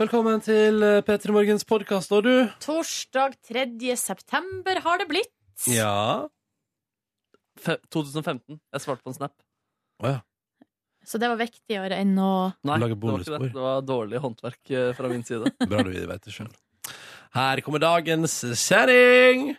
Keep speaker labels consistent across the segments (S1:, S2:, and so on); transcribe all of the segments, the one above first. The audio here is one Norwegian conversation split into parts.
S1: Velkommen til eh, P3 Morgens podkast, og du?
S2: Torsdag 3. september har det blitt.
S1: Ja.
S3: Fe 2015. Jeg svarte på en snap.
S2: Så det var viktigere enn å
S3: Nei,
S1: Lage
S3: det var ikke det.
S1: bonusspor.
S3: Det var dårlig håndverk eh, fra min side.
S1: Bra du vet det sjøl. Her kommer dagens sending.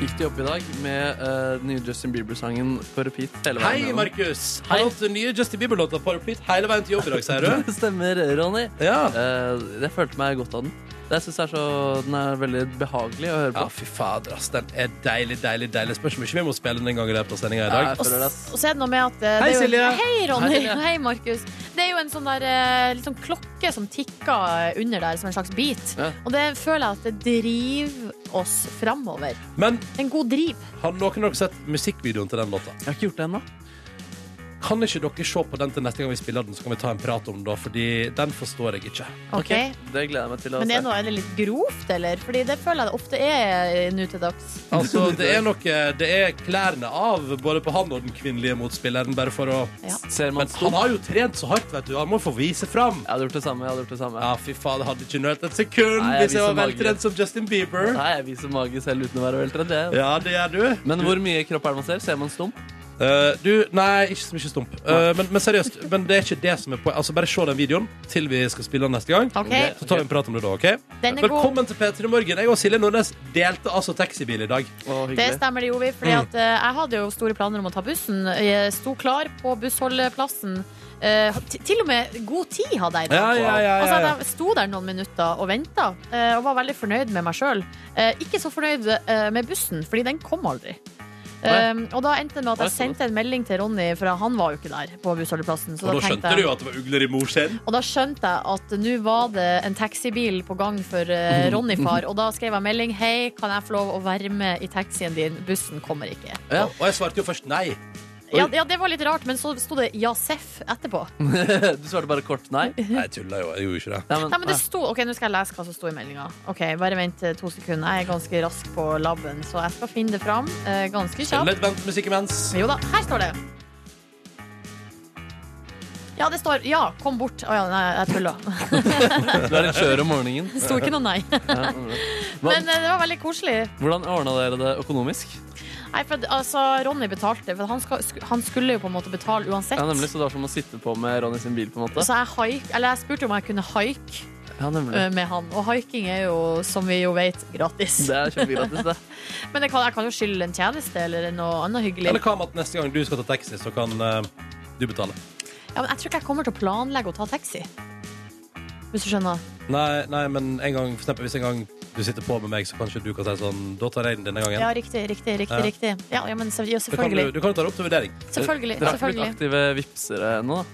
S3: Gikk de opp i dag med eh, den nye Justin Bieber-sangen på repeat hele veien?
S1: Hei,
S3: gjennom.
S1: Markus. Har du hatt den nye Justin Bieber-låta på repeat hele veien til jobb i dag, sier du?
S3: Det stemmer, Ronny.
S1: Ja.
S3: Eh, jeg følte meg godt av den. Jeg synes det er så, Den er veldig behagelig å høre på.
S1: Ja, fy fader, ass. Den er deilig, deilig, deilig. Spørs om ikke vi må spille den en gang i løpet av sendinga i dag.
S3: Jeg
S2: Og,
S3: føler det,
S2: s- og så er det noe med at eh,
S1: Hei,
S2: det er jo,
S1: Silje.
S2: Hei, Ronny.
S3: Hei,
S2: Hei,
S3: Silje.
S2: Markus. Det er jo en sånn der eh, litt sånn klokke som tikker eh, under der, som en slags bit.
S3: Ja.
S2: Og det føler jeg at det driver oss framover.
S1: Men
S2: En god driv.
S1: har noen av dere sett musikkvideoen til den låta?
S3: Jeg har ikke gjort det ennå.
S1: Kan ikke dere se på den til neste gang vi spiller den, så kan vi ta en prat om den, da, fordi den forstår jeg ikke.
S2: Ok.
S3: Det gleder jeg meg til å
S2: Men
S3: se.
S2: er, noe, er det litt grovt, eller? Fordi det føler jeg det ofte er eh, nå til dags.
S1: Altså, det er noe Det er klærne av både på han og den kvinnelige motspilleren, bare for å
S2: Ja.
S3: Ser man
S1: Men han har jo trent så hardt, vet du. Han må få vise fram.
S3: Jeg hadde gjort det samme. jeg hadde gjort det samme
S1: Ja, fy faen, det hadde ikke nølt et sekund
S3: Nei, jeg
S1: hvis jeg var
S3: viser mage.
S1: veltrent som Justin Bieber.
S3: Nei, Jeg viser mage selv uten å være veltredd. jeg.
S1: Ja, det gjør du.
S3: Men hvor mye kropp er det man ser? Ser man stump?
S1: Eh, du, nei, ikke så mye stump. Eh, men, men seriøst, men det er ikke det som er poenget. Altså, bare se den videoen til vi skal spille den neste gang.
S2: Ok,
S3: Ok.
S1: Så tar vi en prat om det da, OK?
S2: Den er god.
S1: Velkommen til P3 Morgen. Jeg og Silje Nordnes delte altså taxibil i dag.
S3: Å, hyggelig.
S2: Det stemmer det jo, vi.
S1: Mm.
S2: Fordi at, eh, jeg hadde jo store planer om å ta bussen. Jeg sto klar på bussholdeplassen. Eh, t- til og med god tid hadde jeg i dag.
S1: Ja, ja, ja, ja, ja.
S2: Altså, jeg sto der noen minutter og venta, og var veldig fornøyd med meg sjøl. Ikke så fornøyd eh, med bussen, fordi den kom aldri. Eh, og da endte det med at
S3: Nei,
S2: jeg
S3: sånn.
S2: sendte en melding til Ronny, for han var jo ikke der på bussholdeplassen.
S1: Og
S2: Så
S1: da
S2: da tenkte
S1: skjønte
S2: jeg-
S1: du jo at det var ugler i mors skjell.
S2: og da skjønte jeg at nå var det en taxibil på gang for eh, Ronny far. Og da skrev jeg melding. Hei, kan jeg få lov å være med i taxien din? Bussen kommer ikke.
S3: Ja.
S1: Og, og jeg svarte jo først nei.
S2: Ja, ja, det var litt rart, men så sto det ja, seff etterpå.
S3: Du svarte bare kort nei. Nei,
S1: Nei, jeg tulla jo. Jeg gjorde ikke det.
S2: Nei, men det
S3: ah,
S2: sto, ok, Nå skal jeg lese hva som sto i meldinga. Ok, bare vent eh, to sekunder. Jeg er ganske rask på labben, så jeg skal finne det fram eh, ganske
S1: Spill
S2: kjapt.
S1: litt ventmusikk imens.
S2: Jo da, her står det. Ja, det står ja, kom bort. Å ja, nei, jeg tulla.
S3: Du er litt skjør om morgenen.
S2: Det sto ikke noe nei.
S3: Ja,
S2: Men eh, det var veldig koselig.
S3: hvordan ordna dere det økonomisk?
S2: Nei, for at, altså, Ronny betalte, for han, skal, sku- han skulle jo på en måte betale uansett.
S3: Ja, nemlig, Så det var som å sitte på med Ronny sin bil, på en måte?
S2: Så jeg, haik, eller jeg spurte om jeg kunne haike
S3: Ja, nemlig.
S2: eh, med han, og haiking er jo, som vi jo vet, gratis.
S3: Det er kjempegratis, det.
S2: Men jeg kan, jeg kan jo skylde en tjeneste eller noe annet hyggelig.
S1: Eller hva med at neste gang du skal ta taxi, så kan eh, du betale?
S2: Ja, men jeg tror ikke jeg kommer til å planlegge å ta taxi. Hvis du skjønner.
S1: Nei, nei men en gang, for eksempel, hvis en gang du sitter på med meg, så kanskje du kan si sånn Da tar jeg den denne gangen.
S2: Ja, riktig, riktig, riktig.
S1: Ja.
S2: riktig. Ja, ja, men se- ja,
S1: Du kan,
S2: selvfølgelig.
S1: du kan ta det opp til vurdering.
S2: Selvfølgelig.
S3: Dere har ikke blitt
S2: selvfølgelig.
S3: aktive vipsere ennå, da?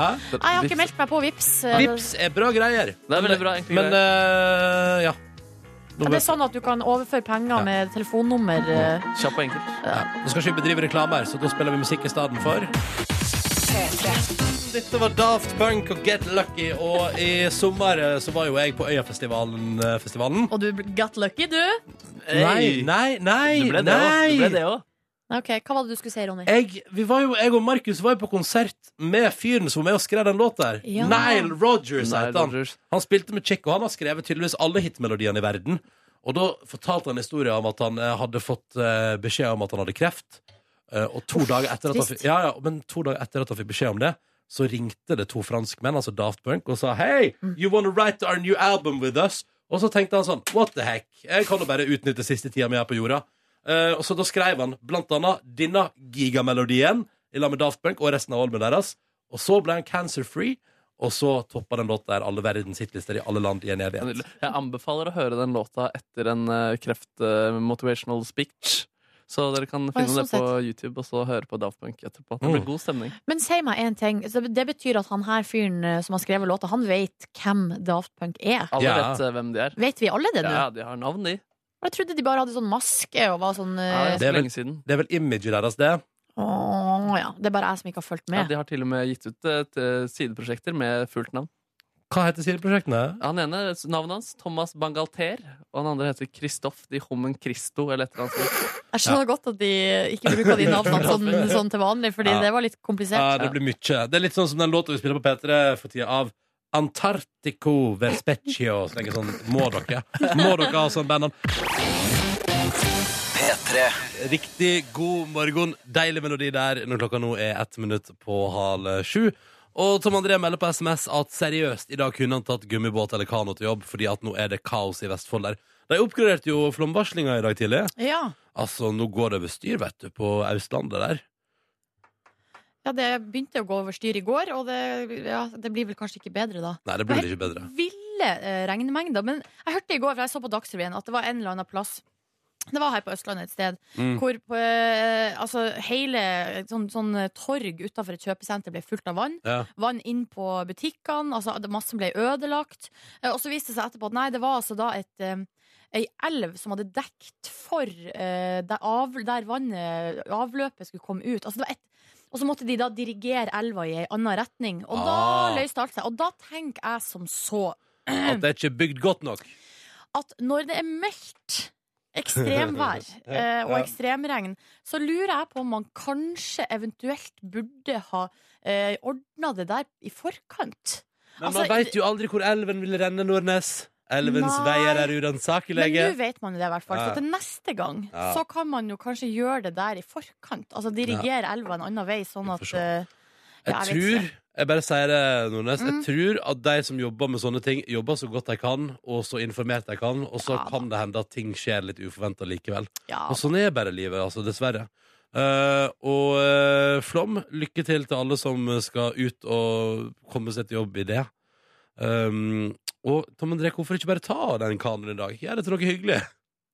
S1: Hæ?
S2: Nei, jeg har ikke meldt meg på Vips. Eh,
S1: Vips er bra greier.
S3: Det er veldig bra, egentlig.
S1: Men eh, ja. Nå,
S2: Ja, det er sånn at du kan overføre penger
S1: Ja.
S2: med telefonnummer. eh.
S3: Kjapp og enkelt.
S1: ja. Nå skal ikke vi bedrive reklame her, så da spiller vi musikk i stedet for. Dette var Daft Punk og Get Lucky, og i sommer eh, så var jo jeg på Øyafestivalen. eh, Festivalen.
S2: Og du got lucky, du.
S3: Hey!
S1: Nei, nei,
S3: Du ble det
S1: nei!
S3: også. Du ble det òg.
S2: Nei, Ok, Hva var det du skulle si, Ronny?
S1: jeg, vi var jo, jeg og Markus var jo på konsert med fyren som var med og skrev den låta her.
S2: Ja.
S1: Nile Rogers
S3: Nei,
S1: heter han.
S3: Rogers.
S1: Han spilte med Chick, og han har skrevet tydeligvis alle hitmelodiene i verden. Og da fortalte han historien om at han eh, hadde fått eh, beskjed om at han hadde kreft. Eh, og to, dager etter at han,
S2: trist.
S1: fikk- ja, ja, men to dager etter at han fikk beskjed om det, så ringte det to franskmenn, altså Daft Punk, og sa Hei, you wanna write our new album with us? Og så tenkte han sånn What the heck? Jeg kan jo bare utnytte siste tida mi her på jorda. Eh, og så da skrev han blant annet denne gigamelodien i lag med Daft Punk og resten av albumet deres. Og så ble han cancer-free, og så toppa den låta der alle verdens hitlister i alle land i en evighet.
S3: Jeg anbefaler å høre den låta etter en eh, kreft eh, motivational speech. Så dere kan
S2: ja,
S3: finne det
S2: sånn
S3: på YouTube og så høre på Daft Punk etterpå. Det
S1: Mm.
S3: blir god stemning.
S2: Men si meg en ting. Så Det betyr at han her fyren eh, som har skrevet låta, han vet hvem Daft Punk er.
S3: Alle
S1: Ja.
S3: vet eh, hvem de er.
S2: Vet vi alle det nå?
S3: Ja, de har navn,
S2: Eh,
S3: de.
S2: Jeg trodde de bare hadde sånn maske og var sånn
S3: Ja, det
S1: Det
S2: eh,
S3: er
S1: er
S3: så
S1: vel-
S3: lenge siden.
S1: Det er vel imaget deres, det.
S2: Åh, ja. Det er bare jeg som ikke har fulgt
S3: Ja,
S2: med.
S4: eh,
S3: de har til og med gitt ut eh, t- sideprosjekter med fullt navn.
S1: Hva heter sideprosjektene?
S4: Han ene, Navnet hans Thomas Bangalter, og han andre heter Kristoff de Hommen Christo. Eller et eller annet sånt.
S2: Jeg skjønner godt at de ikke bruker de navnene sånn, sånn til vanlig, fordi
S1: Ja.
S2: det var litt komplisert.
S1: Ja, det blir mye. Det er litt sånn som den låta vi spiller på P3 for tida, av Antartico Vespeccio. Så tenker jeg sånn, må dere? Må dere ha sånn bandnavn? Riktig god morgen. Deilig melodi der når klokka nå er ett minutt på halv sju. Og Tom André melder på SMS at seriøst, i dag kunne han tatt gummibåt eller kano til jobb, fordi at nå er det kaos i Vestfold der. De oppgraderte jo flomvarslinga i dag tidlig.
S2: Ja.
S1: Altså, nå går det over styr, vet du, på Østlandet der.
S2: ja, det begynte å gå over styr i går, og det, ja, det blir vel kanskje ikke bedre da.
S1: Nei, det blir vel ikke bedre.
S2: ville eh, regnmengder. Men jeg hørte i går, for jeg så på Dagsrevyen, at det var en eller annen plass det var her på Østlandet et sted
S1: Mm.
S2: hvor på, eh, altså, hele et sånn, sånn torg utafor et kjøpesenter ble fullt av vann.
S1: Ja.
S2: Vann inn på butikkene, altså det- masse ble ødelagt. Eh, Og så viste det seg etterpå at nei, det var altså da et eh, Ei elv som hadde dekt for eh, der, av, der vannet, eh, avløpet, skulle komme ut. Altså, det var et, og så måtte de da dirigere elva i ei anna retning. Og
S1: Ah.
S2: da løste alt seg. Og da tenker jeg som så
S1: At det er ikke bygd godt nok.
S2: at når det er meldt ekstremvær eh, og
S1: Ja.
S2: ekstremregn, så lurer jeg på om man kanskje eventuelt burde ha eh, ordna det der i forkant.
S1: Men
S2: Altså,
S1: man veit jo aldri hvor elven vil renne, Nordnes. Elvens
S2: Nei.
S1: veier er
S2: Men nå
S1: uransakelige.
S2: vet man jo det, i hvert fall.
S1: Ja.
S2: Så til neste gang
S1: Ja.
S2: så kan man jo kanskje gjøre det der i forkant. Altså dirigere elva en annen vei, sånn
S1: Vi får
S2: at
S1: se.
S2: eh,
S1: Jeg
S2: Ja, jeg vet
S1: tror jeg bare sier det, Nordnes. Jeg
S2: Mm.
S1: tror at de som jobber med sånne ting, jobber så godt de kan, og så informert de kan, og så
S2: Ja da.
S1: kan det hende at ting skjer litt uforventa likevel.
S2: Ja.
S1: Og sånn er bare livet, altså, dessverre. Eh, og eh, Flom, lykke til til alle som skal ut og komme seg til jobb i det. Um, og Tom André, hvorfor ikke bare ta den kanoen i dag? Gjør det til noe hyggelig.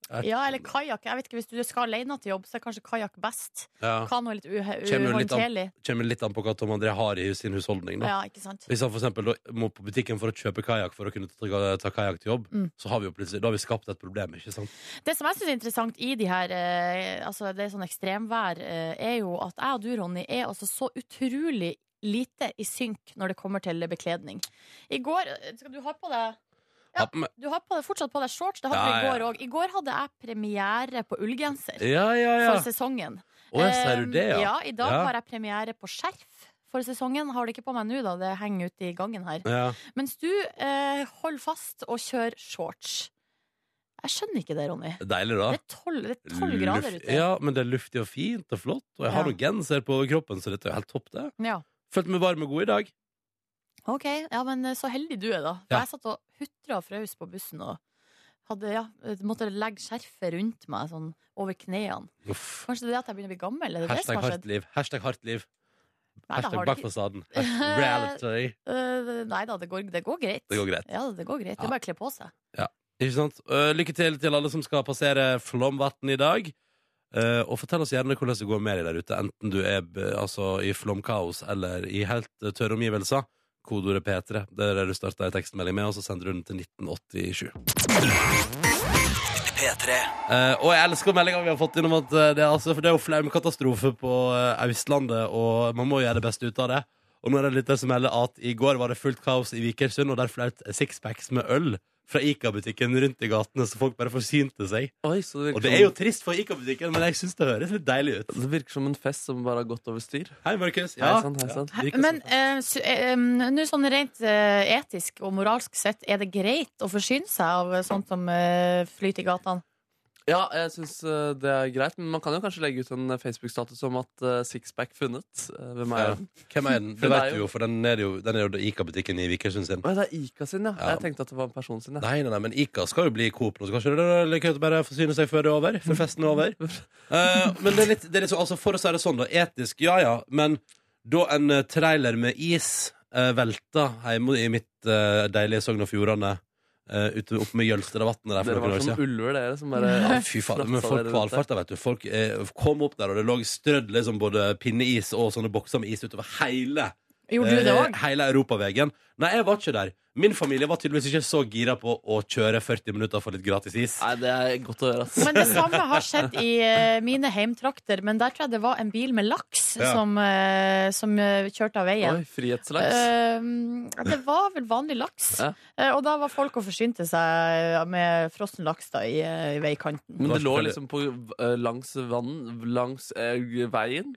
S2: ja, eller kajakk. Jeg vet ikke, Hvis du skal alene til jobb, så er kanskje kajakk best.
S1: Ja.
S2: Kano er litt
S1: Kjenner jo litt an-
S2: uhåndterlig.
S1: kommer litt an på hva Tom André har i sin husholdning. Da.
S2: Ja, ikke sant?
S1: Hvis han for eksempel da må på butikken for å kjøpe kajakk for å kunne ta, ta kajakk til jobb,
S2: Mm.
S1: så har vi jo plutselig da har vi skapt et problem. ikke sant?
S2: Det som jeg syns er interessant i de her eh, altså det er sånn ekstremvær, eh, er jo at jeg og du, Ronny, er altså så utrolig lite i synk når det kommer til bekledning. I går eh, Skal du ha på deg Ja.
S1: Ja. men-
S2: Du har på deg, fortsatt på deg shorts. Det hadde
S1: Ja,
S2: du i
S1: ja.
S2: går òg. I går hadde jeg premiere på ullgenser
S1: ja, ja. ja.
S2: for sesongen.
S1: Å, ja, sier du det,
S2: Eh,
S1: ja?
S2: ja I dag
S1: Ja.
S2: har jeg premiere på skjerf for sesongen. Har det ikke på meg nå, da. Det henger ute i gangen her.
S1: ja.
S2: Mens du eh, holder fast og kjører shorts. Jeg skjønner ikke det, Ronny.
S1: Deilig, da.
S2: Det er tolv- det er tolv grader
S1: Ah. Luft-
S2: ute.
S1: Ja, men det er luftig og fint og flott, og jeg har
S2: Ja.
S1: noe genser på kroppen, så dette er jo helt topp, det.
S2: Ja.
S1: Følte meg varm og god i dag.
S2: Ok, ja, men eh, så heldig du er, da. For
S1: Ja.
S2: Jeg satt og hutra og frøs på bussen og hadde, ja, eh, måtte legge skjerfet rundt meg, sånn over knærne.
S1: Uff.
S2: Kanskje det er det at jeg begynner å bli gammel? Er det det
S1: Hashtag
S2: som har
S1: hardt
S2: skjedd?
S1: liv. Hashtag hardt liv.
S2: Nei, det
S1: Hashtag
S2: har det
S1: bak
S2: ikke.
S1: fasaden. Hashtag Reality.
S2: Eh, nei da, det går, det går greit.
S1: Det går greit.
S2: Ja, det går greit.
S1: Ja.
S2: Det er bare å kle på seg.
S1: Ikke sant? Eh, lykke til til alle som skal passere Flomvatn i dag. Eh, og fortell oss gjerne hvordan det går med deg der ute, enten du er b- altså, i flomkaos eller i helt eh, tørre omgivelser. Kodeordet P3. Det er det du starter en tekstmelding med, og så sender du den til 1987. Eh, og jeg elsker meldinga vi har fått innom at eh, det, er, altså, for det er jo flaumkatastrofe på eh, Østlandet, og man må gjøre det beste ut av det. Og nå er det en lytter som melder at i går var det fullt kaos i Vikersund, og der flaut sixpacks med øl fra Ica-butikken rundt i gatene, så folk bare forsynte seg.
S4: Oi, så det
S1: Og
S4: virker,
S1: det er jo trist for Ica-butikken, men jeg syns det høres litt deilig ut.
S4: som, det virker som en fest som bare har gått over styr.
S1: Hei, Markus.
S4: Hei
S1: Ja.
S4: sann, hei sann.
S1: Ja, det virker
S2: Men
S1: sånn.
S2: eh, så- eh, em, nå sånn rent eh, etisk og moralsk sett, er det greit å forsyne seg av eh, sånt som eh, flyter i gatene?
S4: Ja, jeg syns det er greit, men man kan jo kanskje legge ut en eh, Facebook-status om at eh, sixpack funnet. Eh, Hvem er
S1: Ja.
S4: den?
S1: Hvem er den?
S4: For
S1: Det
S4: det er
S1: vet du jo, for den er jo, den er jo Ica-butikken i Vikersund sin.
S4: Oi, det er Ica sin, ja.
S1: Ja.
S4: Jeg tenkte at det var en person sin. Ja.
S1: Nei, nei, nei, men Ica skal jo bli Coop nå. Så kanskje det er like greit å bare forsyne seg før det er over? Før festen er over? Eh, men det er litt, det er litt så, altså for å si det sånn, da. Etisk, ja ja. Men da en eh, trailer med is eh, velta hjemme i mitt eh, deilige Sogn og Fjordane eh, ute oppe med Jølstadvatnet der for
S4: Dere
S1: noen
S4: var sånn
S1: år
S4: som
S1: siden
S4: ulver, dere. Som bare
S1: ja, fy faen, men
S4: Slafsa
S1: folk
S4: dere rundt
S1: valfarta, vet du. Folk eh, kom opp der, og det lå strødd liksom både pinneis og sånne bokser med is utover hele
S2: Gjorde du det
S1: eh,
S2: òg?
S1: Hele europaveien. Nei, jeg var ikke der. Min familie var tydeligvis ikke så gira på å kjøre 40 minutter for litt gratis is.
S4: Nei, det er godt å høre, ass.
S2: Men det samme har skjedd i eh, mine heimtrakter, men der tror jeg det var en bil med laks
S1: Ja.
S2: som, eh, som eh, kjørte av veien.
S4: Oi, frihetslaks.
S2: Eh, det var vel vanlig laks.
S4: Ja.
S2: Eh, og da var folk og forsynte seg eh, med frossen laks da, i, eh, i veikanten.
S4: Men det lå
S1: Veldig.
S4: liksom på, eh, langs vann, langs eh, veien.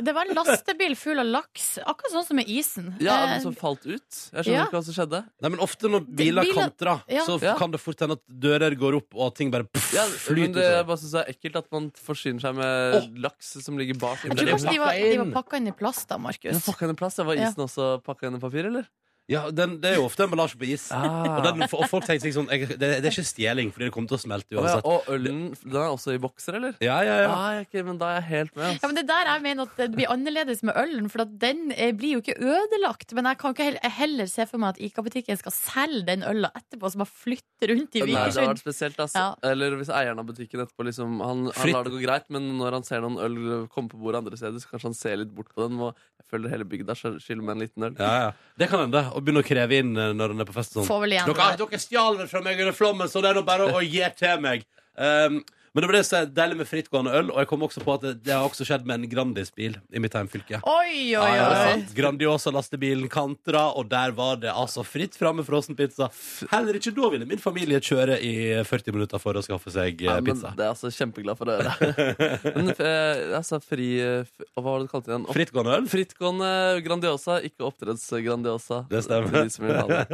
S2: Det var en lastebil full av laks, akkurat sånn som med isen.
S4: Ja,
S2: Eh,
S4: men som falt ut. Jeg skjønner
S2: ja.
S4: ikke hva som skjedde.
S1: Nei, men ofte når biler
S2: biler-
S1: kantrer,
S2: ja.
S1: så
S4: Ja.
S1: kan det fort hende at dører går opp, og at ting bare pff,
S4: Ja, men
S1: flyter
S4: det jeg
S1: utover.
S4: bare synes det er ekkelt at man forsyner seg med laks som ligger bak.
S2: jeg
S1: Men
S2: tror
S1: det er
S2: kanskje de var,
S1: pakka
S2: de var
S1: inn.
S2: pakka inn i plast da,
S4: Men
S2: Markus.
S4: pakka inn i plast? ja. Var
S2: Ja.
S4: isen også pakka inn i papir, eller?
S1: Ja, den, det er jo ofte emballasje på is. Og,
S4: Ah.
S1: den, og folk tenker seg sånn jeg, det, det er ikke stjeling, fordi det kommer til å
S4: Å
S1: smelte
S4: ja,
S1: uansett.
S4: og ølen den er også i bokser, eller?
S1: Ja, ja, ja.
S4: Ah, ja, ok, men da er jeg helt med.
S2: Ja,
S4: Altså.
S2: men Det er der jeg mener at det blir annerledes med ølen, for at den eh, blir jo ikke ødelagt. Men jeg kan ikke heller, heller se for meg at Ica-butikken skal selge den øla etterpå, som bare flytter rundt i
S4: Nei, det har vært
S2: Vikersund.
S4: spesielt, ass.
S2: Ja.
S4: Eller hvis eieren av butikken etterpå liksom, han, han
S1: Fritt.
S4: lar det gå greit, men når han ser noen øl komme på bordet andre steder, så kanskje han ser litt bort på den. Og jeg føler hele bygda skyld- skylder meg en liten øl.
S1: ja, ja. Det kan hende. Å begynne å kreve inn eh, når en er på fest. og Sånn.
S2: Får vel igjen
S1: Dere,
S2: det.
S1: dere stjal vel fra meg under flommen, så det er nå bare å gi til meg. Um, men det ble så deilig med frittgående øl, og jeg kom også på at det, det har også skjedd med en Grandis-bil i mitt heimfylke.
S2: Oi, oi,
S1: Ja, det er
S2: oi.
S1: sant. Grandiosa lastebilen kantra, og der var det altså fritt fram med frossenpizza. Heller ikke da ville min familie kjøre i 40 minutter for å skaffe seg eh,
S4: Ja, men
S1: pizza.
S4: det er jeg altså kjempeglad for å høre. men eh, altså, fri eh, f- Hva var det du kalte det igjen? Opp-
S1: Frittgående øl?
S4: Frittgående Grandiosa, ikke oppdrettsgrandiosa.
S1: Det stemmer.
S4: Til de som vil ha det.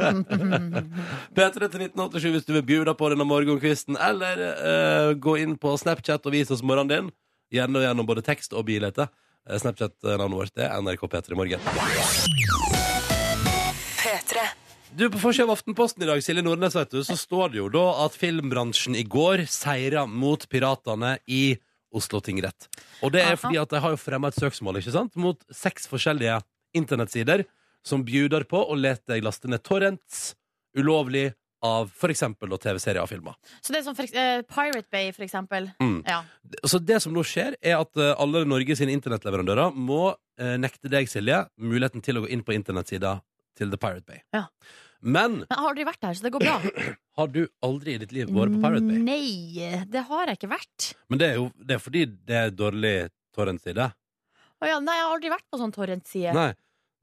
S1: P3 til 1987 hvis du vil bjuda på denne morgenkvisten, eller eh, gå inn på Snapchat og vis oss morgenen din. Gjennom, gjennom både tekst og bilete. Eh, Snapchat-navnet vårt er NRK P3 Morgen. Du, På forsida av Aftenposten i dag Silje Nordnes, vet du, så står det jo da at filmbransjen i går seira mot piratene i Oslo tingrett. Og det er
S2: Aha.
S1: fordi at de har jo fremma et søksmål ikke sant? mot seks forskjellige internettsider som bjuder på å lete deg laste ned torrents ulovlig av f.eks. TV-serier og filmer.
S2: Så det er som for, eks- eh, Pirate Bay, for eksempel.
S1: Mm.
S2: Ja.
S1: Så det som nå skjer, er at eh, alle Norge sine internettleverandører må eh, nekte deg, Silje, muligheten til å gå inn på internettsida til The Pirate Bay.
S2: Ja.
S1: Men
S2: Men jeg har aldri vært der, så det går bra.
S1: har du aldri i ditt liv vært på Pirate
S2: Mm.
S1: Bay?
S2: Nei, det har jeg ikke vært.
S1: Men det er jo det er fordi det er dårlig torrentside.
S2: Å ja, nei, jeg har aldri vært på sånn torrentside. Nei.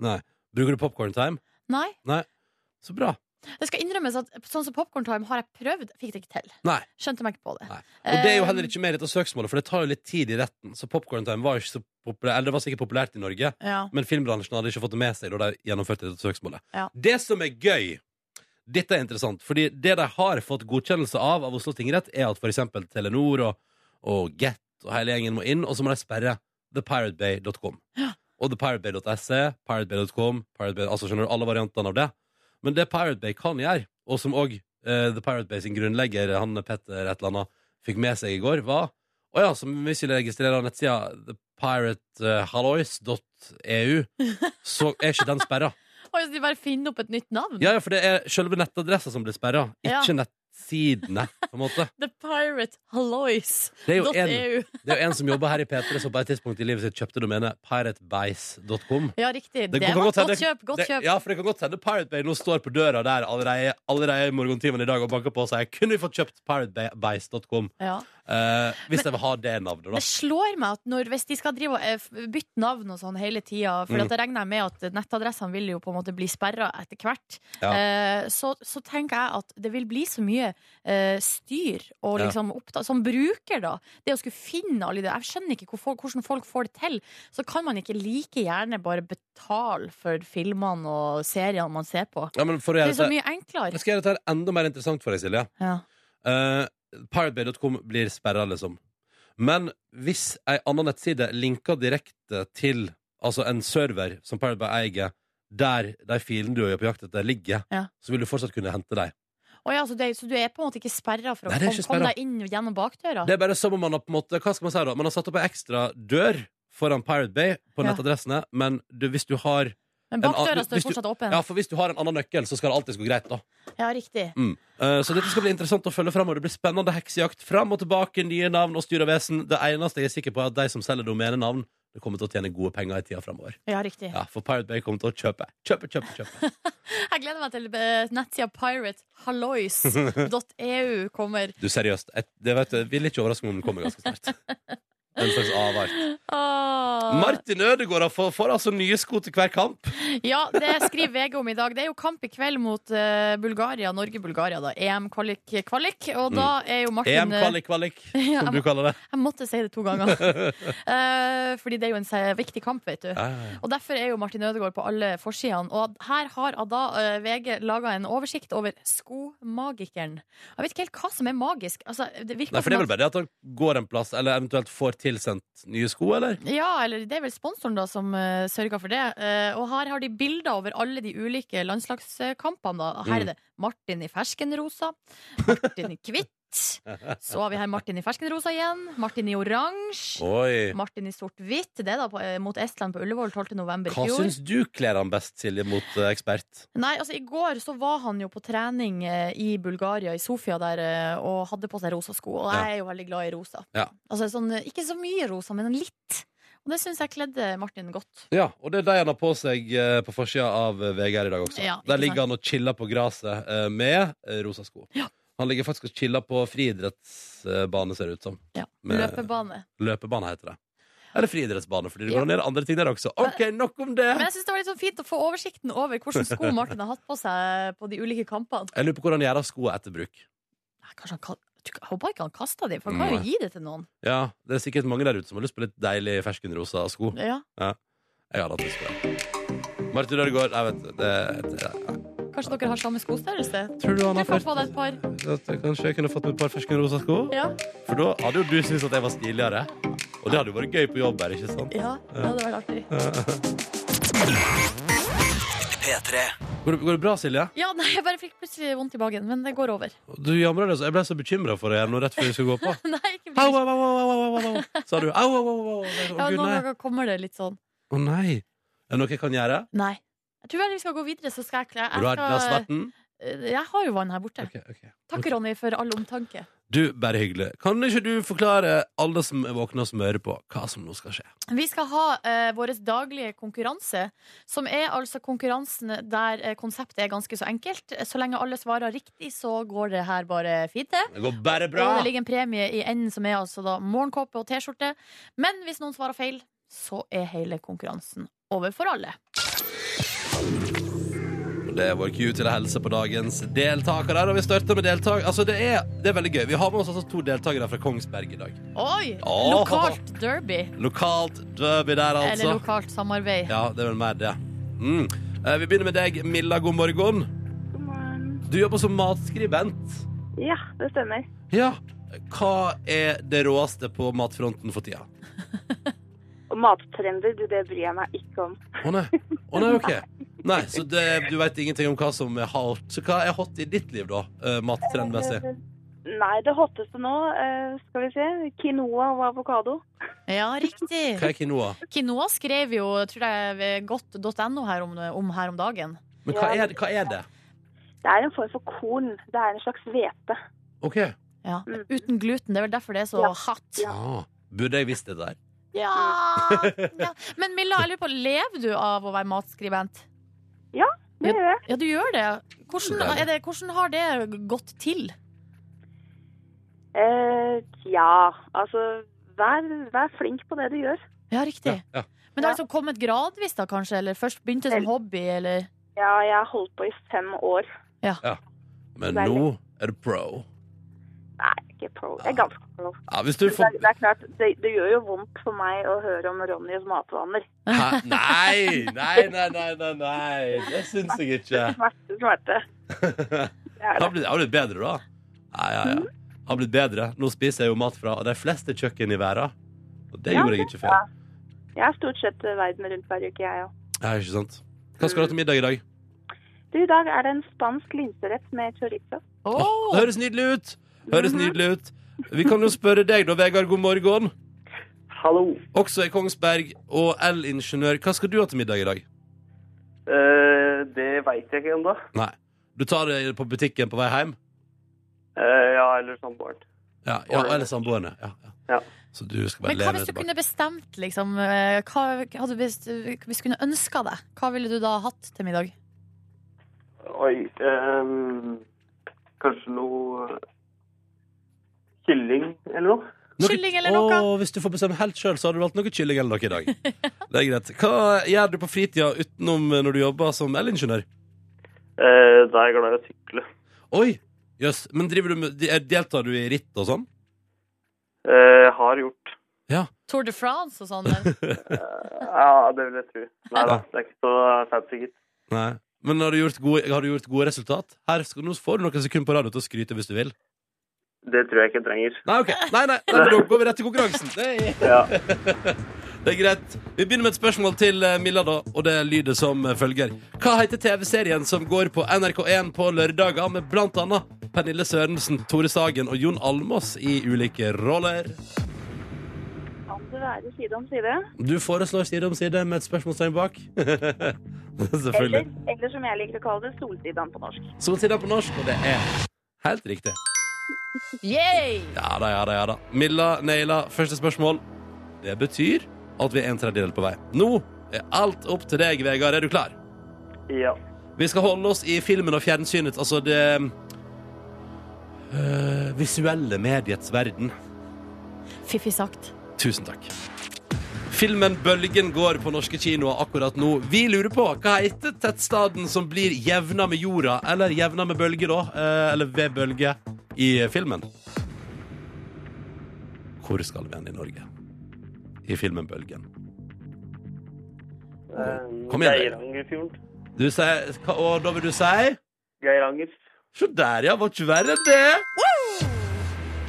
S1: Nei. Nei. Bruker du popcorn time?
S2: nei.
S1: Så bra.
S2: Det skal innrømmes at sånn som Popcorn Time har jeg prøvd, fikk det ikke til.
S1: Nei.
S2: Skjønte meg ikke på det.
S1: Nei. Og det er jo
S2: Eh.
S1: heller ikke med i dette søksmålet, for det tar jo litt tid i retten. Så popcorn time var, ikke så populær, eller det var sikkert populært i Norge,
S2: Eh, Ja.
S1: men filmbransjen hadde ikke fått det med seg da de gjennomførte dette søksmålet.
S2: Ja.
S1: Det som er gøy dette er interessant, fordi det de har fått godkjennelse av av Oslo tingrett, er at f.eks. Telenor og, og Get og hele gjengen må inn, og så må de sperre thepiratebay.com.
S2: Ja.
S1: Og thepiratebay.se, piratebay.com, piratebay, altså skjønner du alle variantene av det. Men det Pirate Bay kan gjøre, og som òg The Pirate Bay sin grunnlegger, han Petter et eller annet, fikk med seg i går, var Å ja, som hvis vi registrerer nettsida eh, thepiratehallois.eu, E så er ikke den sperra.
S2: Oi, så de bare finner opp et nytt navn.
S1: Ja, ja, for det er selve nettadressa som blir sperra,
S2: Ja.
S1: ikke nettsidene. på en måte
S2: The Pirate Hallois.
S1: Det er jo en,
S2: .eu.
S1: det er jo en som jobber her i P3, som på et tidspunkt i livet sitt kjøpte domenet piratebase.com.
S2: Ja, riktig. Det,
S1: kan
S2: var
S1: godt
S2: godt,
S1: hende-
S2: kjøp. Godt
S1: Det-
S2: kjøp.
S1: Ja, for det kan godt hende Pirate Bay nå står på døra der allerede, allerede i morgentimen i dag og banker på og sier kunne vi fått kjøpt piratebase.com
S2: Ja.
S1: eh, hvis jeg vil ha det navnet, da.
S2: Det slår meg at når, hvis de skal drive og eh, f- bytte navn og sånn hele tida, for
S1: Mm.
S2: at det regner jeg med at nettadressene vil jo på en måte bli sperra etter hvert,
S1: Ja.
S2: eh, så, så tenker jeg at det vil bli så mye eh, styr og
S1: Ja.
S2: liksom oppta som bruker, da. Det å skulle finne alle de Jeg skjønner ikke hvorfor, hvordan folk får det til. Så kan man ikke like gjerne bare betale for filmene og seriene man ser på.
S1: Ja, men for å
S2: Det
S1: gjøre
S2: er så
S1: dette,
S2: mye enklere.
S1: jeg skal gjøre dette her enda mer interessant for deg, Silje.
S2: Ja.
S1: Eh, piratebay.com blir sperra, liksom. Men hvis ei anna nettside linker direkte til altså en server som Pirate Bay eier, der de filene du er på jakt etter, ligger,
S2: Ja.
S1: så vil du fortsatt kunne hente dem.
S2: Å ja, så, det, så du er på en måte ikke sperra for å
S1: Nei, det er
S2: komme
S1: ikke
S2: komme
S1: sperra.
S2: deg inn gjennom bakdøra?
S1: Det er bare som om man har på en måte Hva skal man si da? Man har satt opp en ekstra dør foran Pirate Bay på
S2: Ja.
S1: nettadressene, men du, hvis du har
S2: Men
S1: en
S2: bakdøra
S1: annen-
S2: står
S1: hvis du-
S2: fortsatt åpen?
S1: Ja, for hvis du har en annen nøkkel, så skal det alltid gå greit, da.
S2: Ja, riktig.
S1: Mm. Eh, så dette skal bli interessant å følge fram, og det blir spennende heksejakt fram og tilbake, nye navn og styr og vesen. Det eneste jeg er sikker på, er at de som selger domenenavn, det kommer til å tjene gode penger i tida framover.
S2: Ja, riktig.
S1: Ja, for Pirate Bay kommer til å kjøpe, kjøpe, kjøpe. kjøpe.
S2: Jeg gleder meg til eh, nettsida piratehallois.eu kommer.
S1: Du, seriøst. Jeg, det vet, jeg vil ikke overraske meg om den kommer ganske snart. En slags avart.
S2: Åh.
S1: Martin Ødegaard får, får altså nye sko til hver kamp.
S2: Ja, det skriver VG om i dag. Det er jo kamp i kveld mot eh, Bulgaria, Norge-Bulgaria, da. EM-kvalik-kvalik. Og da
S1: Mm.
S2: er jo Martin eh,
S1: EM-kvalik-kvalik,
S2: Ja,
S1: som du kaller det.
S2: Jeg måtte si det to ganger. Eh, fordi det er jo en se- viktig kamp, vet du.
S1: Ja, ja, ja.
S2: Og Derfor er jo Martin Ødegaard på alle forsidene. Og her har da eh, VG laga en oversikt over skomagikeren. Jeg vet ikke helt hva som er magisk. Altså, det virker
S1: Nei, for det er
S2: som
S1: vel bare det at han går en plass, eller eventuelt får tilsendt nye sko, eller?
S2: at, ja, eller det er vel sponsoren da som eh, sørger for det. Eh, og her har de bilder over alle de ulike landslagskampene. da. Her
S1: Mm.
S2: er det Martin i ferskenrosa, Martin i hvitt. Så har vi her Martin i ferskenrosa igjen. Martin i oransje.
S1: Oi.
S2: Martin i sort-hvitt. Det er da på, eh, mot Estland på Ullevål 12. november i
S1: Hva
S2: fjor.
S1: syns du kler han best, Silje, mot eh, ekspert?
S2: Nei, altså I går så var han jo på trening eh, i Bulgaria, i Sofia, der, eh, og hadde på seg rosa sko. Og
S1: Ja.
S2: jeg er jo veldig glad i rosa.
S1: Ja.
S2: Altså sånn, eh, Ikke så mye rosa, men litt. Og det syns jeg kledde Martin godt.
S1: Ja, og det er de han har på seg eh, på forsida av eh, VG her i dag også.
S2: Ja, ikke
S1: Der ligger han og chiller på gresset eh, med eh, rosa sko.
S2: Ja.
S1: Han ligger faktisk og chiller på friidrettsbane, ser det ut som.
S2: Ja.
S1: Med-
S2: Løpebane.
S1: Løpebane heter det. Eller friidrettsbane, fordi det
S2: Ja.
S1: går an å gjøre andre ting der også. OK, nok om det!
S2: Men jeg syns det var litt sånn fint å få oversikten over hvilke sko Martin har hatt på seg på de ulike kampene.
S1: Jeg lurer på hvordan han gjør av skoa etter bruk.
S2: Nei, kanskje han, ka- jeg tror ikke- jeg håper ikke han kasta dem, for han kan jo
S1: Nei.
S2: gi det til noen.
S1: Ja, Det er sikkert mange der ute som har lyst på litt deilig ferskenrosa sko.
S2: Ja,
S1: Jeg hadde hatt lyst på det. Martin Ødegaard, jeg vet det, det,
S2: Kanskje dere har samme skostørrelse?
S1: Tror du han
S2: Du
S1: har
S2: kan
S1: fått
S2: få deg et par.
S1: at jeg Kanskje jeg kunne fått meg et par ferskenrosa sko?
S2: Ja,
S1: For da hadde jo du syntes at jeg var stiligere. Og det hadde jo vært gøy på jobb her, ikke sant?
S2: ja det hadde vært artig.
S1: Går det, går det bra, Silje?
S2: Ja, nei, jeg bare fikk plutselig vondt i magen, men det går over.
S1: Du jamrer deg så Jeg ble så bekymra for deg her nå rett før vi skulle gå på.
S2: Nei, ikke
S1: Au,
S2: bli
S1: au, au, au, au, au, au, au. Sa du au, au, au, au, au? Jeg
S2: Ja,
S1: bare, Å, gud,
S2: noen
S1: nei.
S2: ganger kommer det litt sånn.
S1: Å, nei. Er det noe jeg kan gjøre?
S2: Nei. Jeg tror vel vi skal gå videre, så skal jeg kle
S1: Vil du ha et glass
S2: jeg,
S1: vann?
S2: skal, jeg har jo vann her borte.
S1: Ok, ok.
S2: Takk, Ronny, for all omtanke.
S1: Du, bare hyggelig. Kan ikke du forklare alle som er våkne og som hører på, hva som nå skal skje?
S2: Vi skal ha eh, vår daglige konkurranse, som er altså konkurransen der eh, konseptet er ganske så enkelt. Så lenge alle svarer riktig, så går det her bare fint, det.
S1: Det går bare
S2: Og det ligger en premie i enden, som er altså da morgenkåpe og T-skjorte. Men hvis noen svarer feil, så er hele konkurransen over for alle.
S1: Det er vår cue til å helse på dagens deltakere. Og vi starter med deltak... Altså, det er, det er veldig gøy. Vi har med oss altså to deltakere fra Kongsberg i dag.
S2: Oi!
S1: Åh.
S2: Lokalt derby.
S1: Lokalt derby der,
S2: Eller
S1: altså.
S2: lokalt samarbeid.
S1: Ja, det er vel mer det. Mm. Eh, Vi begynner med deg, Milla. God morgen.
S5: God morgen.
S1: Du jobber som matskribent.
S5: Ja, det stemmer.
S1: Ja. Hva er det råeste på matfronten for tida?
S5: Og mattrender, du, det bryr jeg meg ikke om.
S1: Å nei. Å nei, ok. Nei, så det, du veit ingenting om hva som er hot. Så hva er hot i ditt liv, da? eh, Mattrendmessig.
S5: Nei, det hotteste nå, eh, skal vi se, quinoa og avokado.
S2: Ja,
S1: Hva
S2: riktig.
S1: er quinoa?
S2: Quinoa skrev jo tror jeg, ved godt.no her om, om her om dagen.
S1: Men hva er, hva er det?
S5: Det er en form for korn. Det er en slags hvete.
S1: OK.
S2: Ja.
S5: Mm.
S2: Uten gluten. Det er vel derfor det er så
S5: Ja.
S2: hot.
S1: Ah, burde jeg visst det der?
S2: Ja. ja! Men Milla, jeg lurer på, lever du av å være matskribent?
S5: Mm. Det gjør jeg.
S2: Ja, du gjør det. Hvordan, er det, hvordan har det gått til?
S5: Eh, ja, altså, vær, vær flink på det du gjør.
S2: Ja, riktig.
S1: Ja, ja.
S2: Men det har liksom kommet gradvis, da, kanskje? Eller først begynte som
S5: Vel-
S2: hobby, eller
S5: Ja, jeg har holdt på i fem år.
S1: Men nå er du pro.
S5: Nei, jeg er ikke pro. Jeg er ganske pro.
S1: Ja, hvis du
S5: Men Det,
S1: får
S5: er- det er klart, det, det gjør jo vondt for meg å høre om Ronnys matvaner.
S1: Hæ? Nei, nei, nei, nei, nei, nei. Det syns jeg ikke.
S5: Smerte, smerte. Det er
S1: Han
S5: det.
S1: har blitt, han har blitt bedre, da. Ja, ja, ja. Han har blitt bedre. Nå spiser jeg jo mat fra de fleste kjøkken i verden. Og det
S5: Ja,
S1: gjorde jeg ikke før.
S5: ja. Jeg er stort sett eh, verden rundt hver uke, jeg òg.
S1: Ja, ikke sant? Hva skal du ha til middag i dag?
S5: Du, I dag er det en spansk linserett med chorizo.
S1: Det høres nydelig ut! Høres nydelig ut. Vi kan jo spørre deg, da, Vegard. God morgen.
S6: Hallo.
S1: Også i Kongsberg og el-ingeniør. Hva skal du ha til middag i dag?
S6: Eh, det veit jeg ikke ennå.
S1: Nei. Du tar det på butikken på vei hjem?
S6: Eh, ja, eller samboeren.
S1: Ja, ja eller samboerne. Ja, ja.
S6: Ja.
S1: Så du skal bare
S2: Men hva
S1: leve
S2: hvis du
S1: tilbake.
S2: kunne bestemt, liksom eh, hva, hadde, Hvis du hvis du kunne ønska deg, hva ville du da hatt til middag?
S6: Oi. ehm, kanskje noe kylling eller noe?
S2: Kylling eller noe?
S1: Å, hvis du får bestemme helt sjøl, så har du valgt noe kylling eller noe i dag. Det er greit. Hva gjør du på fritida utenom når du jobber som elingeniør?
S6: Eh, da er jeg glad i å sykle.
S1: Oi! Jøss. Men driver du med, de- deltar du i ritt og sånn?
S6: Eh, har gjort.
S2: Tour de France og sånn? eller?
S6: Ja, det vil jeg tro. Nei da, det er ikke så fancy, gitt.
S1: Nei. Men har du gjort gode, har du gjort gode resultat? Her skal, nå får du noen sekunder på radio til å skryte hvis du vil.
S6: Det tror jeg ikke jeg trenger.
S1: Nei, ok. Nei, nei, nei men da går vi rett til konkurransen. Det er,
S6: Ja.
S1: det er greit. Vi begynner med et spørsmål til eh, Milla, da, og det lyder som eh, følger. Hva heter TV-serien som går på NRK1 på lørdager med blant annet Pernille Sørensen, Tore Sagen og Jon Almås i ulike roller?
S5: Kan det være side om side?
S1: Du foreslår side om side med et spørsmålstegn bak. Selvfølgelig.
S5: Eller, eller som jeg liker å kalle det, solsidaen på norsk.
S1: Solsida på norsk, og det er helt riktig.
S2: Yay!
S1: Ja da, ja da, ja da. Milla naila første spørsmål. Det betyr at vi er en tredjedel på vei. Nå er alt opp til deg, Vegard. Er du klar?
S6: ja.
S1: Vi skal holde oss i filmen og fjernsynet, altså det øh, visuelle mediets verden.
S2: Fiffig sagt.
S1: Tusen takk. Filmen Bølgen går på norske kinoer akkurat nå. Vi lurer på hva heter tettstaden som blir jevna med jorda, eller jevna med bølge, da, eh, eller ved bølge, i filmen? Hvor skal vi hen i Norge? I filmen Bølgen.
S6: Eh,
S1: Kom igjen, dere.
S6: Geirangerfjorden.
S1: Du sier, hva- og da vil du si
S6: Geiranger.
S1: Se der, ja. Var ikke verre enn det.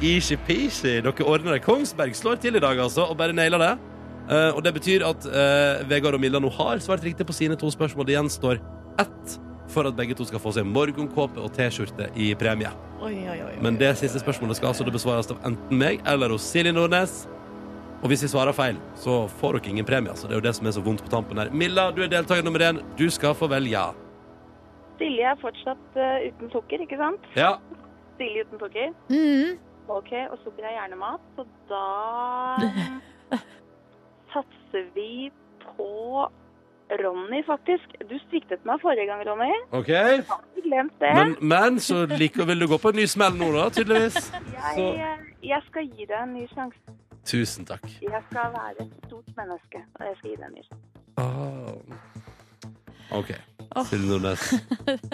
S1: Easy-peasy. Dere ordner det. Kongsberg slår til i dag, altså, og bare nailer det. Eh, og det betyr at eh, Vegard og Milla nå har svart riktig på sine to spørsmål. Det gjenstår ett for at begge to skal få seg morgenkåpe og T-skjorte i premie.
S2: Oi, oi, oi.
S1: Men det siste spørsmålet skal altså det besvares av enten meg eller hos Silje Nordnes. Og hvis vi svarer feil, så får dere ingen premie. Altså. Det er jo det som er så vondt på tampen her. Milla, du er deltaker nummer én. Du skal få velge.
S5: Silje er fortsatt eh, uten sukker, ikke sant?
S1: Ja.
S5: Silje uten sukker.
S2: Mm.
S5: Ok, og sukker er gjerne mat, så da satser vi på Ronny, faktisk. Du sviktet meg forrige gang, Ronny.
S1: OK.
S5: Har du glemt det?
S1: Men, men så liker, vil du gå på en ny smell nå, da, tydeligvis.
S5: jeg, eh,
S1: så-
S5: jeg skal gi deg en ny sjanse.
S1: Tusen takk.
S5: Jeg skal være et stort menneske, og jeg skal gi deg en ny sjanse.
S1: Ah. OK. Silje Nordnes.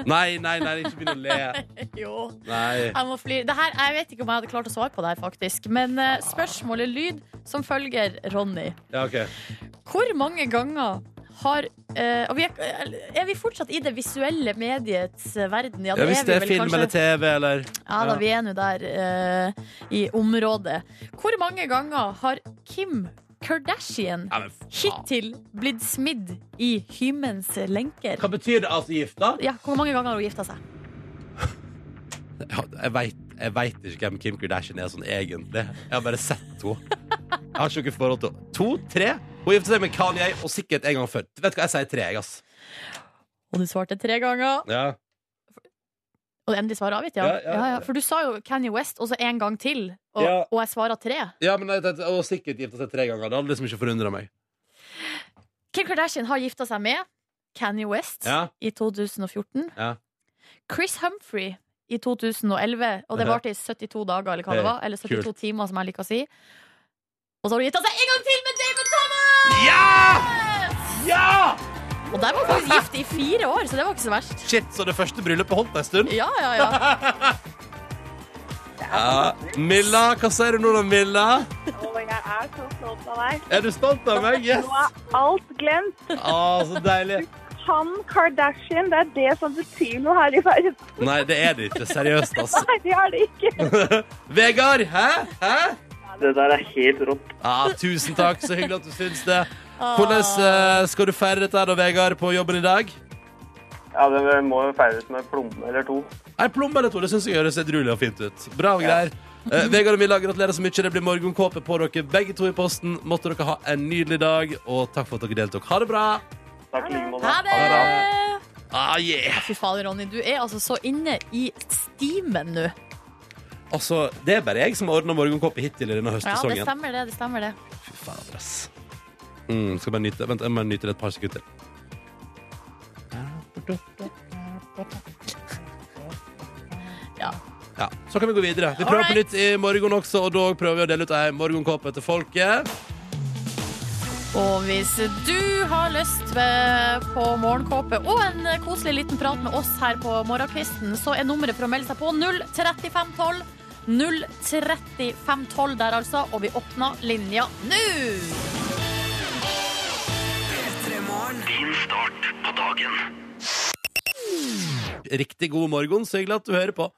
S1: Nei, nei, nei, ikke begynn å le.
S2: Jo.
S1: Nei.
S2: Jeg, må fly. Det her, jeg vet ikke om jeg hadde klart å svare på det her, faktisk. Men eh, spørsmålet lyd som følger, Ronny.
S1: Ja, OK.
S2: Hvor mange ganger har eh, og vi er, er vi fortsatt i det visuelle mediets eh, verden?
S1: Ja, hvis det er film eller TV eller
S2: Ja da,
S1: Ja.
S2: vi er nå der eh, i området. Hvor mange ganger har Kim Kardashian
S1: Nei, men faen.
S2: hittil blitt smidd i hymens lenker?
S1: Hva betyr det, altså, gifta?
S2: Ja, Hvor mange ganger har hun gifta seg?
S1: Ja, Jeg veit jeg vet ikke hvem Kim Kardashian er sånn egentlig. Jeg har bare sett henne. Jeg har ikke noe forhold til henne. To? Tre? Hun gifta seg med Kanye og sikkert en gang før. Vet du hva, jeg sier tre, jeg, ass.
S2: Og du svarte tre ganger.
S1: Ja.
S2: Og det endelige svaret avgitt, ja. Ja, ja, For du sa jo Kanye West, og så en gang til. Og,
S1: Ja.
S2: og jeg svarer tre.
S1: ja men jeg, tenkte- Hun har sikkert gifta seg tre ganger. Det hadde liksom ikke forundra meg.
S2: Kim Kardashian har gifta seg med Kanye West
S1: Ja.
S2: i 2014.
S1: Ja.
S2: Chris Humphrey i 2011, og det
S1: Mhm.
S2: varte i 72 dager, eller hva det
S1: Hey,
S2: var. Eller 72
S1: kult.
S2: timer, som jeg liker å si. Og så har hun gifta seg en gang til med David Thomas!
S1: Ja! Ja!
S2: Og der var hun faktisk gift i fire år, så det var ikke så verst.
S1: Shit, så det første bryllupet holdt en stund?
S2: Ja, ja, ja.
S1: Ja. Milla, hva sier du nå da, Milla?
S5: Og jeg er så stolt av deg.
S1: Er du stolt av meg? Yes!
S5: Nå er alt glemt.
S1: Ah, så deilig.
S5: Han Kardashian, det er det som betyr noe her i verden.
S1: Nei, det er det ikke. Seriøst, altså.
S5: Nei, det er det ikke.
S1: Vegard, hæ? Hæ?
S6: Det der er helt rått.
S1: Ah, tusen takk, så hyggelig at du syns det. Hvordan eh, skal du feire dette her da, Vegard, på jobben i dag?
S6: Ja, det må jo feires med plomme eller to.
S1: Ei plomme eller to, det syns jeg høres edruelig og fint ut. Bra greier. Eh, Vegard og Milla, gratulerer så mye. Det blir morgenkåpe på dere begge to i posten. Måtte dere ha en nydelig dag, og takk for at dere deltok. Ha det bra.
S6: Takk i like måte.
S2: Ha det!
S1: Ah, yeah.
S2: Fy fader, Ronny, du er altså så inne i stimen nå.
S1: Altså, det er bare jeg som har ordna morgenkoppe hittil i denne
S2: Ja, det
S1: høstsesongen.
S2: stemmer det. det stemmer det
S1: Fy fader, ass. Mm, skal bare nyte, vent, jeg må nyte det et par sekunder.
S2: Ja.
S1: Ja, Så kan vi gå videre. Vi prøver
S2: Alright.
S1: på nytt i morgen også, og da prøver vi å dele ut ei morgenkåpe til folket.
S2: Og hvis du har lyst eh, på morgenkåpe og en eh, koselig liten prat med oss her på morgenkvisten, så er nummeret for å melde seg på 03512. 03512 der, altså. Og vi åpner linja nå!
S1: Riktig god morgen, så hyggelig at du hører på.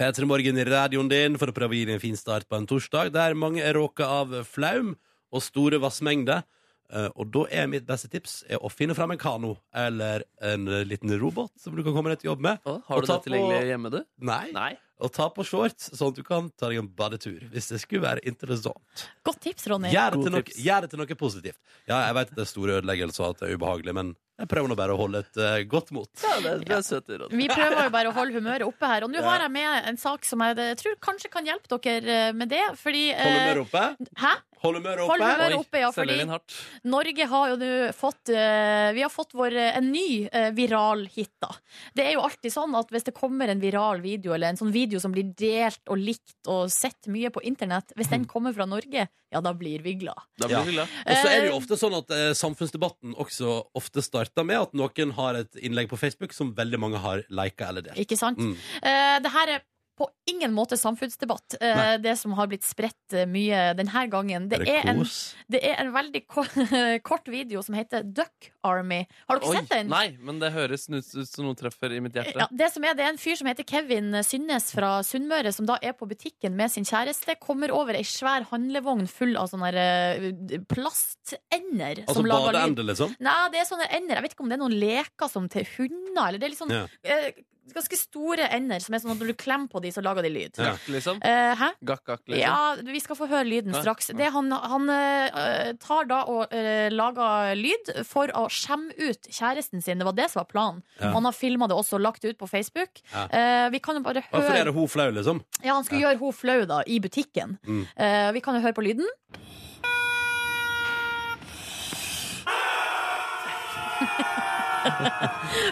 S1: P3 Morgen i radioen din for å prøve å gi deg en fin start på en torsdag der mange er råka av flaum og store vassmengder. Eh, Og da er mitt beste tips er å finne fram en kano eller en eh, liten robot som du kan komme deg til jobb med.
S4: Å,
S1: Og
S4: Har du det
S1: ta på-
S4: tilgjengelig hjemme, du?
S1: Nei.
S4: Nei.
S1: Og ta på shorts, sånn at du kan ta deg en badetur. Hvis det skulle være interessant.
S2: Godt tips, Ronny.
S1: Gjør det
S4: God
S1: til noe,
S4: tips.
S1: gjør det til noe positivt. Ja, jeg vet at det er store ødeleggelser og at det er ubehagelig, men jeg prøver nå bare å holde et eh, godt mot.
S4: Ja, det, det er søte råd.
S2: Vi prøver jo bare å holde humøret oppe her. Og nå har jeg med en sak som jeg eh, tror kanskje kan hjelpe dere eh, med det. Fordi
S1: Holde
S2: eh,
S1: humøret oppe?
S2: Hæ?
S1: Holde humøret
S2: Hold
S1: oppe?
S2: humøret oppe, ja.
S4: selger
S2: Fordi
S4: inn hardt.
S2: Norge har jo nå fått eh, Vi har fått vår, eh, en ny eh, viral hit, da. Det er jo alltid sånn at hvis det kommer en viral video, eller en sånn video som blir delt og likt og sett mye på internett, hvis den kommer fra Norge, ja, da blir vi glad.
S4: Da
S1: Ja.
S4: blir vi glad.
S1: Mm. Og så er det jo ofte sånn at eh, samfunnsdebatten også ofte starter med at noen har et innlegg på Facebook som veldig mange har lika eller delt.
S2: Ikke sant?
S1: Mm.
S2: Eh, det her er på ingen måte samfunnsdebatt, eh,
S1: Nei.
S2: det som har blitt spredt eh, mye denne gangen.
S1: Er
S2: Det
S1: det
S2: er, en,
S1: kos?
S2: det er en veldig ko kort video som heter Duck Army. Har dere
S4: Oi,
S2: sett den?
S4: Nei, men det høres ut ut som noe treffer i mitt hjerte.
S2: Ja, det som er, det er en fyr som heter Kevin Synnes fra Sunnmøre, som da er på butikken med sin kjæreste, kommer over ei svær handlevogn full av sånne her, eh, plastender
S1: Altså
S2: som lager lyd.
S1: badeende, liksom?
S2: Nei, det er sånne ender. Jeg vet ikke om det er noen leker som til hunder, eller det er litt sånn
S1: Ja.
S2: eh, ganske store ender som er sånn at når du klemmer på de, så lager de lyd.
S1: Ja.
S4: Gakk, liksom.
S2: Eh, hæ?
S4: Gakk-gakk, liksom.
S2: Ja, vi skal få høre lyden
S4: Ja.
S2: straks. Det han han eh, tar da og eh, lager lyd for å skjemme ut kjæresten sin. Det var det som var planen.
S1: Ja.
S2: Han har filma det også og lagt det ut på Facebook.
S1: Ja.
S2: Eh, vi kan jo bare
S1: Ja, for
S2: høre
S1: er det hun flau, liksom?
S2: Ja, Han skulle gjøre henne flau da, i butikken.
S1: Mm.
S2: Eh, vi kan jo høre på lyden.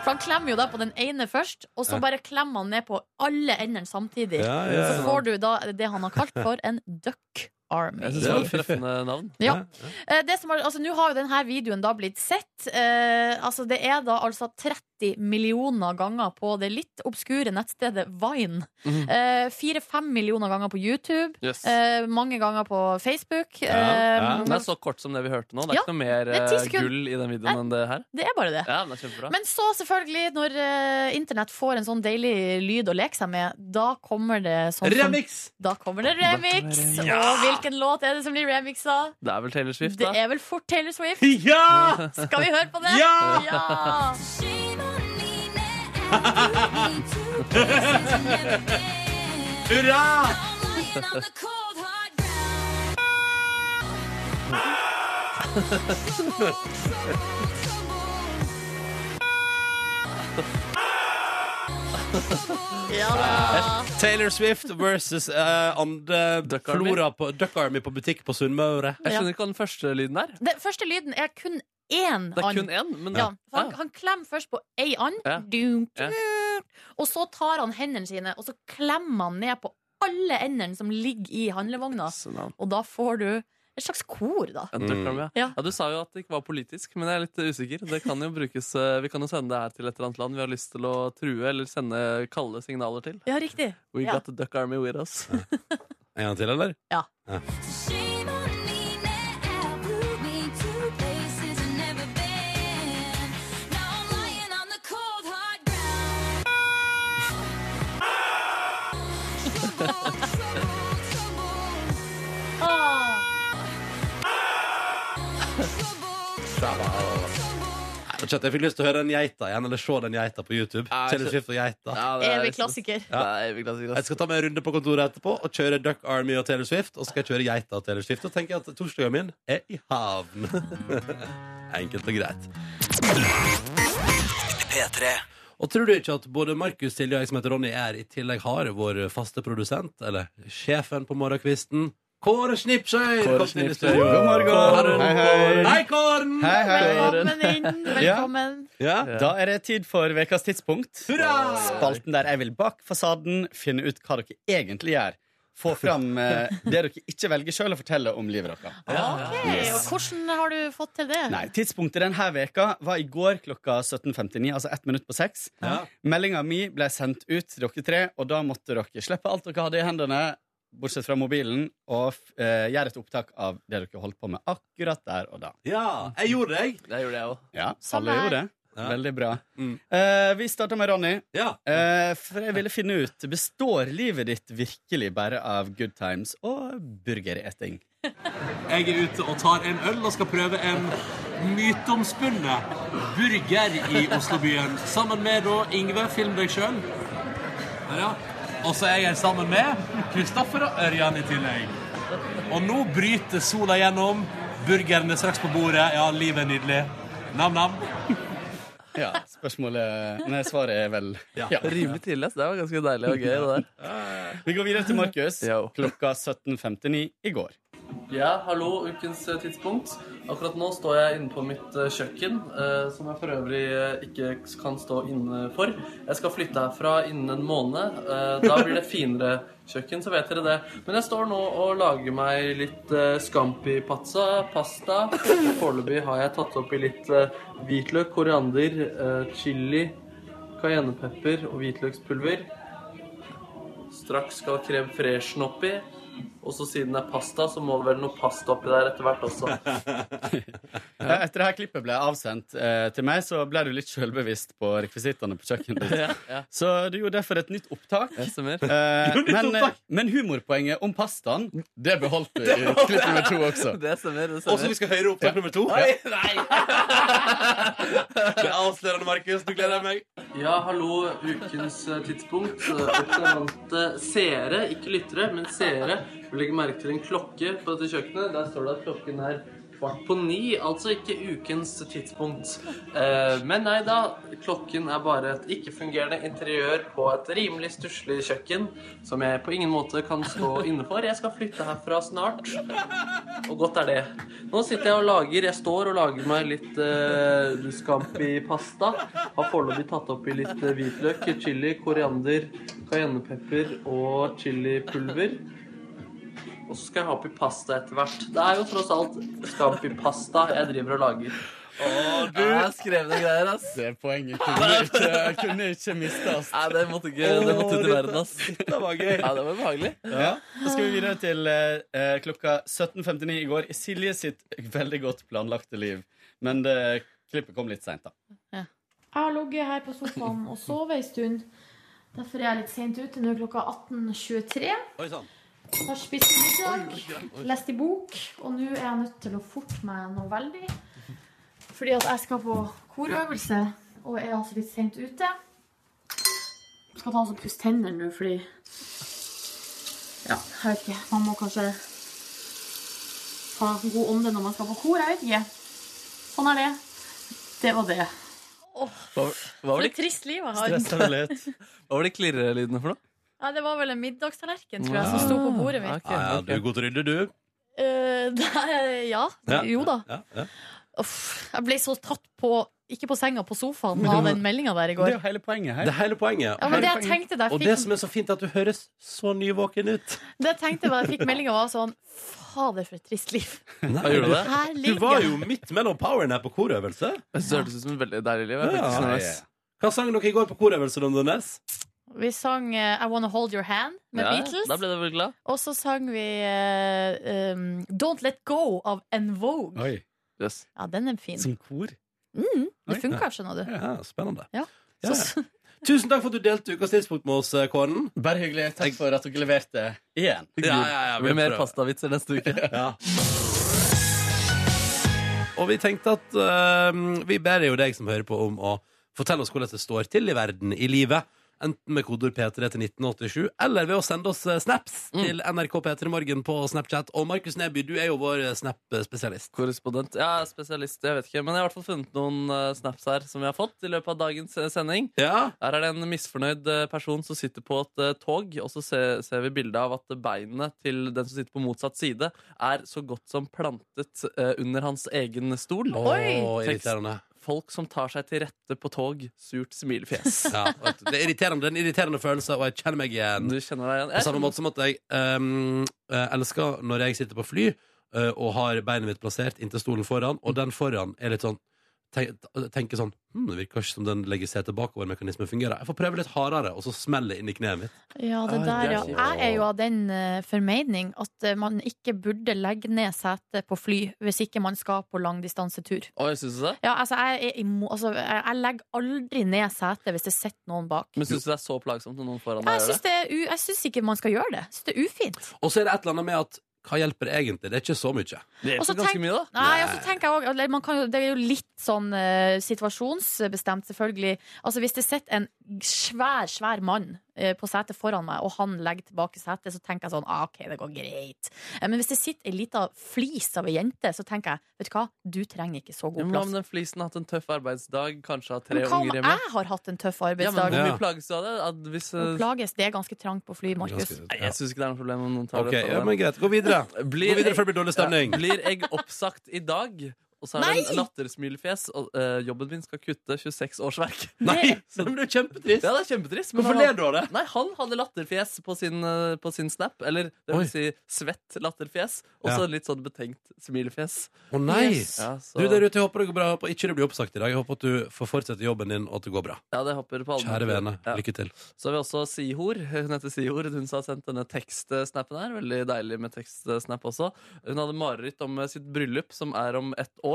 S2: For han klemmer jo da på den ene først, og så
S1: Ja.
S2: bare klemmer han ned på alle endene samtidig.
S1: Ja, ja,
S2: Så
S1: ja.
S2: får du da det han har kalt for en duck army.
S4: Jeg syns det var et treffende navn.
S2: Ja. Eh, Det som har, altså, nå har jo denne videoen da blitt sett. Eh, altså, det er da altså 30 millioner ganger på det litt obskure nettstedet Vine.
S4: Mhm.
S2: Eh, Fire-fem millioner ganger på YouTube.
S4: Yes.
S2: Eh, mange ganger på Facebook.
S1: Ja, ja.
S2: Eh,
S4: Den er så kort som det vi hørte nå. Det er
S2: Ja,
S4: ikke noe mer
S2: det er ti
S4: eh,
S2: sekunder.
S4: gull i den videoen enn det her.
S2: Det er bare det.
S4: Ja, den er kjempebra.
S2: Men så, selvfølgelig, når eh, internett får en sånn deilig lyd å leke seg med, da kommer det sånn som
S1: Remix!
S2: Da kommer det
S4: Da kommer
S2: remix!
S4: det remix.
S2: Og hvilken låt er det som blir remixa?
S4: Det er vel Taylor Swift,
S2: Det
S4: da.
S2: er vel fort Taylor Swift.
S1: Ja!
S2: Skal vi høre på det?
S1: Ja!
S2: Ja!
S1: Hurra!
S2: Ja da.
S1: Taylor Swift versus eh, andre
S4: Duck Army.
S1: flora på Duck Army på butikk på Sunnmøre.
S4: Jeg skjønner ikke hva den første lyden er.
S2: Den første lyden er kun én
S4: Det er
S2: and.
S4: kun én, men
S2: Ja, for han,
S4: Ah,
S2: han klemmer først på ei and,
S4: Ja.
S2: dunk,
S4: Ja.
S2: dunk, og så tar han hendene sine og så klemmer han ned på alle endene som ligger i handlevogna.
S4: så navn.
S2: Og da får du et slags kor, da.
S4: En Duck
S1: Mm.
S4: Army, ja.
S2: Ja.
S4: ja, Du sa jo at det ikke var politisk, men jeg er litt usikker. Det kan jo brukes, eh, vi kan jo sende det her til et eller annet land vi har lyst til å true eller sende kalde signaler til.
S2: Ja, riktig.
S4: We
S2: Ja.
S4: got the Duck Army with us.
S1: En gang til, eller?
S2: Ja. Ah.
S1: Nei, chat, Jeg fikk lyst til å høre den geita igjen, eller se den geita på YouTube.
S4: Ja, jeg
S1: Taylor Swift og geita.
S4: Ja, det er
S2: Evig
S4: liksom-
S2: klassiker.
S4: Ja. Det er evig klassiker.
S1: Jeg
S4: ass.
S1: skal ta meg en runde på kontoret etterpå og kjøre Duck Army og Taylor Swift. Og så skal jeg kjøre geita og Taylor Swift. Og tenker jeg at torsdagen min er i havn. Enkelt og greit. Og tror du ikke at både Markus Silje og jeg som heter Ronny er i tillegg har vår faste produsent, eller sjefen på morgenkvisten, Kåre Snipsøy?
S7: Kåre
S1: Kom til i
S7: Snipsøy.
S1: studio.
S7: God morgen.
S1: Kåre.
S7: Hei, hei.
S1: Hei, Kåren!
S7: Hei, hei.
S2: Velkommen inn. Velkommen.
S1: Ja.
S7: Da er det tid for ukas tidspunkt.
S1: Hurra!
S7: Spalten der jeg vil bak fasaden finne ut hva dere egentlig gjør. Få fram eh, det dere ikke velger sjøl, og fortelle om livet deres.
S2: Ok, og Hvordan har du fått til det?
S7: Nei, Tidspunktet denne veka var i går klokka 17.59, altså ett minutt på seks.
S1: Ja.
S7: Meldinga mi ble sendt ut til dere tre, og da måtte dere slippe alt dere hadde i hendene, bortsett fra mobilen, og eh, gjøre et opptak av det dere holdt på med akkurat der og da.
S1: ja, jeg gjorde det, jeg.
S3: Det gjorde jeg òg.
S7: Ja,
S2: Samme
S7: alle
S2: her.
S7: gjorde det.
S1: Ja.
S7: Veldig bra.
S1: Mm.
S7: Eh, vi starter med Ronny.
S1: Ja.
S7: Eh, for jeg ville finne ut Består livet ditt virkelig bare av good times og burgereting?
S1: Jeg er ute og tar en øl og skal prøve en myteomspunnet burger i Oslobyen. Sammen med da Ingve, film deg sjøl. Ja. Og så er jeg sammen med Kristoffer og Ørjan i tillegg. Og nå bryter sola gjennom. Burgeren er straks på bordet. Ja, livet er nydelig. Nam-nam.
S7: Ja, spørsmålet Nei, svaret er vel
S1: Ja.
S7: ja.
S3: Rimelig tidlig. ass. Det var ganske deilig og gøy. det der
S7: Vi går videre til Markus.
S3: Jo.
S7: Klokka 17.59 i går.
S3: Ja, hallo, ukens eh, tidspunkt. Akkurat nå står jeg inne på mitt eh, kjøkken, eh, som jeg for øvrig eh, ikke kan stå inne for. Jeg skal flytte herfra innen en måned. eh, Da blir det finere kjøkken, så vet dere det. Men jeg står nå og lager meg litt eh, scampi-pazza, pasta. Foreløpig har jeg tatt oppi litt eh, hvitløk, koriander, eh, chili, cayennepepper og hvitløkspulver. Straks skal krem freshen oppi. Og så siden det er pasta, så må det vel noe pasta oppi der etter hvert også.
S7: Eh, Etter dette klippet ble avsendt eh, til meg, så ble du litt sjølbevisst på rekvisittene på kjøkkenet. ditt. Så du gjorde derfor et nytt opptak. Eh, men, eh, men humorpoenget om pastaen, det beholdt du i klipp nummer to også.
S3: Det stemmer. det
S1: Og så vi skal høre opptak nummer to. Nei! Det er avslørende, Markus. Du gleder jeg meg.
S3: Ja, hallo, ukens eh, tidspunkt. Eh, Observante seere, ikke lyttere, men seere. Du legger merke til en klokke på dette kjøkkenet. Der står det at klokken er kvart på ni, altså ikke ukens tidspunkt. Eh, Men nei da, klokken er bare et ikke-fungerende interiør på et rimelig stusslig kjøkken som jeg på ingen måte kan stå inne for. Jeg skal flytte herfra snart. Og godt er det. Nå sitter jeg og lager Jeg står og lager meg litt uh, scampi-pasta. Har foreløpig tatt oppi litt eh, hvitløk, chili, koriander, cayennepepper og chilipulver. Og så skal jeg ha oppi pasta etter hvert. Det er jo tross alt scampi-pasta jeg driver og lager. du Jeg skrev noen greier, altså. ass.
S7: Det poenget kunne ikke, kunne ikke mistes.
S3: Nei, det måtte, ikke, det måtte ut i verden, ass. Det var gøy. Ja, det var behagelig.
S7: Ja. Da skal vi videre til eh, eh, klokka 17.59 i går. Silje sitt veldig godt planlagte liv. Men det klippet kom litt seint, da.
S2: Jeg har ligget her på sofaen og sovet en stund. Derfor er jeg litt sent ute. Nå er klokka 18.23.
S1: Oi sann.
S2: Har spist middag, lest i bok, og nå er jeg nødt til å forte meg noe veldig. Fordi at jeg skal på korøvelse, og er altså litt sent ute. Skal ta oss og pusse tennene nå, fordi Ja, jeg vet ikke. Man må kanskje ha god ånde når man skal på kor. Jeg vet ikke. Sånn er det. Det var det.
S3: Hva
S2: For et trist liv jeg har.
S7: Stressa vel litt.
S3: var de klirrelydene for noe?
S2: Ja, det var vel en middagstallerken tror jeg, som sto på bordet mitt.
S1: Ja, Ah, ja, du er god til å rydde, du.
S2: Eh, nei, ja.
S1: Ja.
S2: Jo da.
S1: Ja, ja.
S2: Uff, jeg ble så tatt på Ikke på senga, på sofaen av den meldinga der i
S7: Det er
S2: går.
S7: jo hele poenget her.
S1: Det er hele poenget.
S2: Ja, men det jeg tenkte da
S1: Og
S2: jeg
S1: det
S2: fikk,
S1: som er så fint, er at du høres så nyvåken ut.
S2: det jeg tenkte da jeg fikk meldinga, var sånn Fader, for et trist liv.
S1: Nei,
S3: gjorde du det?
S2: Her
S1: Du var
S2: ligger
S1: jo midt mellom poweren her på korøvelse.
S3: Jeg synes Det hørtes ut som et veldig deilig liv. Jeg er
S1: Ja.
S3: faktisk
S7: Nei,
S3: nervøs.
S1: Hva sang dere i går på korøvelse, Londones?
S2: Vi sang eh, I Wanna Hold Your Hand med
S3: Ja, Da
S2: Beatles.
S3: ble du veldig glad.
S2: Og så sang vi eh, um, Don't Let Go av En Vogue.
S7: Oi,
S3: Yes.
S2: Ja, den er fin.
S7: som kor.
S2: Mm,
S7: Oi.
S2: det funka, skjønner du.
S1: Ja, spennende.
S2: Ja.
S1: Ja.
S2: Så,
S1: Tusen takk for at du delte ukas tidspunkt med oss, eh, Kåren.
S7: Bare hyggelig. Takk for at dere leverte igjen.
S3: Det blir mer pastavitser neste uke.
S1: Ja. Og vi tenkte at eh, vi ber jo deg som hører på om å fortelle oss hvordan det står til i verden, i livet. enten med kodeord P3 til 1987, eller ved å sende oss eh, snaps til NRK P3 Morgen på Snapchat. Og Markus Neby, du er jo vår eh, snap-spesialist.
S3: Korrespondent. Ja, spesialist, jeg vet ikke. Men jeg har i hvert fall funnet noen eh, snaps her som vi har fått i løpet av dagens eh, sending.
S1: Ja.
S3: Her er det en misfornøyd eh, person som sitter på et eh, tog, og så ser, ser vi bildet av at beinet til den som sitter på motsatt side, er så godt som plantet eh, under hans egen stol.
S1: Å, irriterende.
S3: Folk som tar seg til rette på tog, surt smilefjes.
S1: Ja, vet du, det er irriterende, det er en irriterende følelse, og jeg kjenner meg igjen.
S3: Du kjenner deg igjen?
S1: På samme måte som at jeg ehm, eh, elsker når jeg sitter på fly eh, og har beinet mitt plassert inntil stolen foran, og den foran er litt sånn tenk- tenker sånn hm, Det virker ikke som den legger seg tilbakeover-mekanismen fungerer. Jeg får prøve litt hardere, og så smeller det inn i kneet mitt.
S2: Ja, det
S3: Ah,
S2: der,
S3: det er
S2: ja.
S3: kjipt.
S2: Jeg er jo av den eh, formening at eh, man ikke burde legge ned setet på fly hvis ikke man skal på langdistansetur.
S3: Oi, synes du det?
S2: Ja, altså, jeg, er imo, altså, jeg jeg legger aldri ned setet hvis det sitter noen bak.
S3: Men syns du det er så plagsomt når noen foran
S2: Ja, jeg
S3: deg gjør
S2: syns
S3: det?
S2: det er u- jeg syns ikke man skal gjøre det. Jeg syns det er ufint.
S1: Og så er det et eller annet med at hva hjelper det egentlig? Det er ikke så mye.
S3: Det
S2: Og så
S3: hjelper ganske
S2: tenk-
S3: mye, da.
S2: Nei, altså tenker jeg også, eller man kan jo, Det er jo litt sånn eh, situasjonsbestemt, selvfølgelig. Altså Hvis det sitter en svær, svær mann eh, på setet foran meg, og han legger tilbake setet, så tenker jeg sånn ah, OK, det går greit. Eh, men hvis det sitter ei lita flis av ei jente, så tenker jeg vet du hva, du trenger ikke så
S3: Ja,
S2: god
S3: men Hva om
S2: plass.
S3: den flisen har hatt en tøff arbeidsdag, kanskje har tre
S2: Men hva om
S3: unger hjemme?
S2: jeg har hatt en tøff
S3: Ja, men Hvor
S2: arbeidsdag?
S1: Ja.
S3: mye plages du av det? At hvis, eh,
S2: Og plages, det er ganske trangt på fly, Markus.
S1: Ganske-
S3: Nei, jeg syns ikke det er noe problem om noen tar
S1: Ok,
S3: det. fra
S1: ja,
S3: deg.
S1: men greit. Gå videre. Gå
S3: Blir
S1: videre
S3: jeg-
S1: før det blir dårlig stemning.
S3: Ja. Blir jeg oppsagt i dag? Og så er det en
S2: Nei!
S3: lattersmilefjes. Og eh, jobben min skal kutte 26 årsverk.
S1: Nei, men det er kjempetrist.
S3: Ja, det er kjempetrist. men
S1: Hvorfor
S3: han-
S1: ler du av det?
S3: Nei, han hadde latterfjes på sin, eh, på sin snap. Eller det
S1: Oi.
S3: vil si svett latterfjes. Og så
S1: Ja.
S3: litt sånn betenkt smilefjes.
S1: Å nei!
S2: Yes.
S3: Ja, så,
S1: Du der ute, jeg håper det går bra. Jeg håper ikke du blir oppsagt i dag. Jeg håper at du får fortsette jobben din, og at det går bra.
S3: ja, det hopper på alle
S1: Kjære vene,
S3: Ja.
S1: lykke til.
S3: Så har vi også Sihor. Hun heter Sihor. Hun som har sendt denne tekstsnappen her. Veldig deilig med tekstsnap også. Hun hadde mareritt om eh, sitt bryllup, som er om ett år.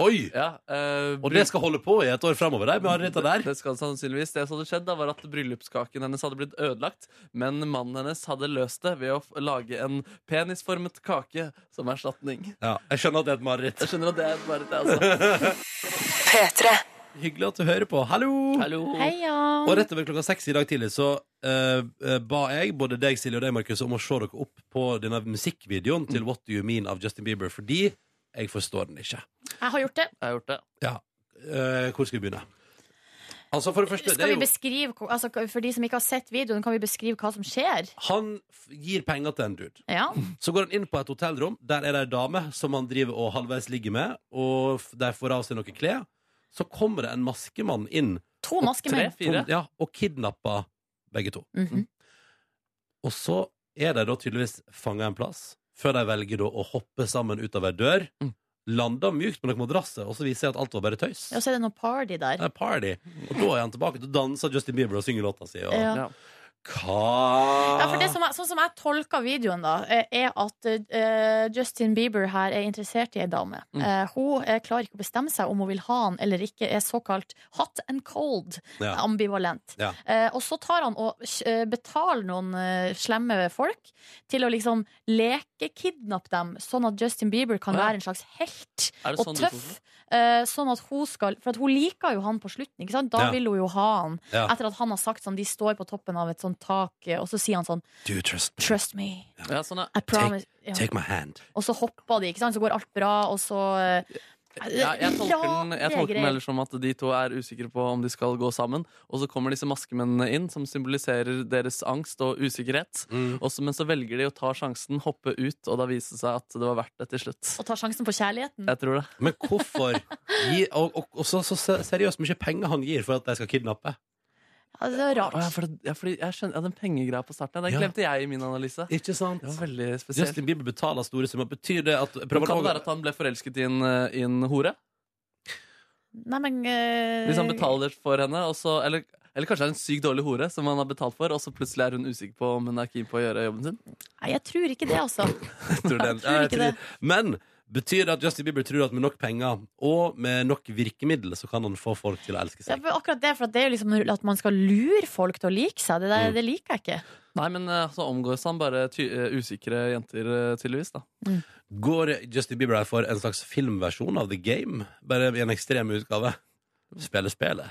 S1: Oi!
S3: Ja, eh,
S1: Og det skal holde på i et år framover, de marerittene der.
S3: Det skal sannsynligvis. Det som hadde skjedd, da, var at bryllupskaken hennes hadde blitt ødelagt, men mannen hennes hadde løst det ved å f- lage en penisformet kake som erstatning.
S1: Ja, jeg skjønner at det er et mareritt.
S3: Jeg skjønner at det er bare det, altså.
S1: Hyggelig at du hører på. Hallo!
S3: Hallo.
S2: Heia!
S1: Og rett over klokka seks i dag tidlig så eh, eh, ba jeg både deg, Silje, og deg, Markus, om å se dere opp på denne musikkvideoen til What Do You Mean av Justin Bieber, fordi jeg forstår den ikke.
S2: Jeg har gjort det.
S3: Jeg har gjort det.
S1: Eh, hvor skal vi begynne? Altså, for det første, det
S2: Skal
S1: er
S2: vi
S1: jo
S2: beskrive, hvor- altså, for de som ikke har sett videoen, kan vi beskrive hva som skjer?
S1: Han f- gir penger til en dude.
S2: Ja.
S1: Så går han inn på et hotellrom. Der er det ei dame som han driver og halvveis ligger med. Og f- de får av seg noen klær. Så kommer det en maskemann inn
S2: To
S1: Og
S2: maskemenn.
S3: Fire.
S1: ja, og kidnapper begge to.
S2: Mhm.
S1: Og så er de da tydeligvis fanga en plass, før de velger da å hoppe sammen ut av ei dør.
S3: Mm.
S1: Lander mjukt på noen madrasser, og så viser jeg at alt var bare tøys.
S2: Ja, så er det noe party
S1: Det
S2: der.
S1: er party. Og da er han tilbake. Da danser Justin Bieber og synger låta si. Og...
S2: Ja.
S3: Ja.
S1: Hva
S2: Ja, for det som jeg, sånn som jeg tolker videoen, da, eh, er at eh, Justin Bieber her er interessert i ei dame.
S3: Mm.
S2: Eh, hun eh, klarer ikke å bestemme seg om hun vil ha han eller ikke, er såkalt hot and cold,
S1: Ja.
S2: ambivalent.
S1: Ja.
S2: Eh, og så tar han og eh, betaler noen eh, slemme folk til å liksom lekekidnappe dem, sånn at Justin Bieber kan
S3: Å, ja.
S2: være en slags helt
S3: Er det
S2: og
S3: sånn du
S2: tøff.
S3: tok det?
S2: eh, Sånn at hun skal For at hun liker jo han på slutten. Ikke sant? Da
S1: Ja.
S2: vil hun jo ha han.
S1: Ja.
S2: Etter at han har sagt sånn De står på toppen av et sånt tak, eh, og så sier han sånn
S1: Do you trust me?
S2: Trust me.
S3: Ja, sånn, ja.
S2: I promise. Ja.
S1: Take my hand.
S2: Og så hopper de, ikke sant? Så går alt bra, og så eh,
S3: Ja, jeg tolker den, jeg
S2: rare
S3: tolker den
S2: greier.
S3: ellers som at de to er usikre på om de skal gå sammen. Og så kommer disse maskemennene inn, som symboliserer deres angst og usikkerhet.
S1: Mm.
S3: Også, men så velger de å ta sjansen, hoppe ut, og da viser det seg at det var verdt det til slutt.
S2: Og tar sjansen på kjærligheten.
S3: Jeg tror det.
S1: Men hvorfor gi, Og, og, og så, så se- seriøst mye penger han gir for at de skal kidnappe.
S2: Ja, det er
S3: Å, ja,
S2: rart.
S3: for det, ja, fordi jeg skjønner, ja, den pengegreia på starten, den
S1: Ja.
S3: glemte jeg i min analyse.
S1: Ikke sant?
S3: Det var veldig spesielt.
S1: Justin Bieber betaler store summer. Betyr det at
S3: Men kan det være at han ble forelsket i en, eh, i en hore?
S2: Nei, men eh,
S3: Hvis han betaler for henne, og så eller, eller kanskje det er en sykt dårlig hore som han har betalt for, og så plutselig er hun usikker på om hun er keen på å gjøre jobben sin?
S2: Nei, jeg tror ikke det, altså.
S1: tror det?
S2: tror
S1: Ja,
S2: ikke
S1: tror-
S2: det.
S1: Men betyr det at Justin Bieber tror at med nok penger og med nok virkemidler så kan han få folk til å elske
S2: Det er
S1: seg?
S2: bare akkurat det, for at det er jo liksom at man skal lure folk til å like seg. Det, der,
S1: Mm.
S2: det liker jeg ikke.
S3: Nei, men eh, så omgås han bare ty eh, usikre jenter, eh, tydeligvis. da
S1: Går Justin Bieber her for en slags filmversjon av The Game? Bare i en ekstrem utgave? spille spillet.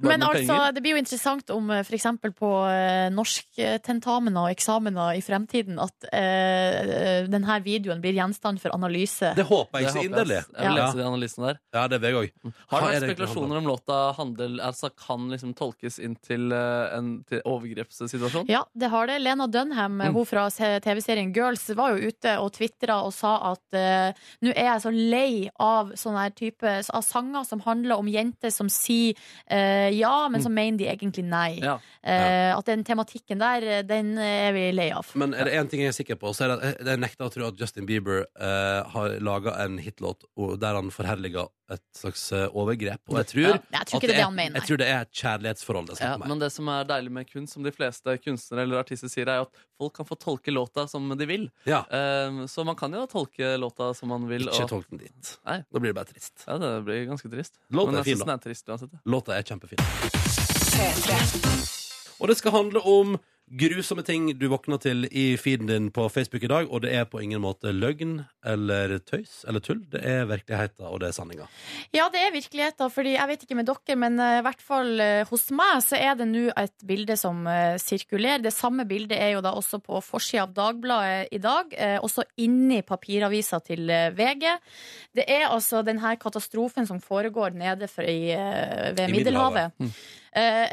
S2: Men altså, det blir jo interessant om eh, for eksempel på eh, norsktentamener og eksamener i fremtiden at eh, denne videoen blir gjenstand for analyse.
S1: Det håper jeg så
S3: håper
S1: inderlig.
S3: Jeg vil
S1: Ja.
S3: lese de analysene der.
S1: ja, det vil jeg òg. Hva
S3: Har du
S1: er det
S3: noen
S1: egentlig
S3: spekulasjoner om låta handel, altså kan liksom tolkes inn til eh, en til overgrepssituasjon?
S2: Ja, det har det. Lena Dunham, eh,
S1: Mm.
S2: hun fra se- TV-serien Girls, var jo ute og tvitra og sa at eh, nå er jeg så lei av sånne her type av sanger som handler om jenter som sier eh, ja,
S1: Mm.
S2: men som mener de egentlig nei.
S3: Ja.
S2: Eh, at den tematikken der, eh, den er vi lei av.
S1: Men er det én ting jeg er sikker på, så er det at jeg- jeg nekter å tro at Justin Bieber eh, har laga en hitlåt og- der han forherliger et slags eh, overgrep. Og jeg tror,
S3: Ja.
S2: Nei, jeg
S1: at
S2: tror ikke det er det han
S1: er,
S2: mener.
S1: jeg tror det er et kjærlighetsforhold. Det
S3: Ja,
S1: skal på meg.
S3: men det som er deilig med kunst, som de fleste kunstnere eller artister sier, er jo at folk kan få tolke låta som de vil.
S1: ja.
S3: Eh, så man kan jo tolke låta som man vil.
S1: Ikke
S3: Og,
S1: tolk den dit.
S3: Nei.
S1: Da blir det bare trist.
S3: ja, det blir ganske trist.
S1: Låta
S3: Men
S1: er fin,
S3: jeg
S1: da.
S3: syns den er trist uansett. ja.
S1: Låta er kjempefin. Og det skal handle om grusomme ting du våkner til i feeden din på Facebook i dag, og det er på ingen måte løgn eller tøys eller tull. Det er virkeligheten, og det er sanninga.
S2: Ja, det er virkeligheten, fordi jeg vet ikke med dere, men eh, i hvert fall eh, hos meg så er det nå et bilde som eh, sirkulerer. Det samme bildet er jo da også på forsida av Dagbladet i dag, eh, også inni papiravisa til eh, VG. Det er altså denne katastrofen som foregår nede for, i, eh, ved
S1: I Middelhavet.
S2: Middelhavet. Eh,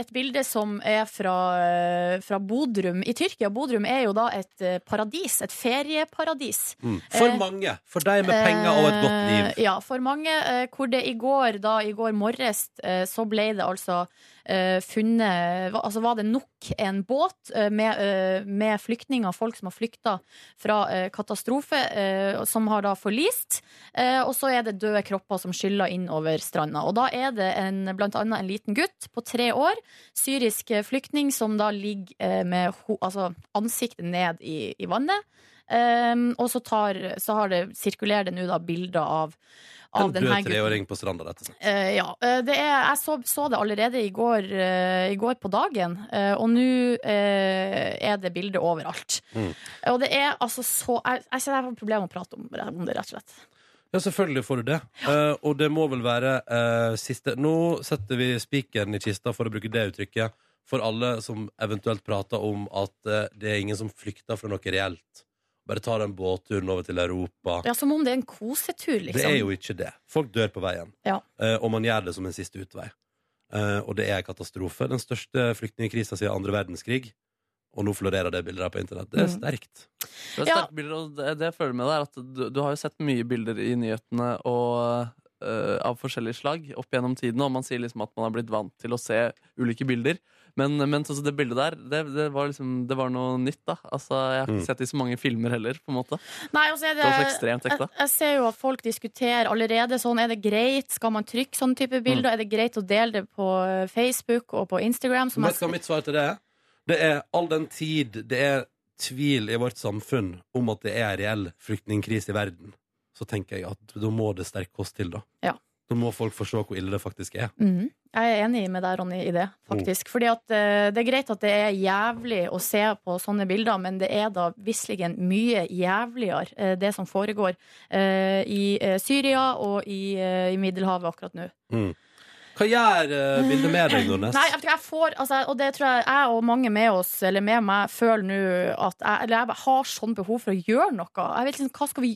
S2: Et bilde som er fra, eh, fra Bodrum i Tyrkia. Bodrum er jo da et eh, paradis, et ferieparadis.
S1: Mm. For
S2: Eh,
S1: mange. For deg med penger og et godt liv.
S2: Eh, Ja, for mange. eh, Hvor det i går, da, i går morges, eh, så ble det altså eh, funnet va- Altså var det nok en båt eh, med, eh, med flyktninger, folk som har flykta fra eh, katastrofe, eh, som har da forlist. Eh, Og så er det døde kropper som skyller inn over stranda. Og da er det en, blant annet en liten gutt på tre år, syrisk eh, flyktning, som da ligger eh, med ho altså ansiktet ned i, i vannet. Um, og så, tar, så har det, sirkulerer det nå da bilder av,
S1: En
S2: av den
S1: død
S2: her gutten.
S1: treåring på stranda, rett og slett.
S2: Eh, ja, eh, det er, jeg så, så det allerede i går, eh, i går på dagen, eh, og nå eh, er det bilder overalt.
S1: Mm.
S2: Og det er altså så Jeg, jeg, jeg har problemer med å prate om, om det, rett og slett.
S1: Ja, selvfølgelig får du det. Eh, og det må vel være eh, siste Nå setter vi spikeren i kista, for å bruke det uttrykket, for alle som eventuelt prater om at eh, det er ingen som flykter fra noe reelt. Bare ta den båtturen over til Europa.
S2: Ja, Som om det er en kosetur, liksom.
S1: Det er jo ikke det. Folk dør på veien.
S2: Ja.
S1: Eh, og man gjør det som en siste utvei. Eh, og det er en katastrofe. Den største flyktningkrisa siden andre verdenskrig. Og nå florerer det bildet her på internett. Det er
S2: Mm.
S1: sterkt.
S3: Det er
S2: Ja.
S3: sterke bilder, og det, det jeg føler med det er at du, du har jo sett mye bilder i nyhetene og, eh, av forskjellige slag opp gjennom tiden, og man sier liksom at man har blitt vant til å se ulike bilder. Men, men sånn som det bildet der, det, det, var liksom, det var noe nytt, da. Altså, jeg har ikke
S1: Mm.
S3: sett det i så mange filmer heller, på en måte.
S2: Nei, og så er
S3: Det var så ekstremt ekte.
S2: Jeg, jeg ser jo at folk diskuterer allerede sånn, er det greit, skal man trykke sånne type bilder, er det greit å dele det på eh, Facebook og på Instagram? Som
S1: Vet du hva mitt svar til det er? Det er all den tid det er tvil i vårt samfunn om at det er en reell flyktningkrise i verden, så tenker jeg at da må det sterk kost til, da.
S2: Ja.
S1: Da må folk forstå hvor ille det faktisk er.
S2: Mhm. Jeg er enig med deg, Ronny, i det, faktisk. Fordi at eh, det er greit at det er jævlig å se på sånne bilder, men det er da visselig mye jævligere, eh, det som foregår eh, i eh, Syria og i, eh, i Middelhavet akkurat nå.
S1: Hva gjør eh, bildet med deg, Nordnes?
S2: Nei, jeg, jeg får, altså, og det tror jeg jeg og mange med oss, eller med meg, føler nå at jeg, eller jeg bare har sånn behov for å gjøre noe. Jeg vet liksom, hva skal vi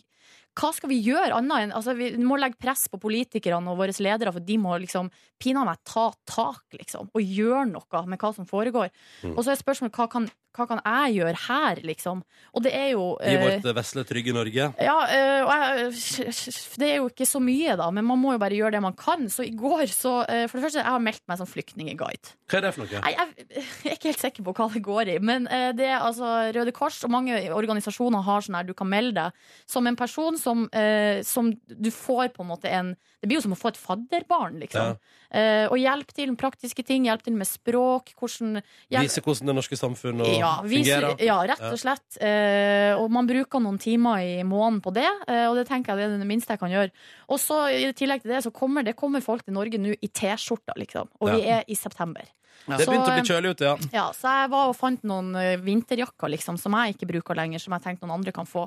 S2: hva skal vi gjøre annet enn altså, Vi må legge press på politikerne og våre ledere, for de må liksom pinadø meg ta tak, liksom, og gjøre noe med hva som foregår.
S1: Mm.
S2: Og så er spørsmålet hva kan, hva kan jeg gjøre her, liksom? Og det er jo
S1: I
S2: eh,
S1: vårt eh, vesle, trygge Norge?
S2: ja, øh, og jeg, det er jo ikke så mye, da, men man må jo bare gjøre det man kan. Så i går, så øh, For det første, jeg har meldt meg som flyktninguide.
S1: Hva er det for noe?
S2: Nei, Jeg, jeg er ikke helt sikker på hva det går i, men øh, det er altså Røde Kors og mange organisasjoner har sånn her du kan melde deg som en person som, øh, som du får på en måte en Det blir jo som å få et fadderbarn, liksom. Eh, og hjelp til med praktiske ting, hjelp til med språk, hvordan hjelp,
S1: Vise hvordan det norske samfunn og
S2: ja, Ja, vi,
S7: Fungerer.
S2: sy- ja, rett
S1: Ja.
S2: og slett. Eh, og man bruker noen timer i måneden på det, eh, og det tenker jeg det er det minste jeg kan gjøre. Og så i tillegg til det, så kommer det kommer folk til Norge nå i T-skjorta, liksom. Og vi er i september.
S1: Det
S2: Så,
S1: begynte å
S2: eh,
S1: bli kjølig ute, ja.
S2: Ja, så jeg var og fant noen eh, vinterjakker, liksom, som jeg ikke bruker lenger, som jeg tenkte noen andre kan få.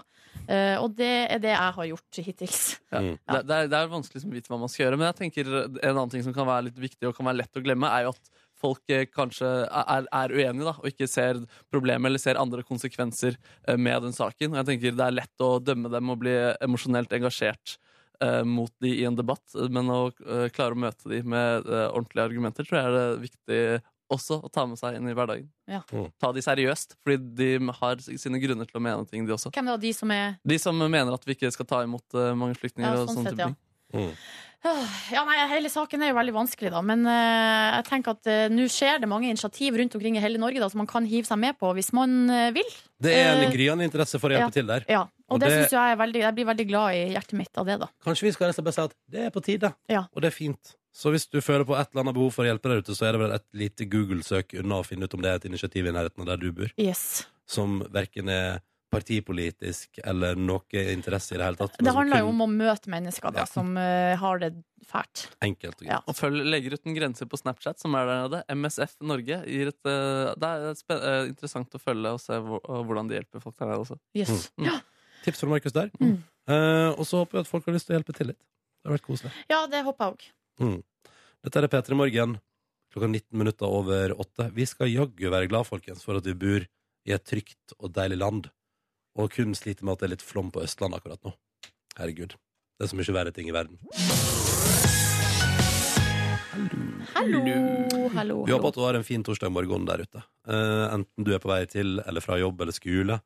S2: Eh, og det er det jeg har gjort hittils.
S3: Det, det, er, det er vanskelig liksom å vite hva man skal gjøre, men jeg tenker en annen ting som kan være litt viktig og kan være lett å glemme, er jo at folk eh, kanskje er, er uenige da, og ikke ser problemet eller ser andre konsekvenser eh, med den saken. Og jeg tenker Det er lett å dømme dem og bli emosjonelt engasjert eh, mot de i en debatt, eh, men å eh, klare å møte de med eh, ordentlige argumenter tror jeg er det viktig også å ta med seg inn i hverdagen.
S2: Ja.
S1: Mm.
S3: Ta de seriøst, fordi de har sine grunner til å mene ting, de også.
S2: Hvem er det av de som er
S3: De som mener at vi ikke skal ta imot eh, mange flyktninger.
S2: Ja,
S3: og
S2: sånn
S3: sånne
S2: sett,
S3: type
S2: ja.
S3: ting.
S2: Åh, Ja, nei, Hele saken er jo veldig vanskelig, da. Men eh, jeg tenker at eh, nå skjer det mange initiativ rundt omkring i hele Norge da, som man kan hive seg med på hvis man eh, vil.
S1: Det er en
S2: eh,
S1: gryende interesse for å hjelpe til der.
S2: Ja, Og,
S1: Og
S2: det,
S1: det-
S2: synes jeg er veldig Jeg blir veldig glad i hjertet mitt av det, da.
S1: Kanskje vi skal rett og slett bare si at det er på tide,
S2: Ja.
S1: og det er fint. Så hvis du føler på et eller annet behov for å hjelpe der ute, så er det vel et lite Google-søk unna å finne ut om det er et initiativ i nærheten av der du bor,
S2: Yes.
S1: som verken er partipolitisk eller noe interesse i det hele tatt. men
S2: Det
S1: som
S2: handler jo
S1: Altså, kun
S2: om å møte mennesker da,
S1: Ja.
S2: som eh, har det fælt.
S1: Enkelt og greit.
S2: Ja.
S3: Og følg Legger uten grenser på Snapchat, som er der nede. MSF Norge. Gir et, eh, det er spe eh, interessant å følge og se hvor, og hvordan de hjelper folk der nede også.
S2: Yes.
S3: Mm.
S2: Ja.
S1: Tips fra Markus der.
S2: Mm.
S1: Eh, og så håper vi at folk har lyst til å hjelpe til litt. Det har vært koselig.
S2: ja, det håper jeg òg.
S1: Dette er P3 Morgen klokka 19 minutter over 8. Vi skal jaggu være glad, folkens, for at vi bor i et trygt og deilig land. Og kun sliter med at det er litt flom på Østlandet akkurat nå. Herregud. Det er så mye verre ting i verden.
S2: Hallo, hallo.
S1: Vi håper at du har en fin torsdag morgen der ute. Eh, enten du er på vei til eller fra jobb eller skole,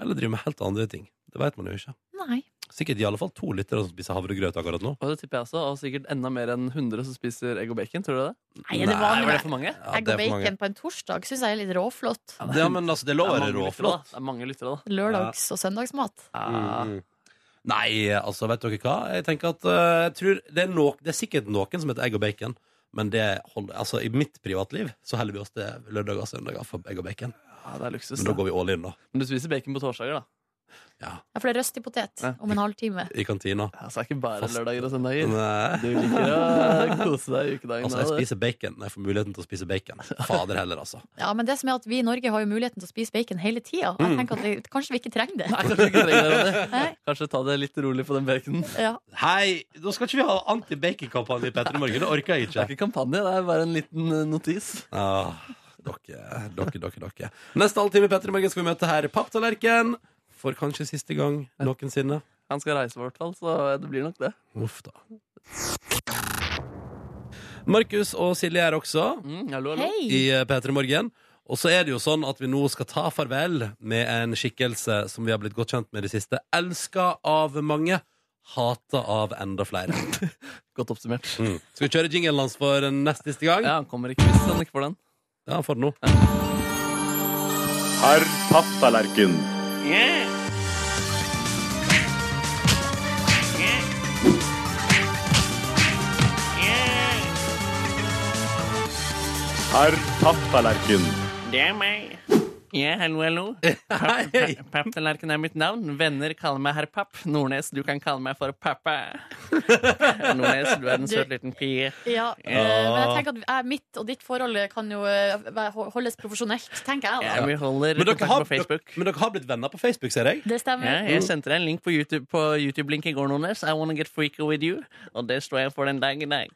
S1: eller driver med helt andre ting. Det veit man jo ikke.
S2: Nei.
S1: Sikkert i alle fall to lyttere som spiser havregrøt akkurat nå.
S3: Og det tipper jeg også, og sikkert enda mer enn 100 som spiser egg og bacon. Tror du det?
S2: Nei,
S1: Nei,
S2: er det
S3: Er det
S2: vanlig?
S3: for mange?
S1: Ja,
S2: Egg
S1: det er
S2: og
S1: for mange.
S2: bacon på en torsdag syns jeg er litt råflott.
S1: Ja, men altså, det er lov å
S3: det,
S1: være
S3: er mange lyttere, da.
S1: råflott.
S3: det er mange lyttere, da.
S2: Lørdags- og søndagsmat.
S3: Ja.
S1: Mm. Nei, altså, vet dere hva? Jeg tenker at eh, jeg tror det, er nok- det er sikkert noen som heter egg og bacon, men det holder, altså, i mitt privatliv så holder vi oss til lørdag og søndag for egg og bacon.
S3: Ja, det er luksus.
S1: Men da
S3: Da.
S1: går vi all in, da.
S3: Men du spiser bacon på torsdager, da.
S2: Ja, for det er røstig potet
S3: Ja.
S2: om en halvtime.
S1: I kantina.
S3: Ja, så er det ikke bare
S1: Fast.
S3: lørdager og søndager.
S1: Nei.
S3: Du liker å kose deg i ukedagen.
S1: Altså, jeg
S3: da, du.
S1: spiser bacon når jeg får muligheten til å spise bacon. Fader heller, altså.
S2: Ja, men det som er at vi i Norge har jo muligheten til å spise bacon hele tida. Jeg tenker at vi, kanskje vi ikke trenger det.
S3: Nei, kanskje ikke trenger det, Ronny.
S2: Nei.
S3: Kanskje ta det litt rolig på den baconen.
S2: Ja.
S1: Hei, da skal ikke vi ha anti-bacon-kampanje i Petter i morgen. Det orker jeg
S3: Det
S1: ikke.
S3: er ikke kampanje, det er bare en liten eh, notis.
S1: Ah, dere, dere, dere, dere. Neste halvtime i Petter i morgen skal vi møte herr Papptallerken. For kanskje siste gang noensinne.
S3: Han skal reise, i hvert fall, så det blir nok det.
S1: Uff da. Markus og Silje er også
S3: Mm, hallo, hallo.
S1: i
S2: Hei!
S1: eh, P3 Morgen. Og så er det jo sånn at vi nå skal ta farvel med en skikkelse som vi har blitt godt kjent med i det siste. Elska av mange, hata av enda flere.
S3: Godt oppsummert.
S1: Mm. Skal vi kjøre jinglen hans for eh, nest siste gang?
S3: Ja, han kommer ikke hvis han ikke får den.
S1: Ja, han får den nå.
S8: Herr Papptallerken. Herr Papptallerken.
S3: Det er meg. Ja, hallo, hallo. Papp-
S1: Hei.
S3: papp- Papptallerken er mitt navn. Venner kaller meg herr Papp. Nordnes, du kan kalle meg for pappa. Nordnes, du er en søt liten pie.
S2: Ja, eh, men jeg tenker at jeg, mitt og ditt forhold kan jo eh, være- holdes profesjonelt, tenker jeg.
S3: Ja, vi holder
S1: Men dere,
S3: kontakt
S1: har,
S3: på Facebook.
S1: men dere har blitt venner på Facebook, ser jeg.
S2: da Det
S3: Ja,
S2: stemmer.
S3: jeg sendte deg en link på YouTube- på YouTube-link i går, Nordnes. I wanna get freaky with you. Og det står jeg for den dag i dag.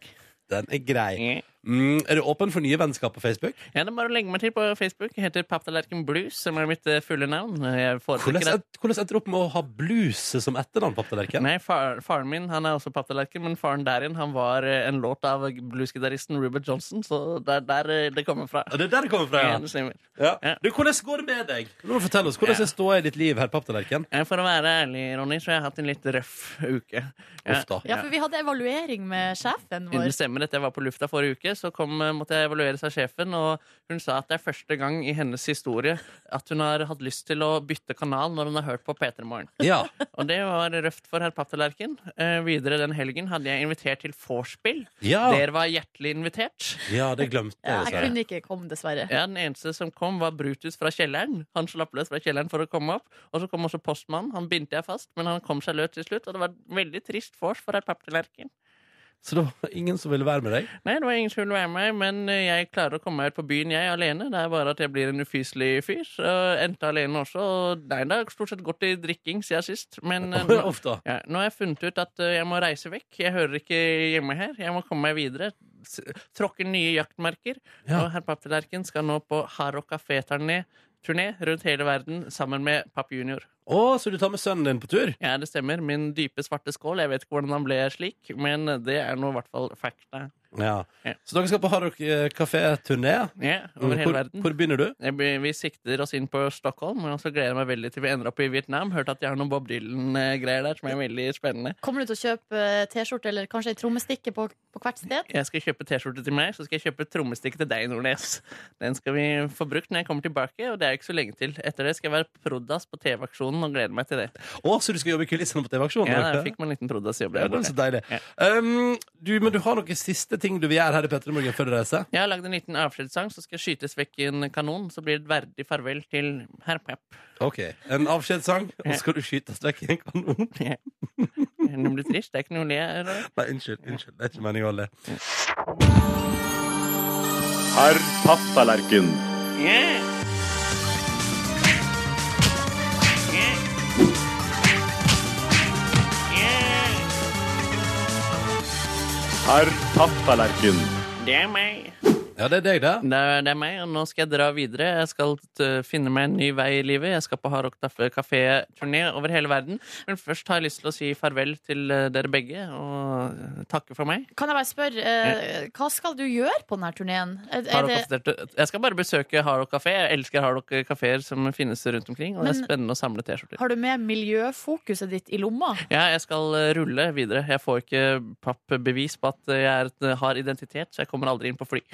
S1: Den er grei.
S3: Ja.
S1: Mm, er du åpen for nye vennskap på Facebook?
S3: Ja, det er bare å legge meg til på Facebook. Jeg heter Papptallerken Blues, som er mitt eh, fulle navn. Jeg
S1: Hvordan,
S3: foretrekker at
S1: end- hvordan endte du opp med å ha bluse som etternavn, Papptallerken?
S3: Nei, far, faren min han er også papptallerken, men faren der igjen han var eh, en låt av bluesgitaristen Rubert Johnson, så det er der eh, det kommer fra.
S1: Ja, Det er der det kommer fra,
S3: Ja,
S1: ja.
S3: det stemmer.
S1: Ja. Du, hvordan går det med deg? Nå må du fortelle oss, Hvordan
S3: Ja.
S1: er ståa i ditt liv, herr Papptallerken?
S3: Eh, For å være ærlig, Ronny, så har jeg hatt en litt røff uke. Ja.
S1: Uff da.
S2: Ja, for vi hadde evaluering med sjefen
S3: Det
S2: vår.
S3: stemmer at jeg var på lufta forrige uke, uke så kom, eh, måtte jeg evalueres av sjefen, og hun sa at det er første gang i hennes historie at hun har hatt lyst til å bytte kanal når hun har hørt på P3 Morgen.
S1: Ja.
S3: Og det var røft for herr Papptallerken. Eh, videre den helgen hadde jeg invitert til vorspiel.
S1: Ja.
S3: Dere var hjertelig invitert.
S1: Ja, det glemte
S3: Ja,
S1: jeg.
S2: Jeg
S3: jeg
S1: dessverre.
S2: kunne ikke komme, dessverre.
S3: Ja, Den eneste som kom, var Brutus fra kjelleren. Han slapp løs fra kjelleren for å komme opp. Og så kom også postmannen. Han bindte jeg fast, men han kom seg løs til slutt. Og det var et veldig trist vors for herr Papptallerken.
S1: Så det var ingen som ville være med deg?
S3: Nei, det var ingen som ville være med, men eh, jeg klarer å komme meg ut på byen, jeg alene. Det er bare at jeg blir en ufyselig fyr. Så jeg endte alene også. Og nei, det har stort sett gått i drikking siden sist, men eh, nå,
S1: Ofte.
S3: ja, nå har jeg funnet ut at eh, jeg må reise vekk. Jeg hører ikke hjemme her. Jeg må komme meg videre. S- Tråkke nye jaktmerker.
S1: Ja.
S3: Og herr Papptallerken skal nå på Haro Café-turné turné rundt hele verden sammen med Papp Junior.
S1: Å, så du tar med sønnen din på tur?
S3: Ja, det stemmer. Min dype svarte skål. Jeg vet ikke hvordan han ble slik, men det er nå i hvert fall fakta.
S1: Ja.
S3: Ja.
S1: Så dere skal på Hardrock kafé-turné?
S3: Ja, over hele
S1: Hvor,
S3: verden.
S1: hvor begynner du?
S3: Jeg be- Vi sikter oss inn på Stockholm, og så gleder jeg meg veldig til vi ender opp i Vietnam. Hørte at de har noen Bob Dylan-greier der som er veldig spennende.
S2: Kommer du til å kjøpe eh, T-skjorte eller kanskje ei trommestikke på, på hvert sted?
S3: Jeg skal kjøpe T-skjorte til meg, så skal jeg kjøpe trommestikke til deg, Nordnes. Den skal vi få brukt når jeg kommer tilbake, og det er ikke så lenge til. Etter det skal jeg være prod.ass på TV-aksjonen og gleder meg til det.
S1: Å, så du skal jobbe i kulissene på TV-aksjonen?
S3: Ja, der fikk man en liten prod.ass-jobb.
S1: Ja,
S3: der
S1: det var
S3: borte.
S1: så deilig. Um, du, men du har noen siste ting du vil gjøre her i Petter Morgen før du reiser?
S3: Jeg har lagd en liten avskjedssang, så skal jeg skytes vekk i en kanon. Så blir det et verdig farvel til herr Papp.
S1: Ok, En avskjedssang, og så skal du skytes vekk i en kanon?
S3: Nå blir det trist, det er ikke noe å le av.
S1: Nei, unnskyld. unnskyld, Det er ikke meningen å le.
S8: Herr Papptallerken. Herr Papptallerken.
S3: Det er meg.
S1: Ja, det er deg, det.
S3: Det er, det er meg, og nå skal jeg dra videre. Jeg skal t- finne meg en ny vei i livet. Jeg skal på Hard Rock Kafé-turné over hele verden. Men først har jeg lyst til å si farvel til eh, dere begge og eh, takke for meg.
S2: Kan jeg bare spørre, eh, hva skal du gjøre på denne turneen? Er,
S3: Hard
S2: er det,
S3: Rock Kafé- Jeg skal bare besøke Hard Rock Kafé. Jeg elsker Hard Rock kafeer som finnes rundt omkring, og det er
S2: Men-
S3: spennende å samle T-skjorter.
S2: har du med miljøfokuset ditt i lomma?
S3: Ja, jeg skal eh, rulle videre. Jeg får ikke pappbevis på at jeg er, et- eh, har identitet, så jeg kommer aldri inn på fly.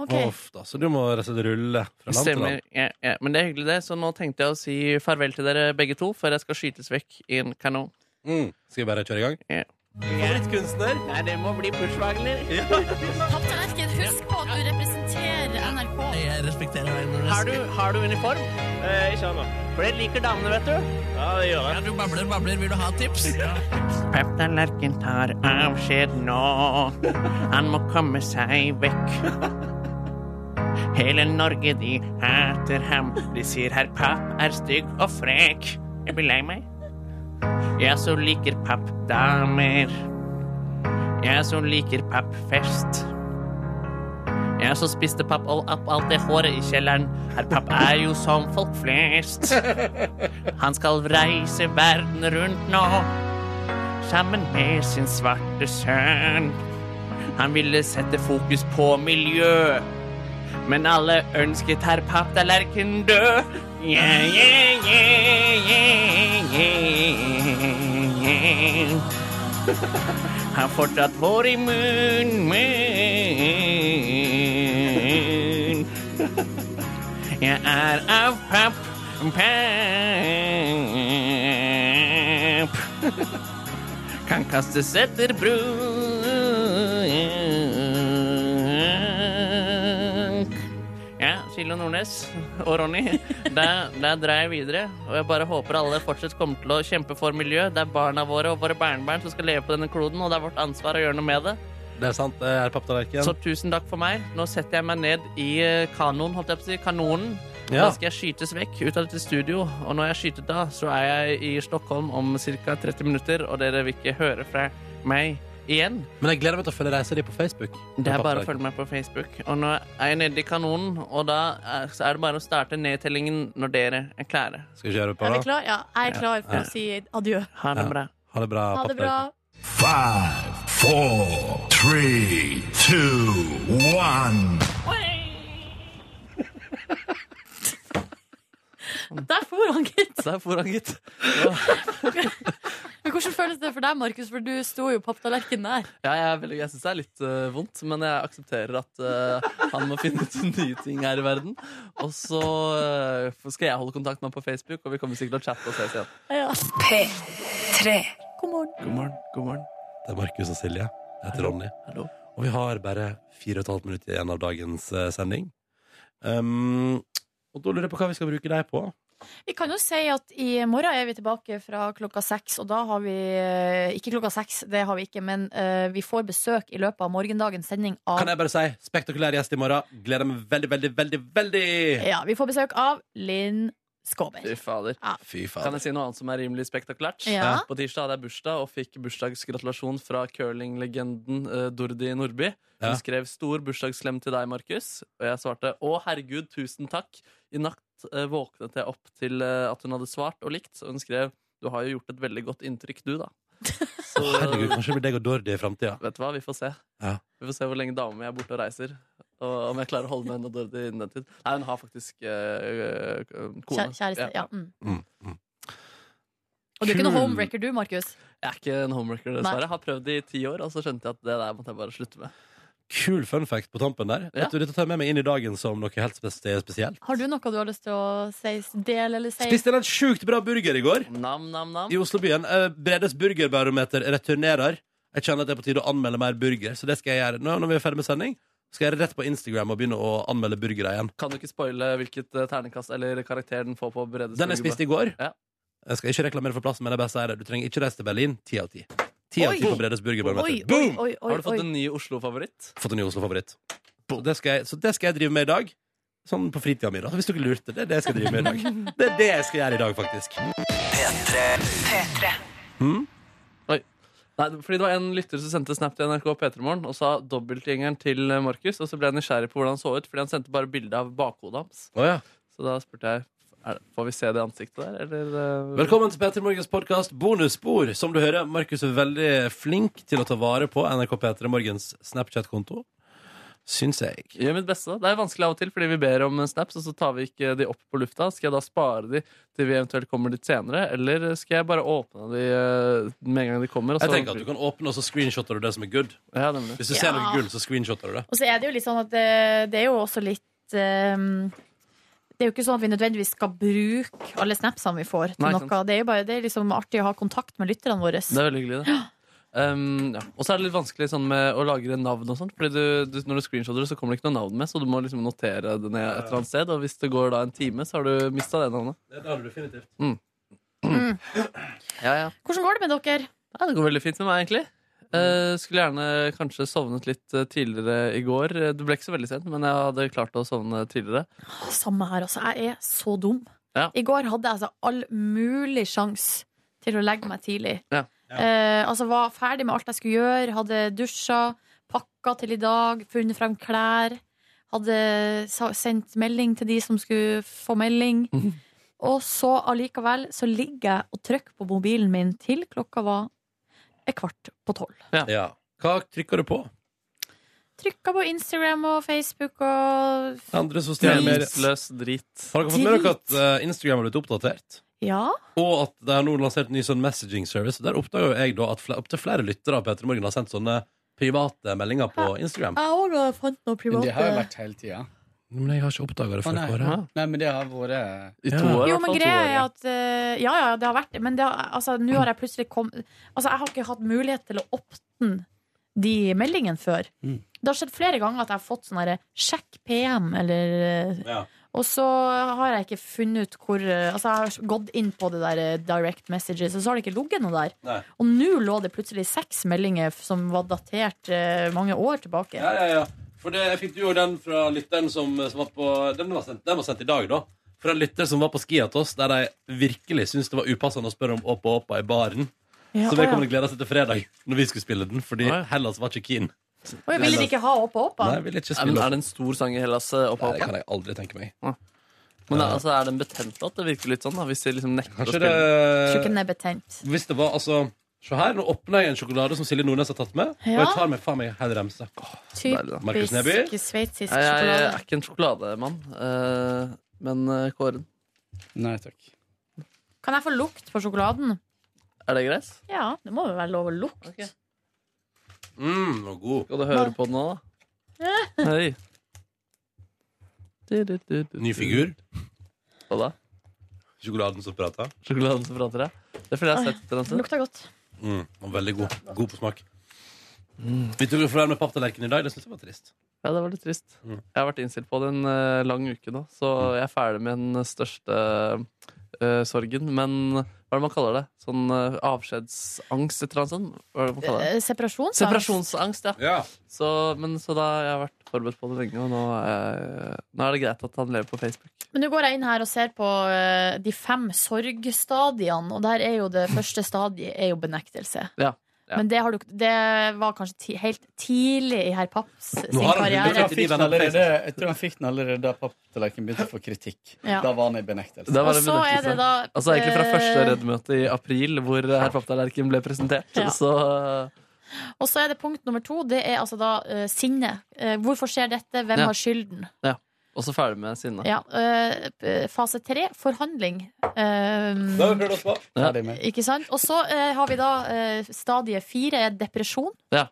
S2: Ok,
S1: Uff da, Så du må rett og slett rulle fra land til
S3: Stemmer.
S1: land?
S3: Ja, ja. Men det er hyggelig, det. Så nå tenkte jeg å si farvel til dere begge to, før jeg skal skytes vekk i en kanon.
S1: Mm. Skal vi bare kjøre i gang?
S3: Ja.
S1: Favorittkunstner?
S3: Nei, det må bli Pushwagner.
S2: Papp Tallerken, husk på at du representerer NRK.
S3: Jeg respekterer deg. Har du, har du uniform? ikke ennå. For det liker damene, vet du. Ja, det gjør jeg. Ja, du babler, babler. Vil du ha tips? Ja. Peptallerken tar avskjed nå. Han må komme seg vekk. Hele Norge, de hater ham. De sier herr Papp er stygg og frek. Jeg blir lei meg. Jeg så liker papp damer. Jeg så liker pappfest. Jeg så spiste papp all, opp alt det håret i kjelleren. Herr Papp er jo som folk flest. Han skal reise verden rundt nå, sammen med sin svarte sønn. Han ville sette fokus på miljø, men alle ønsket herr Papp-tallerken død. Yeah, yeah, yeah, yeah, yeah, yeah. Har fortsatt hår i munn, munn. Jeg er av papp, papp. Kan kastes etter bruk. Ja, Kilo Nordnes og Ronny, der, der drar jeg videre. Og jeg bare håper alle fortsatt kommer til å kjempe for miljø. Det er barna våre og våre barnebarn som skal leve på denne kloden, og det er vårt ansvar å gjøre noe med det.
S1: Det er sant, det er papptallerken.
S3: Så tusen takk for meg. Nå setter jeg meg ned i eh, kanoen, holdt jeg på å si. Kanonen.
S1: Ja.
S3: Da skal jeg skytes vekk ut av dette studio, og når jeg skyter da, så er jeg i Stockholm om ca. 30 minutter, og dere vil ikke høre fra meg igjen.
S1: Men jeg gleder meg til å følge reisa di på Facebook.
S3: Det er bare å følge meg på Facebook. Og nå er jeg nede i kanonen, og da er så er det bare å starte nedtellingen når dere er klare.
S1: Skal vi kjøre på,
S2: Er vi
S1: da?
S2: klar? Ja, jeg er klar for å si adjø.
S3: Ha det
S1: Ja.
S3: bra.
S1: Ha det bra.
S2: Ha det bra.
S1: papptallerken.
S9: Five, four, three, two, one.
S2: Der for han, gitt.
S3: Der for han, gitt.
S2: Men Men hvordan føles det for deg, Markus? For du sto jo papptallerken der.
S3: Ja, jeg, er veldig- jeg syns det er litt eh, vondt, men jeg aksepterer at eh, han må finne ut nye ting her i verden. Og så eh, skal jeg holde kontakt med ham på Facebook, og vi kommer sikkert til å chatte og ses igjen.
S10: P3. God morgen.
S3: God morgen. God morgen.
S1: Det er Markus og Silje. Jeg heter Ronny.
S3: Hallo.
S1: Og vi har bare fire og et halvt minutt igjen av dagens eh, sending. Um, og da lurer jeg på hva vi skal bruke deg på.
S2: Vi kan jo si at i morgen er vi tilbake fra klokka seks, og da har vi eh, Ikke klokka seks, det har vi ikke, men eh, vi får besøk i løpet av morgendagens sending av
S1: Kan jeg bare si spektakulær gjest i morgen. Gleder meg veldig, veldig, veldig, veldig!
S2: Ja, vi får besøk av Linn Skåber.
S3: Fy fader.
S1: Fy fader.
S3: Kan jeg si noe annet som er rimelig spektakulært?
S2: Ja.
S3: På tirsdag hadde jeg bursdag og fikk bursdagsgratulasjon fra curlinglegenden uh, Dordi Nordby. Hun
S1: Ja.
S3: skrev 'stor bursdagsklem til deg, Markus', og jeg svarte 'Å, herregud, tusen takk'. I natt eh, våknet jeg opp til eh, at hun hadde svart og likt, og hun skrev 'Du har jo gjort et veldig godt inntrykk, du, da'. Så
S1: Herregud, kanskje det blir deg og Dordi i framtida.
S3: vet du hva, vi får se.
S1: Ja.
S3: Vi får se hvor lenge dama mi er borte og reiser. Og om jeg klarer å holde med henne og Dordi innen den tid. Nei, hun har faktisk eh, kone.
S2: Kjæ- Kjæreste. Ja. Mm.
S1: Mm,
S2: Og du er ikke noen
S3: Kul.
S2: homewrecker, du, Markus?
S3: Jeg er ikke en homewrecker,
S2: Nei.
S3: dessverre. Jeg har prøvd i ti år, og så skjønte jeg at det der måtte jeg bare slutte med.
S1: Kul fun fact på tampen der.
S3: Ja.
S1: Vet du, Dette tar jeg med meg inn i dagen som noe helt spes- spesielt.
S2: Har du noe du har lyst til å si, dele eller si?
S1: Spiste en helt sjukt bra burger i går.
S3: Nam, nam, nam.
S1: i Oslobyen. Eh, Bredes burgerbarometer returnerer. Jeg kjenner at det er på tide å anmelde mer burger, så det skal jeg gjøre. Nå når vi er ferdig med sending, skal jeg rett på Instagram og begynne å anmelde burgere igjen.
S3: Kan du ikke spoile hvilket eh, ternekast eller karakter den får på Bredes
S1: Den jeg
S3: burgerbar?
S1: spiste i går.
S3: Ja.
S1: Jeg skal ikke reklamere for plassen, men jeg bare sier det. Du trenger ikke reise til Berlin. Ti av ti. Ti av
S2: Oi.
S1: ti på Bredes burgerbarometer.
S2: Oi, oi,
S1: Boom!
S2: oi, oi,
S3: Har du fått
S2: oi.
S3: en ny Oslo-favoritt?
S1: Fått en ny Oslo-favoritt. Så, det skal jeg- så det skal jeg drive med i dag. Sånn på fritida mi, da. Hvis dere lurte. Det er det jeg skal drive med i dag. Det er det jeg skal gjøre i dag, faktisk.
S10: P3.
S3: Oi. Nei, fordi det var en lytter som sendte snap til NRK P3morgen og sa dobbeltgjengeren til eh, Markus, og så ble jeg nysgjerrig på hvordan han så ut, fordi han sendte bare bilde av bakhodet hans.
S1: Å, ja.
S3: Så da spurte jeg er, det- får vi se det ansiktet der, eller eh,
S1: Velkommen til Petter Morgens podkast Bonusspor. Som du hører, Markus er veldig flink til å ta vare på NRK Petter Morgens Snapchat-konto. Syns jeg.
S3: Gjør mitt beste. da. Det er vanskelig av og til, fordi vi ber om eh, snaps, og så tar vi ikke de opp på lufta. Skal jeg da spare de til vi eventuelt kommer dit senere, eller skal jeg bare åpne de eh, med en gang de kommer? Og
S1: Jeg tenker at du kan åpne, og så screenshotter du det som er good.
S3: Ja, nemlig.
S1: Hvis du ser noe
S2: Ja.
S1: gull, så screenshotter du det.
S2: Og så er det jo litt sånn at det, det er jo også litt ehm, Det er jo ikke sånn at vi nødvendigvis skal bruke alle snapsene vi får til
S3: Nei, sant.
S2: noe. Det er jo bare det er liksom artig å ha kontakt med lytterne våre.
S3: Det er veldig hyggelig, det. Um, ja. Og så er det litt vanskelig sånn med å lagre navn og sånn. Fordi du, du, når du screenshotter det, så kommer det ikke noe navn med, så du må liksom notere det ned et eller annet sted. Og hvis det går da en time, så har du mista det navnet.
S1: Det har du definitivt.
S3: Ja, ja.
S2: Hvordan går det med dere?
S3: Nei, det går veldig fint med meg, egentlig. Eh, skulle gjerne kanskje sovnet litt eh, tidligere i går. Eh, Det ble ikke så veldig sent, men jeg hadde klart å sovne tidligere.
S2: Samme her, altså. Jeg er så dum.
S3: Ja.
S2: I går hadde jeg altså all mulig sjanse til å legge meg tidlig.
S3: Ja.
S2: Eh, altså var ferdig med alt jeg skulle gjøre, hadde dusja, pakka til i dag, funnet frem klær. Hadde sa- sendt melding til de som skulle få melding. Og så allikevel så ligger jeg og trykker på mobilen min til klokka var et kvart på tolv.
S1: Ja. Hva trykker du på?
S2: Trykka på Instagram og Facebook og
S1: Andre sosiale medier.
S3: Meningsløs drit.
S1: Har dere fått med dere at eh, Instagram har blitt oppdatert?
S2: Ja.
S1: Og at de har nå lansert en ny sånn messaging service. Der oppdager jo jeg da at fl opptil flere lyttere av Petter Morgen har sendt sånne private meldinger på Instagram.
S2: Jeg òg har fant noe
S7: Men
S2: privat.
S7: det har jo vært hele tida.
S1: Men jeg har ikke oppdaga det
S7: Å,
S1: før
S7: nei.
S1: på året.
S7: nei, men det har vært
S3: I
S1: Ja. sånn
S2: Jo,
S3: to år, i hvert
S2: men
S3: fall. To
S2: greia
S3: år,
S2: er
S3: ja.
S2: at eh, Ja, ja, det har vært det, men det har, altså, nå har jeg plutselig kom, Altså, jeg har ikke hatt mulighet til å åpne de meldingene før.
S7: Mm.
S2: Det har skjedd flere ganger at jeg har fått sånn herre Sjekk PM, eller eh,
S1: Ja.
S2: Og så har jeg ikke funnet ut hvor eh, Altså, jeg har gått inn på det der eh, direct messages, og så har det ikke ligget noe der.
S1: Nei.
S2: Og nå lå det plutselig seks meldinger f- som var datert eh, mange år tilbake.
S1: Ja, ja, ja. For det, jeg fikk jo den fra lytteren som, som var på den var, sendt, den var sendt i dag, da. Fra en lytter som var på ski hos oss, der de virkelig syntes det var upassende å spørre om Åpa Åpa i baren.
S2: Ja,
S1: så
S2: å, ja.
S1: vedkommende gleda seg til fredag, når vi skulle spille den, fordi
S3: Å, ja.
S1: Hellas var ikke keen.
S2: Oi, ville de ikke ha opp og opp?
S1: Nei,
S2: da?
S1: jeg vil ikke
S3: Nei, men
S1: spille
S3: Er
S1: den.
S3: det en stor sang i Hellas? eh, Oppa,
S1: Det
S3: oppa?
S1: kan jeg aldri tenke meg.
S3: Men det, er- altså, er den betent låt? Det virker litt sånn, da, hvis de liksom nekter å
S1: Kanskje
S3: spille.
S2: Jeg Tror
S1: det
S2: ikke den er betent.
S1: Hvis det var altså Se her, nå åpner jeg en sjokolade som Silje Nordnes har tatt med. Og
S2: Ja.
S1: jeg tar med faen meg en hel remse.
S3: deilig, da.
S1: Markus Neby?
S2: Typisk sveitsisk
S3: Nei, jeg, jeg
S2: sjokolade.
S3: er ikke en sjokolademann, eh, men eh, Kåren
S7: Nei takk.
S2: Kan jeg få lukt på sjokoladen?
S3: Er det greit?
S2: Ja, det må jo være lov å lukte.
S1: Mm, og god.
S3: Skal du høre på den nå, da? Hei.
S1: Ny figur.
S3: Hva da?
S1: Sjokoladen som prater.
S3: Sjokoladen som prater, ja. Det er fordi jeg har sett etter den
S2: Det
S3: selv.
S2: lukter godt.
S1: Mm, den var veldig god. God på smak. Mm. Vi tok jo for den med papptallerken i dag. Det syns jeg var trist.
S3: Ja, det var litt trist.
S1: Mm.
S3: Jeg har vært innstilt på det en eh, lang uke nå, så jeg er ferdig med den største eh, sorgen. Men hva er det man kaller det? Sånn eh, avskjedsangst, et eller annet sånt? Hva er det man kaller
S2: Eh,
S3: det?
S2: Separasjonsangst.
S3: Separasjonsangst, ja. Så, men, så da jeg har vært forberedt på det lenge, og nå er, nå er det greit at han lever på Facebook.
S2: Men nå går jeg inn her og ser på eh, de fem sorgstadiene, og der er jo det første stadiet er jo benektelse.
S3: Ja.
S2: Men det, har du, det var kanskje ti, helt tidlig i herr Papps sin
S7: Nå har han- Jeg tror
S2: karriere.
S7: han fikk den allerede, jeg tror han fikk den allerede da papptallerkenen begynte å få kritikk.
S2: Ja.
S7: Da var han i benektelse.
S3: Da var
S2: Og så er det da,
S3: altså Egentlig fra
S2: eh,
S3: første Redd-møte i april, hvor eh, herr Papptallerken ble presentert.
S2: Ja.
S3: Så eh,
S2: Og så er det punkt nummer to, det er altså da eh, sinne. Eh, hvorfor skjer dette, hvem
S3: Ja.
S2: har skylden?
S3: ja. Og så ferdig med sinne.
S2: Ja, eh, p- fase tre, forhandling. Eh,
S1: Da har vi prøvd oss på.
S7: Ferdig med.
S2: ikke sant? Og så eh, har vi da eh, stadie fire, er depresjon.
S3: Ja.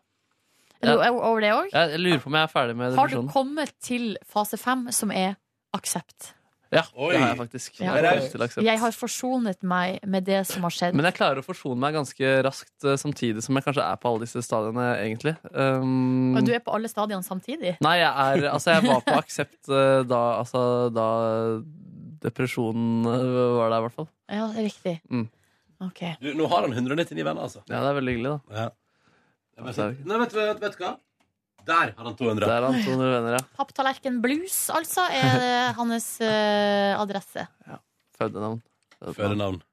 S2: Er du
S3: Ja.
S2: o- over det òg?
S3: Jeg lurer på om jeg er ferdig med
S2: Har du
S3: depresjonen.
S2: kommet til fase fem, som er aksept?
S3: Ja, det har jeg faktisk.
S2: Ja.
S3: Jeg har kommet til aksept.
S2: Jeg har forsonet meg med det som har skjedd.
S3: Men jeg klarer å forsone meg ganske raskt, eh, samtidig som jeg kanskje er på alle disse stadiene, egentlig. Um,
S2: Og du er på alle stadiene samtidig?
S3: Nei, jeg er Altså, jeg var på aksept eh, da Altså, da depresjonen eh, var der, i hvert fall.
S2: Ja, det er riktig.
S3: Mm.
S2: Ok.
S1: Du, nå har han 199 venner, altså.
S3: Ja, det er veldig hyggelig, da.
S1: Det var sant. Nei, vet, du- vet, vet du hva? Der har han 200.
S3: Der har han 200 venner, ja.
S2: Papptallerken Blues, altså, er det hans eh, adresse.
S3: Fødenavn.
S1: Fødenavn. Ja,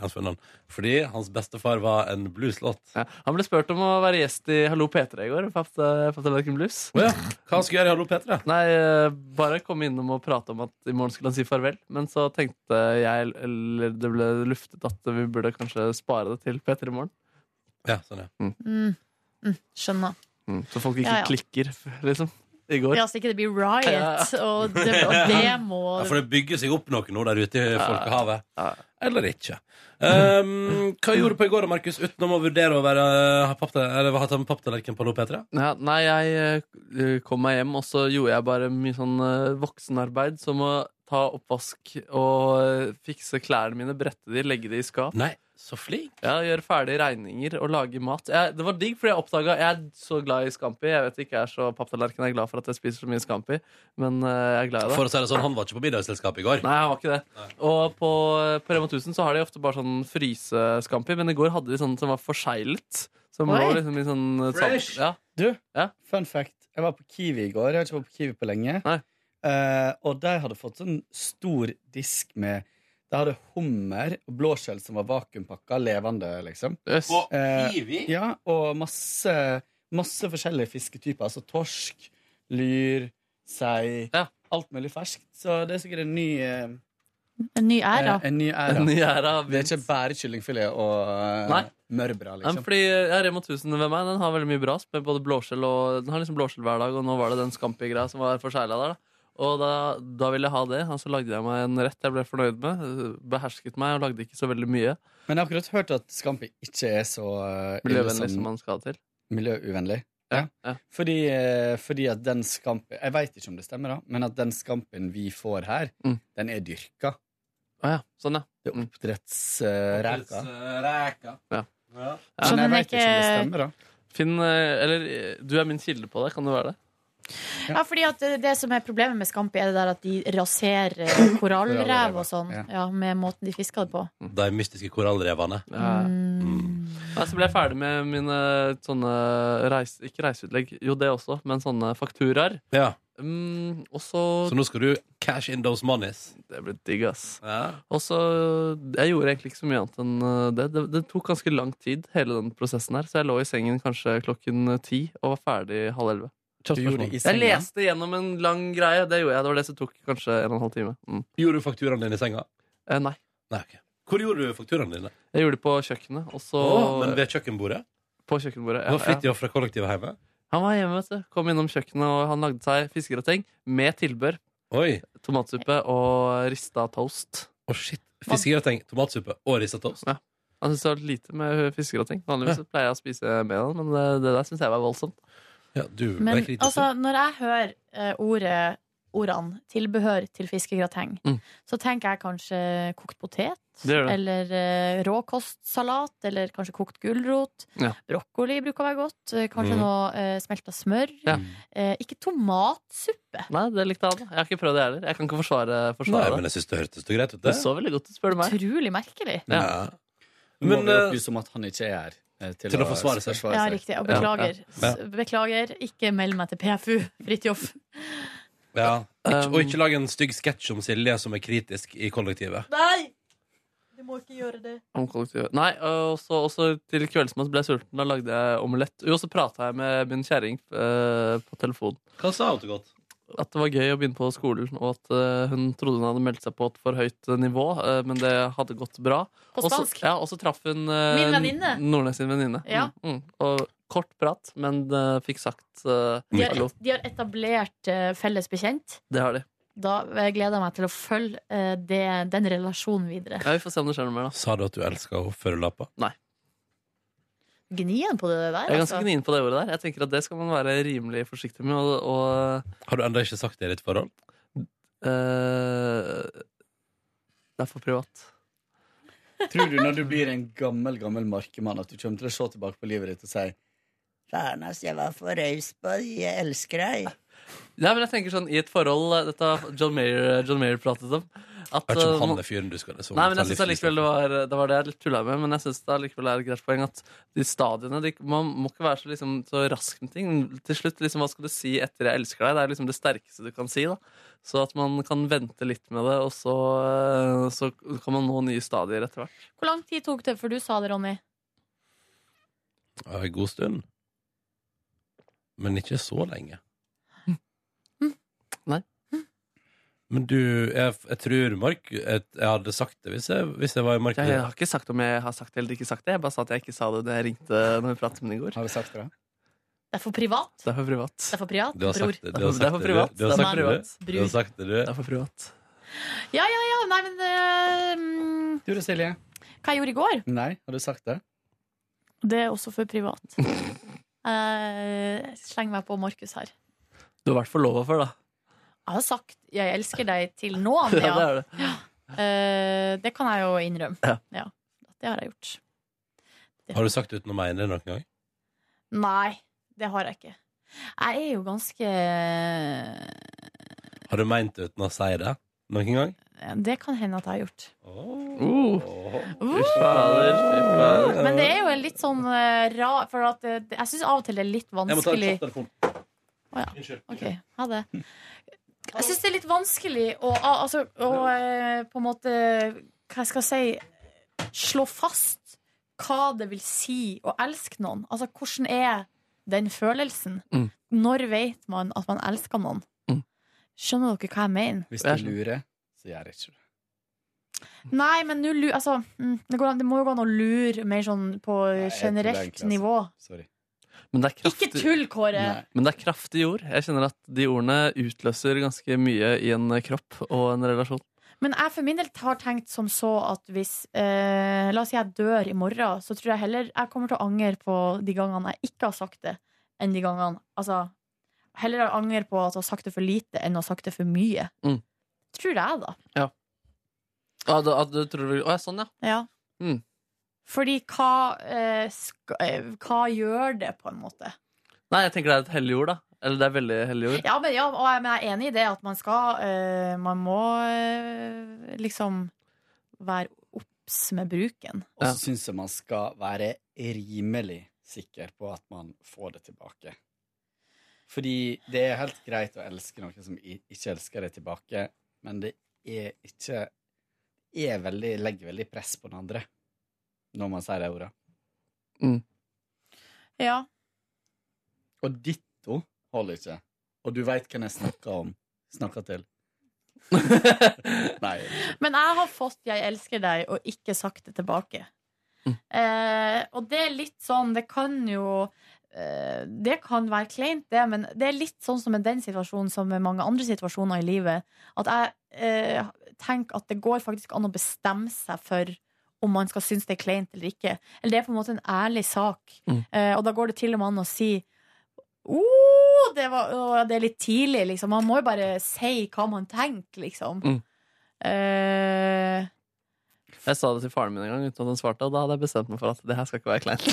S1: Hans fødenavn. Fordi hans bestefar var en blueslått.
S3: Han ble spurt om å være gjest i Hallo P3 i går. Papp- eh, Papptallerken Blues.
S1: Hva skulle jeg gjøre i Hallo P3?
S3: Nei, eh, bare komme innom og prate om at i morgen skulle han si farvel. Men så tenkte jeg, eller det ble luftet, at vi burde kanskje spare det til P3 i morgen.
S1: Ja, sånn ja.
S2: Mm. Mm. Skjønner.
S3: Så folk ikke
S2: Ja, ja.
S3: klikker, liksom. I går.
S2: Ja, så ikke det blir riot
S3: Ja.
S2: og, de, og demo.
S1: Ja, for det bygger seg opp noe nå der ute i folkehavet. Eller ikke. Um, hva gjorde du på i går, Markus, utenom å vurdere å være ha pappta- eller ha tatt med papptallerken på Hallo P3?
S3: Ja, nei, jeg eh, kom meg hjem, og så gjorde jeg bare mye sånn eh, voksenarbeid, som å ta oppvask og eh, fikse klærne mine, brette de, legge de i skap.
S1: Nei, så flink.
S3: Ja, Gjøre ferdig regninger og lage mat. Jeg, det var digg, fordi jeg oppdaga Jeg er så glad i Scampi. Jeg vet ikke, jeg er så papptallerken. Jeg er glad for at jeg spiser så mye Scampi, men eh, jeg er glad i det.
S1: For å si det sånn, han var ikke på middagsselskapet i går.
S3: Nei, han var ikke det. Og på, eh, på Rema 1000 så har de ofte bare sånn fryseskampi, men i går hadde de sånn som var forseglet. Som
S7: Oi.
S3: lå liksom i sånn salt-
S7: Fresh.
S3: Ja.
S7: Du, fun fact. Jeg var på Kiwi i går. Jeg har ikke vært på Kiwi på lenge. Eh, og de hadde fått sånn stor disk med De hadde hummer og blåskjell som var vakuumpakka levende, liksom.
S3: Yes.
S1: På
S7: Eh,
S1: Kiwi?
S7: ja, og masse, masse forskjellige fisketyper. Altså torsk, lyr, sei. Alt mulig ferskt. Så det er sikkert en ny eh,
S2: En ny æra.
S7: eh, En ny æra.
S3: En ny æra.
S7: Det er ikke bare kyllingfilet og eh,
S3: Nei.
S7: mørbra,
S3: Nei,
S7: liksom.
S3: fordi eh, ja, Rema 1000 ved meg Den har veldig mye bra med både blåskjell og Den har liksom blåskjell hver dag, og nå var det den Scampi-greia som var forsegla der. da Og da, da ville jeg ha det, og så lagde jeg meg en rett jeg ble fornøyd med. eh, Behersket meg og lagde ikke så veldig mye.
S7: Men jeg har akkurat hørt at Scampi ikke er så eh, ille
S3: Miljøvennlig som man skal til.
S7: Miljøuvennlig. Ja. Fordi, eh, fordi at den Scampi Jeg veit ikke om det stemmer, da, men at den Scampien vi får her, den er dyrka.
S3: Sånn, ja.
S7: Det er oppdrettsreker.
S1: Reker.
S3: Ja.
S7: Ja, men jeg vet ikke om det stemmer, da.
S3: Finn, eh, eller eh, du er min kilde på det. Kan det være det?
S2: Ja, fordi at det- det som er problemet med Scampi, er det der at de raserer eh, korallrev og sånn.
S1: Ja.
S2: Ja, med måten de fisker det på.
S1: De mystiske korallrevene.
S2: Mm.
S3: Mm. Nei, så ble jeg ferdig med mine eh, sånne reis, Ikke reiseutlegg, jo det også, men sånne fakturaer.
S1: Ja.
S3: Mm, og så
S1: Så nå skal du cash in those monies.
S3: Det blir digg, ass. Og så Jeg gjorde egentlig ikke så mye annet enn eh, det. det. Det tok ganske lang tid, hele den prosessen her, så jeg lå i sengen kanskje klokken eh, ti og var ferdig halv elleve.
S1: Du gjorde det i
S3: Jeg
S1: senga?
S3: leste gjennom en lang greie. Det gjorde jeg. Det var det som tok kanskje en og en halv time. Mm.
S1: Gjorde du fakturaen din i senga?
S3: Eh, nei.
S1: Nei, ok. Hvor gjorde du fakturaen dine?
S3: Jeg gjorde det på kjøkkenet. Og så
S1: Å, men ved kjøkkenbordet?
S3: På kjøkkenbordet,
S1: Var Fridtjof fra kollektivet hjemme?
S3: Han var hjemme, vet du. Kom innom kjøkkenet, og han lagde seg fiskegrateng med tilbør. Tomatsuppe og rista toast.
S1: Å shit, Fiskegrateng, tomatsuppe og risottost.
S3: Ja. Han syns det var lite med fiskegrateng. Vanligvis pleier jeg å spise med den, men det, det der syns jeg var voldsomt.
S1: Ja, du
S2: Men altså, når jeg hører eh, ordet ordene tilbehør til fiskegrateng,
S3: Mm.
S2: så tenker jeg kanskje kokt potet.
S3: Det gjør det.
S2: Eller eh, råkostsalat, eller kanskje kokt gulrot.
S3: Ja.
S2: Brokkoli bruker å være godt. eh, Kanskje
S3: Mm.
S2: noe eh, smelta smør. Eh, ikke tomatsuppe.
S3: Nei, det likte han. Jeg har ikke prøvd det heller. Jeg kan ikke forsvare, forsvare
S1: Nei,
S3: det.
S1: men jeg syns det hørtes så greit ut,
S3: Det så veldig godt ut, spør du meg.
S2: Utrolig merkelig.
S3: Ja.
S7: Nå må
S3: Men,
S7: vi
S3: eh,
S7: opplyse om at han ikke er her eh, til,
S1: til å forsvare seg.
S2: Ja, riktig. Og beklager.
S1: Ja.
S2: S- Beklager. Ikke meld meg til PFU, Fridtjof.
S1: Ja.
S3: eh,
S1: Ikke, og ikke lag en stygg sketsj om Silje som er kritisk i kollektivet.
S2: Nei! Du må ikke gjøre det.
S3: Om kollektivet. Nei, og så også til kveldsmat ble jeg sulten. Da lagde jeg omelett. Jo, så prata jeg med min kjerring eh, på telefon.
S1: Hva sa hun til godt?
S3: At det var gøy å begynne på skolen, og at eh, hun trodde hun hadde meldt seg på et for høyt eh, nivå, eh, men det hadde gått bra.
S2: På
S3: Og så-
S2: spansk?
S3: Ja, og så traff hun eh,
S2: Min venninne?
S3: Nordnes sin venninne.
S2: Ja.
S3: Mm, mm. Og kort prat, men eh, fikk sagt eh,
S2: De har,
S3: hallo.
S2: et, de har etablert eh, felles bekjent.
S3: Det har de.
S2: Da eh, gleder jeg meg til å følge eh, det, den relasjonen videre.
S3: Ja, vi får se om det skjer noe mer, da.
S1: Sa du at du elska henne før du la på?
S3: Nei.
S2: Gnien på det der. altså.
S3: Jeg er ganske gnien på det ordet der. Jeg tenker at Det skal man være rimelig forsiktig med. Og, og
S1: Har du ennå ikke sagt det i ditt forhold?
S3: det er for eh, privat.
S7: Tror du når du blir en gammel, gammel markemann, at du kommer til å se tilbake på livet ditt og si
S11: Faen, ass, jeg var for raus på deg. Jeg elsker deg.
S3: Nei, men jeg tenker sånn, I et forhold eh, Dette har John Mayer, John Mayer pratet om. At,
S1: Jeg vet ikke om
S3: eh,
S1: han
S3: man-
S1: er fyren du skal liksom
S3: Nei, men
S1: ta
S3: jeg synes
S1: livsvis-
S3: allikevel det var det var det jeg tulla med, men jeg synes det allikevel er et greit poeng at de stadiene de, Man må ikke være så, liksom, så rask med ting. Til slutt, liksom, hva skal du si etter 'jeg elsker deg'? Det er liksom det sterkeste du kan si. da Så at man kan vente litt med det, og så, eh, så kan man nå nye stadier etter hvert.
S2: Hvor lang tid tok det før du sa det, Ronny?
S1: Ja, En god stund. Men ikke så lenge.
S3: Nei.
S1: Men du, jeg, jeg tror, Mark, at jeg hadde sagt det hvis jeg, hvis jeg var i
S3: Jeg,
S1: markedet.
S3: har ikke sagt om jeg har sagt det eller ikke sagt det. Jeg bare sa at jeg ikke sa det da jeg ringte når vi pratet med den i går. Har
S7: du sagt det?
S2: Det er for privat.
S3: Det er for privat.
S2: Det er for privat,
S1: Du har
S2: bror.
S1: sagt det, du har
S3: Det er
S1: sagt
S3: for
S1: det,
S3: privat.
S1: du- du har
S3: Det er
S1: sagt det,
S3: privat.
S1: du. Du har sagt det, du. Det
S3: er for privat.
S2: Ja, ja, ja. Nei, men eh, mm,
S7: Du da, Silje?
S2: Hva jeg gjorde i går?
S7: Nei, har du sagt det?
S2: Det er også for privat. Eh, sleng meg på Markus her.
S3: Du har vært forlova før, da.
S2: Jeg har sagt 'jeg elsker deg' til nå, Andrea.
S3: Ja, det er det.
S2: Eh, det kan jeg jo innrømme.
S3: Ja.
S2: Ja, det har jeg gjort.
S1: Har du sagt det uten å mene det noen gang?
S2: Nei, det har jeg ikke. Jeg er jo ganske
S1: Har du ment det uten å si det noen gang?
S2: Det kan hende at jeg har gjort.
S1: Fy
S3: fader, fy
S1: Eh,
S3: fader.
S2: Men det er jo en litt sånn eh, rar For at eh, det, jeg syns av og til det er litt
S1: Jeg må ta en
S2: vanskelig
S1: kjapp telefon.
S2: Å, ja.
S1: Unnskyld.
S2: Ok, ha det. Jeg syns det er litt vanskelig å, al- altså, å eh, på en måte Hva jeg skal si Slå fast hva det vil si å elske noen. Altså, hvordan er den følelsen?
S3: Mm.
S2: Når vet man at man elsker noen? Skjønner dere hva jeg mener?
S7: Hvis du lurer, så gjør jeg ikke det.
S2: Nei, men nå lu- altså, mm, det, går, an- det må jo gå an å lure mer sånn på
S7: tror det er
S2: generelt
S7: egentlig, altså.
S2: nivå.
S3: Men det er kraftig,
S2: Ikke tull, Kåre!
S3: Men det er kraftige ord. Jeg kjenner at de ordene utløser ganske mye i en kropp og en relasjon.
S2: Men jeg for min del har tenkt som så at hvis eh, La oss si jeg dør i morgen, så tror jeg heller jeg kommer til å angre på de gangene jeg ikke har sagt det, enn de gangene Altså heller angre på at jeg har sagt det for lite enn å ha sagt det for mye.
S3: Mm.
S2: Tror jeg, da.
S3: Ja. Ah, da, ah, du tror du, å, ja, sånn, ja.
S2: Ja.
S3: Mm.
S2: Fordi hva, eh, sk eh, hva gjør det, på en måte?
S3: Nei, jeg tenker det er et hellig ord, da. Eller det er veldig hellig ord.
S2: Ja, men, ja, og jeg, men jeg er enig i det at man skal eh, Man må eh, liksom være obs med bruken.
S7: Og så syns jeg man skal være rimelig sikker på at man får det tilbake. Fordi det er helt greit å elske noen som i- ikke elsker deg tilbake, men det er ikke er veldig, Legger veldig press på den andre når man sier de ordene.
S2: Ja.
S7: Og ditto holder ikke. Og du veit hvem jeg snakker om. Snakker til. Nei.
S2: Men jeg har fått 'jeg elsker deg' og ikke sagt det tilbake. Eh, og det er litt sånn Det kan jo eh, Det kan være kleint, det, men det er litt sånn som med den situasjonen som med mange andre situasjoner i livet. At jeg eh, tenker at det går faktisk an å bestemme seg for om man skal synes det er kleint eller ikke. Eller det er på en måte en ærlig sak. Eh, og da går det til og med an å si «Oh, det, var, å, det er litt tidlig, liksom. Man må jo bare si hva man tenker, liksom.
S3: Mm.
S2: Eh,
S3: Jeg sa det til faren min en gang uten at han svarte, og da hadde jeg bestemt meg for at det her skal ikke være kleint.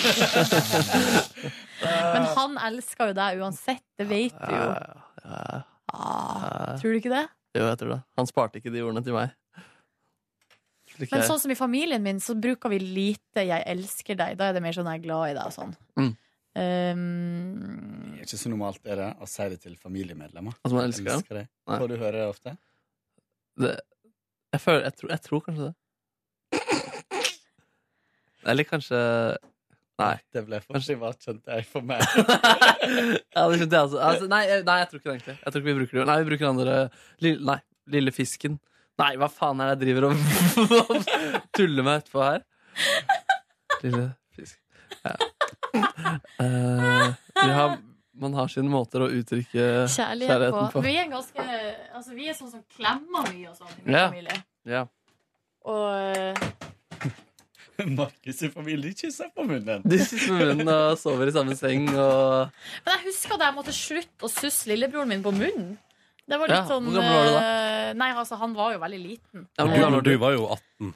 S2: men han elsker jo deg uansett, det vet du jo. Ah, tror du ikke det?
S3: Jo, jeg tror det. Han sparte ikke de ordene til meg. Slik
S2: Men
S3: jeg-
S2: sånn som i familien min, så bruker vi lite 'jeg elsker deg'. Da er det mer sånn 'jeg er glad i deg' og sånn.
S3: Mm.
S2: Um,
S7: Det er ikke så normalt er det å si det til familiemedlemmer.
S3: Altså, man elsker dem?
S7: deg.
S3: Nei.
S7: Får du høre det ofte?
S3: Det, jeg, føler, jeg, tror, jeg tror kanskje det. Eller kanskje Nei.
S7: Det ble for privat, kjente jeg, for meg.
S3: Ja, det skjønte jeg altså. altså nei, jeg- nei, jeg tror ikke det egentlig. Jeg tror ikke vi bruker det. Nei, vi bruker den andre lille, Nei, lille fisken. Nei, hva faen er det jeg driver og tuller med etterpå her? Lille fisk ja. Eh, vi har, Man har sine måter å uttrykke
S2: kjærlighet,
S3: kjærligheten
S2: på.
S3: på.
S2: Vi er ganske Altså, vi er sånn som klemmer mye og sånn i min
S3: Ja.
S2: familie.
S3: Ja.
S2: Og eh,
S7: Markus i familien kysser på munnen.
S3: De sitter med munnen og sover i samme seng og
S2: Men jeg husker da jeg måtte slutte å susse lillebroren min på munnen. Det var litt
S1: Ja, hvor
S2: sånn
S1: gammel var du da?
S2: eh, Nei, altså, han var jo veldig liten.
S1: Og du,
S3: men da var
S1: men du var jo 18.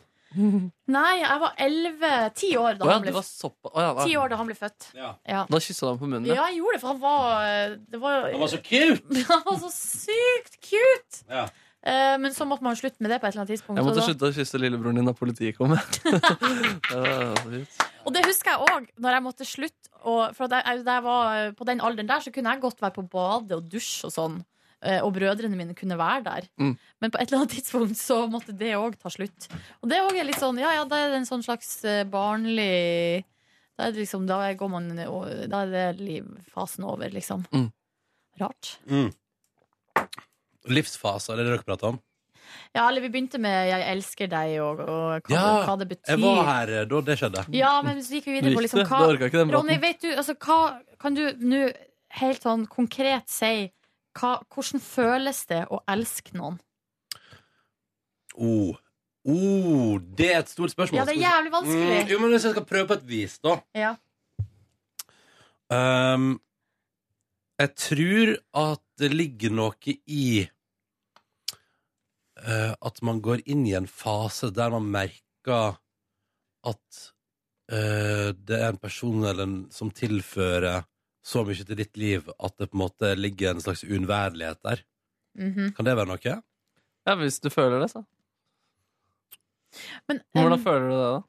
S2: Nei, jeg var 11 10 år da
S3: Å ja,
S2: han ble
S3: det var
S2: født.
S3: såpass Å ja, da.
S2: 10 år da han ble født. Ja.
S3: Da kyssa du ham på munnen?
S2: Ja, jeg gjorde det, for han var eh, det var,
S3: Han var så cute!
S2: Han var så sykt cute!
S1: Ja.
S2: Eh, Men så måtte man slutte med det på et eller annet tidspunkt.
S3: Jeg måtte
S2: og da-
S3: slutte å kysse lillebroren din da politiet kom. Det var så fint.
S2: Og det husker jeg òg, når jeg måtte slutte. å- for at jeg, da jeg var eh, på den alderen der, så kunne jeg godt være på badet og dusje og sånn. eh, Og brødrene mine kunne være der.
S3: Mm.
S2: Men på et eller annet tidspunkt så måtte det òg ta slutt. Og det òg er litt sånn Ja ja, da er det en sånn slags eh, barnlig Da er det liksom Da går man Da er det livfasen over, liksom.
S3: Mm.
S2: Rart.
S1: Mm. Livsfaser, er det det dere prater om?
S2: Ja, eller vi begynte med 'jeg elsker deg' og, og hva, det- hva det betyr.
S1: jeg var her eh, da det skjedde.
S2: Ja, men så gikk vi videre
S1: Gikk
S2: på liksom
S1: det?
S2: hva
S1: Da orket jeg ikke den
S2: Ronny,
S1: praten.
S2: vet du, altså hva Kan du nå helt sånn konkret si hva, hvordan føles det å elske noen?
S1: Oh. Oh, det er et stort spørsmål.
S2: Ja, det er
S1: Skal vi se.
S2: jævlig vanskelig.
S1: Mm, jo, men hvis jeg skal prøve på et vis, da
S2: Ja.
S1: um, Jeg tror at det ligger noe i eh, at man går inn i en fase der man merker at eh, det er en person eller en, som tilfører så mye til ditt liv at det på en måte ligger en slags uunnværlighet der.
S2: Mhm.
S1: Kan det være noe?
S3: Ja, hvis du føler det, så.
S2: Mm.
S3: Hvordan føler du det, da?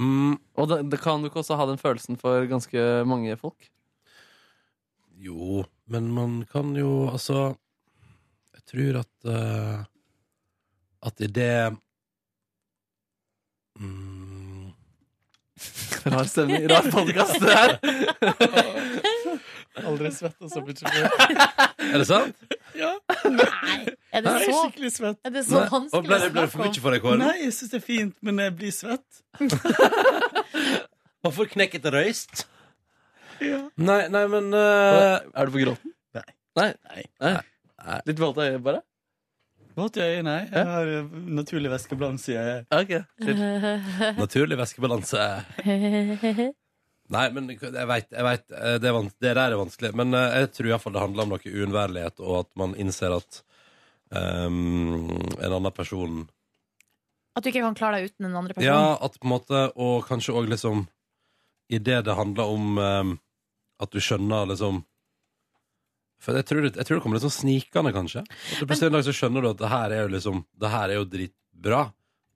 S1: Mm.
S3: Og det, det kan du ikke også ha den følelsen for ganske mange folk?
S1: Jo, men man kan jo Altså, jeg tror at eh, At i det mm,
S3: Rar stemning. Rar podcast, det her.
S7: Aldri altså, svetta så mye før.
S1: Er det sant?
S7: Ja.
S2: Nei, er det
S7: Jeg er
S2: så-
S7: skikkelig svett.
S2: er det så Nei, vanskelig og ble det- å ble det for snakke om? mye for deg, Kåre?
S7: Nei, jeg syns det er fint, men jeg blir svett.
S1: Man får knekket røyst. Nei, nei, men eh,
S3: Er du på gråten?
S7: Nei.
S3: Nei? Litt våt i øyet, bare?
S7: Våt i øyet, nei. Jeg har eh, naturlig væskeblanse i øyet.
S3: Ok,
S2: Eh,
S1: Naturlig væskebalanse. Nei, men jeg veit, jeg vet, eh, det, er vans- det der er vanskelig. Men eh, jeg tror iallfall det handler om noe uunnværlighet, og at man innser at ehm, en annen person
S2: At du ikke kan klare deg uten den andre personen?
S1: Ja, at på en måte Og kanskje òg liksom I det det handler om ehm, At du skjønner liksom For jeg tror det, jeg tror det kommer litt sånn snikende kanskje At du plutselig en dag så skjønner du at Det her er jo liksom Det her er jo dritbra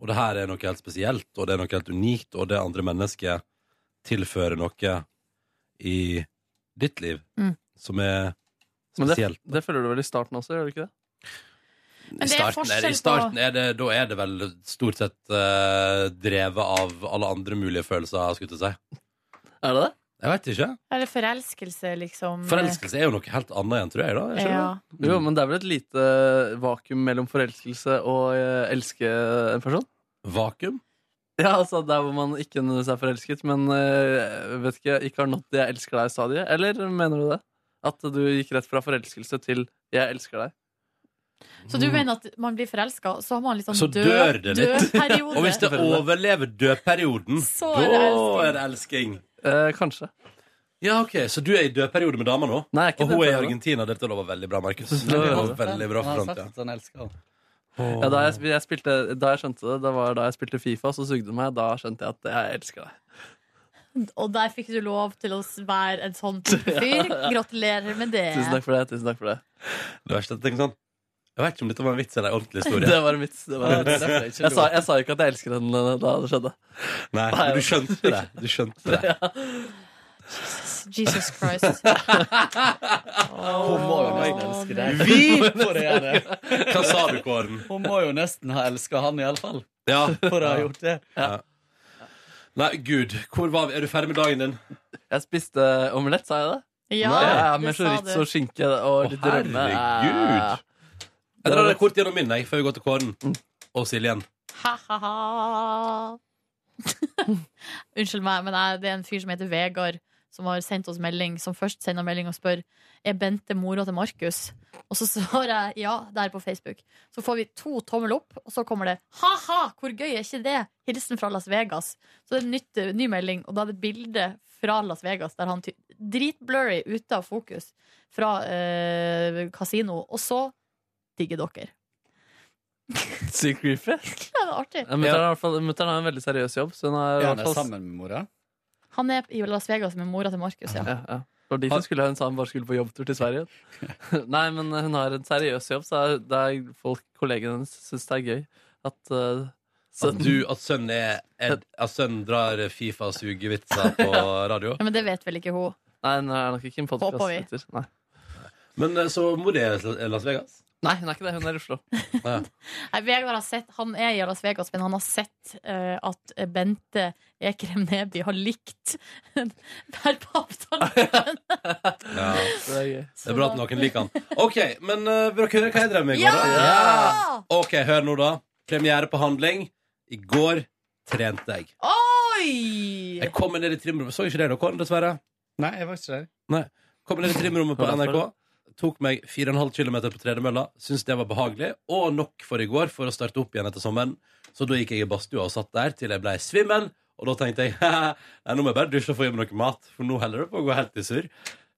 S1: Og det her er noe helt spesielt Og det er noe helt unikt Og det andre mennesket Tilfører noe I ditt liv
S2: Mm.
S1: Som er
S3: Men det,
S1: spesielt
S3: det føler du vel i starten også, gjør du ikke det?
S1: I
S2: Men det er
S1: starten, er det,
S2: forskjell
S1: i starten er det, da er det vel stort sett eh, drevet av alle andre mulige følelser, skulle jeg til å si.
S3: Er det det?
S1: Jeg vet ikke.
S2: Eller forelskelse, liksom.
S1: Forelskelse er jo noe helt annet igjen, tror jeg. da jeg
S2: Ja.
S1: skjønner.
S3: Jo, men det er vel et lite eh, vakuum mellom forelskelse og eh, elske en person?
S1: Vakuum?
S3: Ja, altså der hvor man ikke nødvendigvis er forelsket, men eh, vet ikke, ikke har nådd det 'jeg elsker deg'-stadiet. Eller mener du det? At du gikk rett fra forelskelse til 'jeg elsker deg'?
S2: Så du mener at man blir forelska, så har man litt sånn
S1: Mm. Så dør det litt.
S2: dødperiode.
S1: Og hvis det overlever dødperioden,
S2: Så er det
S1: da er det elsking.
S3: Eh, kanskje.
S1: Ja, ok, Så du er i dødperiode med dama nå?
S3: Nei, jeg er ikke
S1: og hun er i
S3: dødperiode.
S1: Argentina. Dette lover veldig bra, Markus. Det
S3: Det gjør
S1: lover
S3: det.
S1: veldig bra
S7: Han
S1: for
S7: har
S1: framtida.
S7: sagt at han elsker henne.
S3: Ja, da, jeg, sp- jeg spilte, da jeg skjønte det, det var da jeg spilte Fifa, så sugde det meg. Da skjønte jeg at jeg elsker deg.
S2: Og der fikk du lov til å være en sånn type fyr. Gratulerer med det.
S3: Tusen takk for det. tusen takk for det
S1: Det verste er at jeg tenker sånn Jeg vet ikke om dette var en vits eller en ordentlig historie.
S3: Det var en vits. Det var en
S1: Det er derfor jeg
S3: vits.
S1: ikke
S3: Jeg, sa,
S1: lo.
S3: jeg sa jo ikke at jeg elsker henne da det skjedde.
S1: Nei, men du skjønte det. Du skjønte det.
S2: Jesus Christ.
S7: Hun må jo nesten elske deg.
S1: Vi-
S7: For å gjøre det.
S1: Hva sa du, Kåren?
S7: Hun må jo nesten ha elska han, iallfall.
S1: Ja.
S7: For å ha gjort det.
S1: Ja. Nei, gud, hvor var vi? Er du ferdig med dagen din?
S3: Jeg spiste omelett, sa jeg det?
S1: Ja,
S3: ja
S1: det
S3: Med
S1: sa
S3: chorizo,
S1: du.
S3: og skinke og litt rømme.
S1: Herregud. Jeg drar det kort gjennom min, jeg, før vi går til Kåren og Siljen.
S2: Ha-ha-ha. Unnskyld meg, men jeg, det er en fyr som heter Vegard, som har sendt oss melding, som først sender melding og spør Er Bente mora til Markus. Og så svarer jeg ja der på Facebook. Så får vi to tommel opp, og så kommer det ha-ha, hvor gøy er ikke det? Hilsen fra Las Vegas. Så det er en nytt, eh, ny melding, og da er det et bilde fra Las Vegas der han ty- dritblurry ute av fokus fra eh, kasino. Og så digger dere.
S3: Sykt creepy.
S2: Det er artig.
S3: Ja, Mutter'n har i hvert fall- mutter'n har en veldig seriøs jobb. Så hun har, i
S7: Er han
S3: hvert fall-
S7: sammen med mora?
S2: Han er i Las Vegas med mora til Markus, ja.
S3: Ja, ja. Det var de som skulle ha en sa han bare skulle på jobbtur til Sverige. Nei, men eh, hun har en seriøs jobb, så er- det er folk, kollegene hennes syns det er gøy at eh,
S1: At, du, at sønnen er, er At sønnen drar Fifa og sugevitser på radio.
S2: Ja, Men det vet vel ikke hun.
S3: Nei, hun er nok ikke en podcast
S2: Håper vi.
S3: lytter. Nei.
S1: Men eh, så mor er i Las Vegas.
S3: Nei, hun er ikke det. Hun er i Oslo.
S1: Ja.
S2: Nei, Vegard har sett, Han er i Las Vegas, men han har sett eh, at Bente Ekrem Neby har likt Per Pappdalen.
S1: Ja.
S3: Det er gøy.
S1: Det er bra at noen liker han. OK, men eh, vil dere høre hva jeg drev med i
S2: Ja!
S1: går? da?
S2: Ja!
S1: OK, hør nå, da. Premiere på handling. I går trente jeg.
S2: Oi!
S1: Jeg kom ned i trimrommet. Så ikke det da, Kåren, dessverre.
S7: Nei, jeg var ikke der.
S1: Nei. Kom ned i trimrommet på NRK. Tok meg 4,5 km på tredemølla. Syns det var behagelig og nok for i går for å starte opp igjen etter sommeren. Så da gikk jeg i badstua og satt der til jeg ble svimmel. Og da tenkte jeg nei, nå må jeg bare dusje og få i meg noe mat, for nå heller det på å gå helt i surr.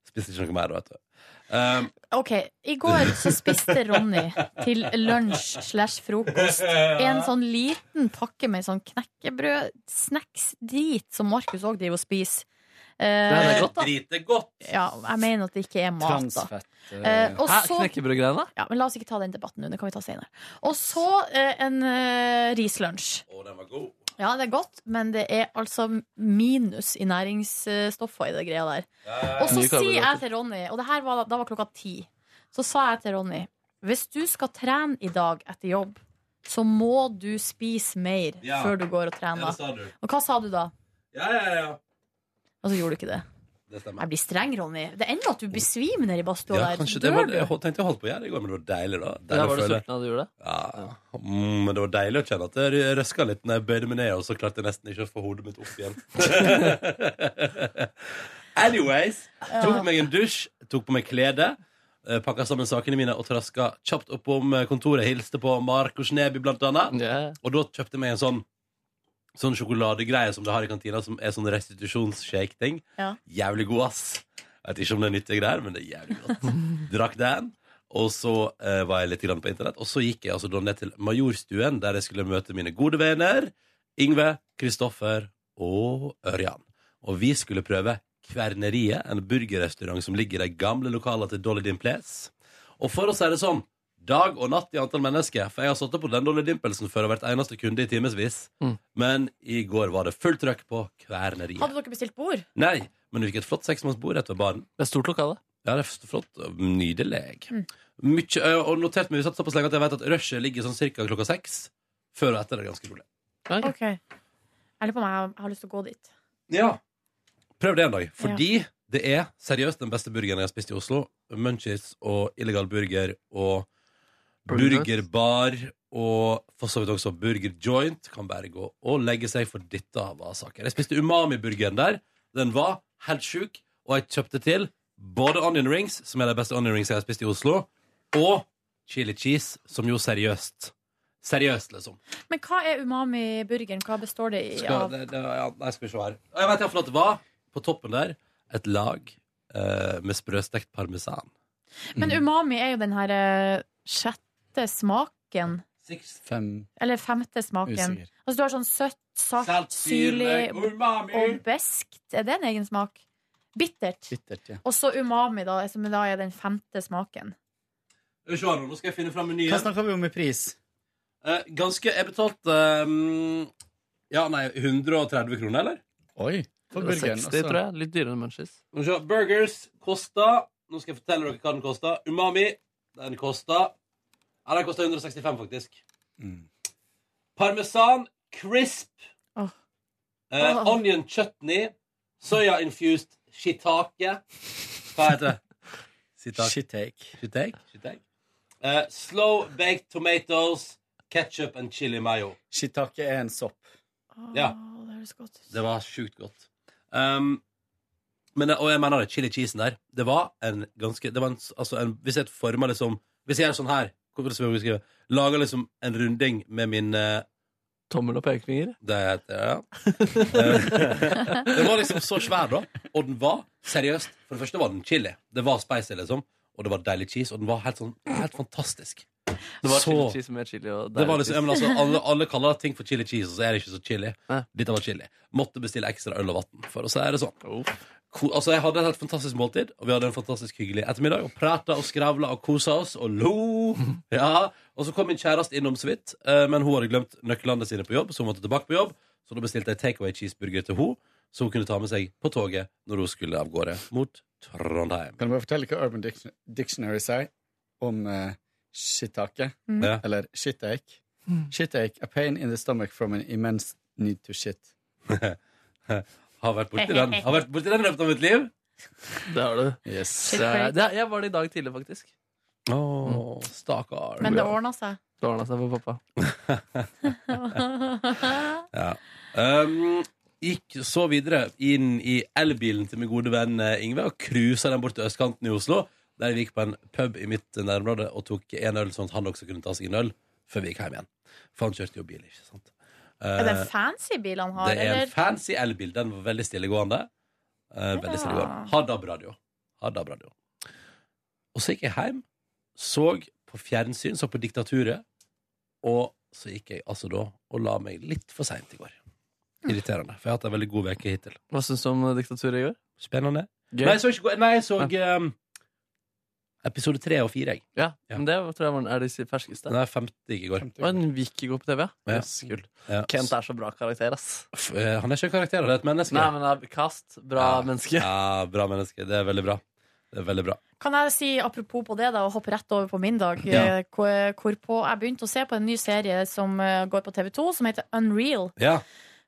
S1: Spiste ikke noe mer da, vet du. Um,
S2: OK. I går så spiste Ronny til lunsj slash frokost en sånn liten pakke med sånn knekkebrød, snacks-drit, som Markus òg driver og spiser. Eh,
S1: det er godt, godt.
S2: Ja, jeg mener at det ikke er mat, da.
S7: Transfett.
S2: Eh, og
S3: Hæ,
S2: så-
S3: knekkebrødgreiene?
S2: Ja, men La oss ikke ta den debatten nå. Det kan vi ta senere. Og så eh, en eh, rislunsj.
S1: Og den var god.
S2: Ja, det er godt, men det er altså minus i næringsstoffer i det greia der. Og så
S12: Mye
S2: sier jeg
S12: karbohydrater.
S2: til Ronny, og det her var, da var klokka ti, så sa jeg til Ronny hvis du skal trene i dag etter jobb, så må du spise mer
S1: Ja.
S2: før du går og trener.
S1: Ja, det sa du.
S2: Og hva sa du da?
S1: Ja, ja, ja.
S2: Og så gjorde du ikke det.
S1: Det stemmer.
S2: Jeg blir streng, Ronny. Det ender at du besvimer nede i badstua
S1: Ja,
S2: der.
S1: kanskje
S2: Så
S1: det
S2: dør
S1: var,
S2: du.
S1: jeg hol- tenkte jeg holdt på å gjøre det i går, men det var deilig, da. Deilig
S3: Ja, var du
S1: å føle.
S3: sulten da du gjorde det?
S1: Ja. Mm, men det var deilig å kjenne at det røska litt når jeg bøyde meg ned, og så klarte jeg nesten ikke å få hodet mitt opp igjen. Anyways, tok meg en dusj, tok på meg klede, eh, pakka sammen sakene mine og traska kjapt oppom eh, kontoret. Hilste på Markus Neby, blant annet. Og da kjøpte jeg meg en sånn Sånn sjokoladegreie som de har i kantina, som er sånn restitusjonsshake-ting.
S2: Ja.
S1: Jævlig god, ass. Jeg vet ikke om det er nyttige greier, men det er jævlig godt. Drakk den, og så eh, var jeg litt grann på internett. Og så gikk jeg altså da ned til Majorstuen, der jeg skulle møte mine gode venner Yngve, Kristoffer og Ørjan. Og vi skulle prøve Kverneriet, en burgerrestaurant som ligger i de gamle lokalene til Dolly Dimples. Og for oss er det sånn dag og natt i antall mennesker, for jeg har satt opp på den Dolly Dimpelsen før og vært eneste kunde i timevis.
S3: Mm.
S1: Men i går var det fullt trøkk på Kverneriet.
S2: Hadde dere bestilt bord?
S1: Nei, men du fikk et flott seksmannsbord rett ved baren.
S3: Det er stort lokale.
S1: Ja, det er flott. Nydelig. Mykje, ø, og notert meg, vi satt såpass lenge at jeg vet at rushet ligger sånn cirka klokka seks. Før og etter er det ganske rolig.
S2: Ok. Jeg lurer på om jeg har, jeg har lyst til å gå dit.
S1: Ja. Prøv det en dag. Fordi det er seriøst den beste burgeren jeg har spist i Oslo. Munchies og illegal burger og
S3: Burger.
S1: burgerbar og for så vidt også burger joint kan bare gå og legge seg, for dette var saken. Jeg spiste umami-burgeren der. Den var helt sjuk, og jeg kjøpte til både onion rings, som er de beste onion rings jeg har spist i Oslo, og chili cheese, som jo seriøst Seriøst, liksom.
S2: Men hva er umami-burgeren? Hva består det i?
S1: Skal,
S2: av?
S1: det, det, ja, nei, skal vi se her. Jeg vet iallfall at det var, på toppen der, et lag eh, med sprøstekt parmesan.
S2: Men umami er jo den her eh, sjette smaken.
S7: Fem.
S2: Eller femte smaken.
S7: Usikker.
S2: Altså du har sånn søtt, salt,
S7: Salt,
S2: syrlig
S7: syrlig,
S2: og, beskt. Er det en egen smak? Bittert.
S7: Bittert, ja.
S2: Og så umami, da, som da er den femte smaken.
S1: Skal vi se her Nå nå skal jeg finne fram menyen.
S7: Hva snakker vi om i pris?
S1: Eh, ganske Jeg betalte ehm, Ja, nei, 130 kroner, eller?
S7: Oi.
S1: for
S3: Det var
S1: burgeren,
S3: 60,
S1: altså.
S3: tror jeg. Litt dyrere enn Munchies.
S1: Nå skal vi se. Burgers koster Nå skal jeg fortelle dere hva den koster. Umami, den koster Ja, den koster 165, faktisk. Parmesan crisp.
S2: Åh.
S1: eh,
S2: Åh.
S1: onion chutney. Soya infused shiitake. Hva heter det?
S7: Shitake.
S1: Shitake? Shitake? Eh, slow baked tomatoes, ketchup and chili mayo.
S7: Shiitake er en sopp.
S1: Ja. Det var sjukt godt. Um, men, og jeg mener det, chili cheesen der Det var en ganske det var en, altså en, Hvis jeg former liksom Hvis jeg gjør sånn her hvordan skal jeg beskrive? Lager liksom en runding med min eh,
S3: Tommel og pekefinger?
S1: Det heter det, ja. Eh, den var liksom så svær, da. Og den var seriøst For det første var den chili. Det var spicy, liksom. Og det var deilig cheese. Og den var helt sånn helt fantastisk.
S3: Det var
S1: Så-
S3: chili cheese med chili og
S1: det var liksom, ja, men altså,
S3: cheese.
S1: alle, alle kaller ting for chili cheese, og så er det ikke så chili. Dette var chili. Måtte bestille ekstra øl og vann for, og så er det sånn. Ko- Altså, jeg hadde et helt fantastisk måltid, og vi hadde en fantastisk hyggelig ettermiddag. Og prata og skravla og kosa oss og lo. Ja. Og så kom min kjæreste innom så vidt, eh, men hun hadde glemt nøklene sine på jobb, så hun måtte tilbake på jobb. Så da bestilte jeg takeaway cheeseburger til hun så hun kunne ta med seg på toget når hun skulle av gårde mot Trondheim.
S7: Kan du bare fortelle hva Urban Diction- Dictionary sier om uh, shiitake?
S1: Mm. Ja.
S7: Eller shitache? Shitache, a pain in the stomach from an immense need to shit.
S1: har vært borti den. Har vært borti den i løpet av mitt liv.
S3: Det har du.
S7: Yes.
S3: Det er, det er, jeg var det i dag tidlig, faktisk.
S1: Å, stakkar.
S2: Men det ordna seg.
S3: Det ordna seg for pappa.
S1: Ja. Um, gikk så videre inn i elbilen til min gode venn eh, Ingve og cruisa den bort til østkanten i Oslo. Der vi gikk på en pub i mitt nærområde og tok en øl, sånn at han også kunne ta seg en øl før vi gikk hjem igjen. For han kjørte jo bil, ikke sant.
S2: Er det
S1: Eh,
S2: fancy bil han har,
S1: det er en
S2: eller?
S1: fancy elbil. Den var veldig stillegående. Eh, veldig stillegående. Har DAB-radio. Har DAB-radio. Og så gikk jeg hjem, så på fjernsyn, så på Diktaturet, og så gikk jeg altså da og la meg litt for seint i går. Irriterende, for jeg har hatt en veldig god uke hittil.
S3: Hva syns du om eh, diktaturet i går?
S1: Spennende.
S3: Gøy.
S1: Nei, jeg så, ikke, nei, jeg så um, episode tre og fire, jeg.
S3: Ja, men det tror jeg var, er de ferskeste.
S1: Den er 50 i går.
S3: Og den gikk i går på TV, ja.
S1: Ja.
S3: Yes, kult.
S1: Ja.
S3: Kent er så bra karakter, ass.
S1: F- eh, Han er ikke en karakter, han er et menneske.
S3: Nei, men han er Kast, bra menneske.
S1: Ja, bra menneske. Det er veldig bra. Det er veldig bra.
S2: Kan jeg si apropos på det, da, og hoppe rett over på min dag,
S1: Ja.
S2: eh, hvor- hvorpå jeg begynte å se på en ny serie som eh, går på TV2, som heter Unreal.
S1: Ja.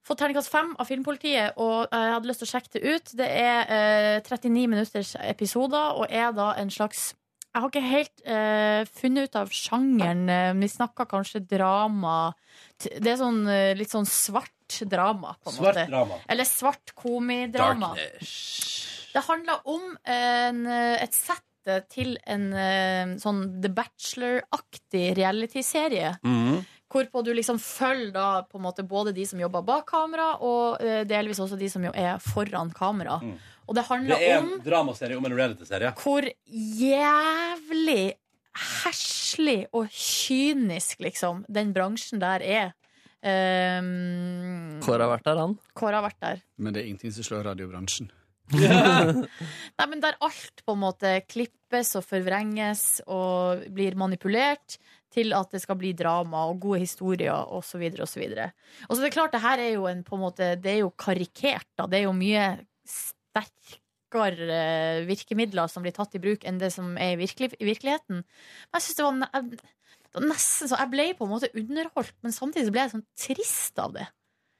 S2: Fått terningkast fem av Filmpolitiet, og jeg hadde lyst til å sjekke det ut. Det er eh, 39 minutters episoder, og er da en slags Jeg har ikke helt eh, funnet ut av sjangeren. Eh, Vi snakker kanskje drama t- Det er sånn, eh, litt sånn svart drama, på en
S1: Svart
S2: måte.
S1: drama.
S2: Eller svart komidrama. Det handler om en, eh, et sett til en eh, sånn The Bachelor-aktig realityserie.
S1: Mm.
S2: Hvorpå du liksom følger da på en måte både de som jobber bak kamera, og eh, delvis også de som jo er foran kamera. Og det
S1: Mm. Det
S2: handler
S1: er
S2: om
S1: en dramaserie om en realityserie.
S2: hvor jævlig herselig og kynisk, liksom, den bransjen der er. Um,
S3: Kåre har vært der, han.
S2: Kåre har vært der.
S7: Men det er ingenting som slår radiobransjen.
S2: Nei, men der alt på en måte klippes og forvrenges og blir manipulert til at det skal bli drama og gode historier osv. Og, så videre, og, så videre. og så er det klart, det her er jo en på en måte Det er jo karikert, da. Det er jo mye sterkere eh, virkemidler som blir tatt i bruk enn det som er i, virkelig, i virkeligheten. Men jeg synes det var ne- jeg- det var nesten så Jeg ble på en måte underholdt, men samtidig så ble jeg sånn trist av det.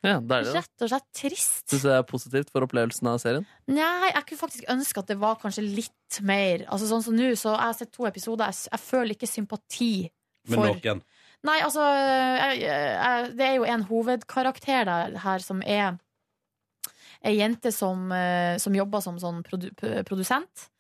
S3: Ja, deilig, da.
S2: Rett og slett trist.
S3: Syns jeg det er positivt for opplevelsen av serien.
S2: Nei, jeg kunne faktisk ønske at det var kanskje litt mer Altså sånn som nå, så jeg har sett to episoder Jeg, jeg føler ikke sympati
S1: Med
S2: for
S1: noen.
S2: Nei, altså jeg, jeg, Det er jo en hovedkarakter der, her som er Ei jente som, eh, som jobber som sånn produ, p- produsent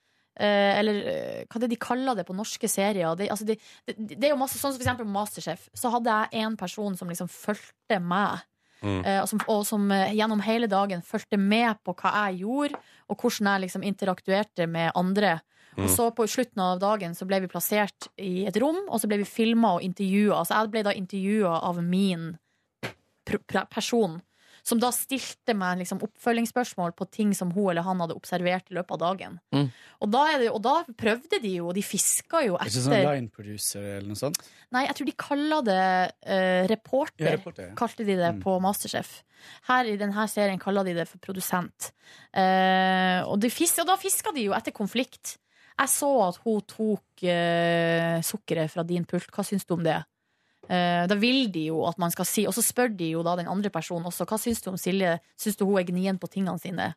S2: eh, Eller eh, hva er det de kaller det på norske serier? Det, altså, de, det, det er jo masse, sånn som for eksempel Masterchef. Så hadde jeg en person som liksom fulgte meg.
S13: Mm.
S2: eh, og som, og som eh, gjennom hele dagen fulgte med på hva jeg gjorde, og hvordan jeg liksom interaktuerte med andre.
S13: Mm.
S2: Og så på slutten av dagen så ble vi plassert i et rom, og så ble vi filma og intervjua. Så jeg ble da intervjua av min pr pr person, som da stilte meg liksom oppfølgingsspørsmål på ting som hun eller han hadde observert i løpet av dagen. Og da, er det, og da prøvde de jo, og de fiska jo
S7: Ikke sånn
S2: etter
S7: line producer eller noe sånt?
S2: Nei, jeg tror de kaller det eh, reporter,
S7: Ja, reporter, ja.
S2: kalte de Mm. det på Masterchef. Her i denne serien kaller de det for produsent. Eh, og, de fis og da fiska de jo etter konflikt. Jeg så at hun tok eh, sukkeret fra din pult. Hva syns du om det? Eh, da vil de jo at man skal si Og så spør de jo da den andre personen også. Hva syns du om Silje? Syns du hun er gnien på tingene sine?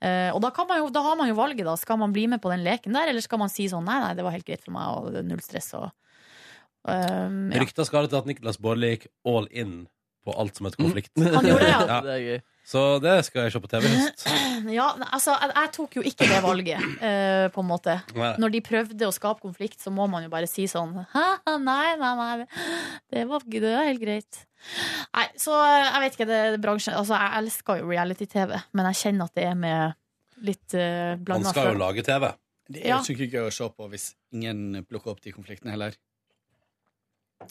S2: Eh, og da, kan man jo, da har man jo valget, da. Skal man bli med på den leken der, eller skal man si sånn nei, nei, det var helt greit for meg, og det er null stress og Ehm, ja.
S1: Rykter skal det til at Niklas Baarli gikk all in på alt som et konflikt.
S2: Han gjorde det, ja.
S1: Så det skal jeg se på TV i høst.
S2: ja, ne- altså, jeg, jeg tok jo ikke det valget, eh, på en måte.
S1: Nei.
S2: Når de prøvde å skape konflikt, så må man jo bare si sånn Hæ, nei, nei, nei. Det var, det var helt greit. Nei, så eh, jeg vet ikke, det er bransjen Altså, jeg elsker jo reality-TV, men jeg kjenner at det er med litt uh,
S1: Han
S2: blanda
S1: skal jo lage TV.
S7: Det er
S2: Ja.
S7: jo ikke gøy å se på hvis ingen plukker opp de konfliktene heller.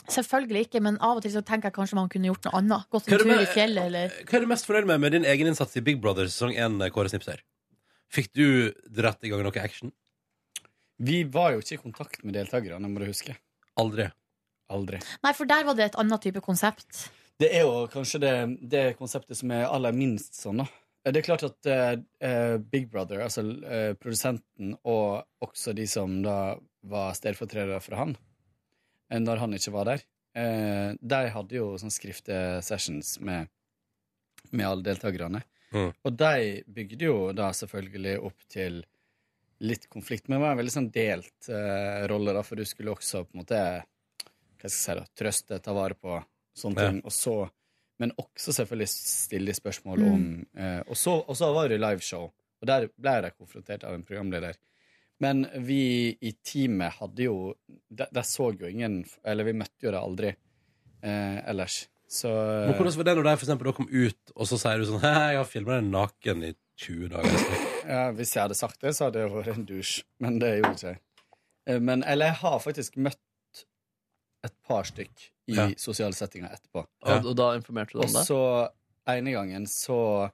S2: Selvfølgelig ikke, men av og til så tenker jeg kanskje man kunne gjort noe annet. Gått
S1: Hva er
S2: en
S1: det
S2: tur
S1: med-
S2: i fjellet, eller
S1: Hva er du mest fornøyd med med din egen innsats i Big Brother sesong 1, Kåre Snipser? Fikk du dratt i gang noe action?
S7: Vi var jo ikke i kontakt med deltakerne, må du huske.
S1: Aldri.
S7: Eh. Aldri.
S2: Nei, for der var det et annet type konsept.
S7: Det er jo kanskje det, det konseptet som er aller minst sånn, da. Det er klart at eh, eh, Big Brother, altså eh, produsenten og også de som da var stedfortredere for han, eh, når han ikke var der, eh, de hadde jo sånn skriftesessions med, med alle deltakerne.
S1: Mm.
S7: Og de bygde jo da selvfølgelig opp til litt konflikt, men det var en veldig sånn delt eh, rolle, da, for du skulle også på en måte hva skal jeg si da, trøste, ta vare på sånne
S1: Ja.
S7: ting, og så men også selvfølgelig stille de spørsmål
S1: Mm.
S7: om eh, og, så, og så var det liveshow, og der ble jeg konfrontert av en programleder. Men vi i teamet hadde jo Der, der så jo ingen Eller vi møtte jo det aldri eh, ellers. Så
S1: Men hvordan var det når de for eksempel, da kom ut, og så sier du sånn Hei, jeg har filma deg naken i 20 dager. i strekk».
S7: Ja, hvis jeg hadde sagt det, så hadde jeg vært en douche, men det gjorde ikke jeg. Eh, Men, eller jeg har faktisk møtt et par stykk i
S3: Ja.
S7: sosiale settinger etterpå.
S3: Og- og da informerte du om
S1: Sånn
S3: det?
S7: Og så ene gangen så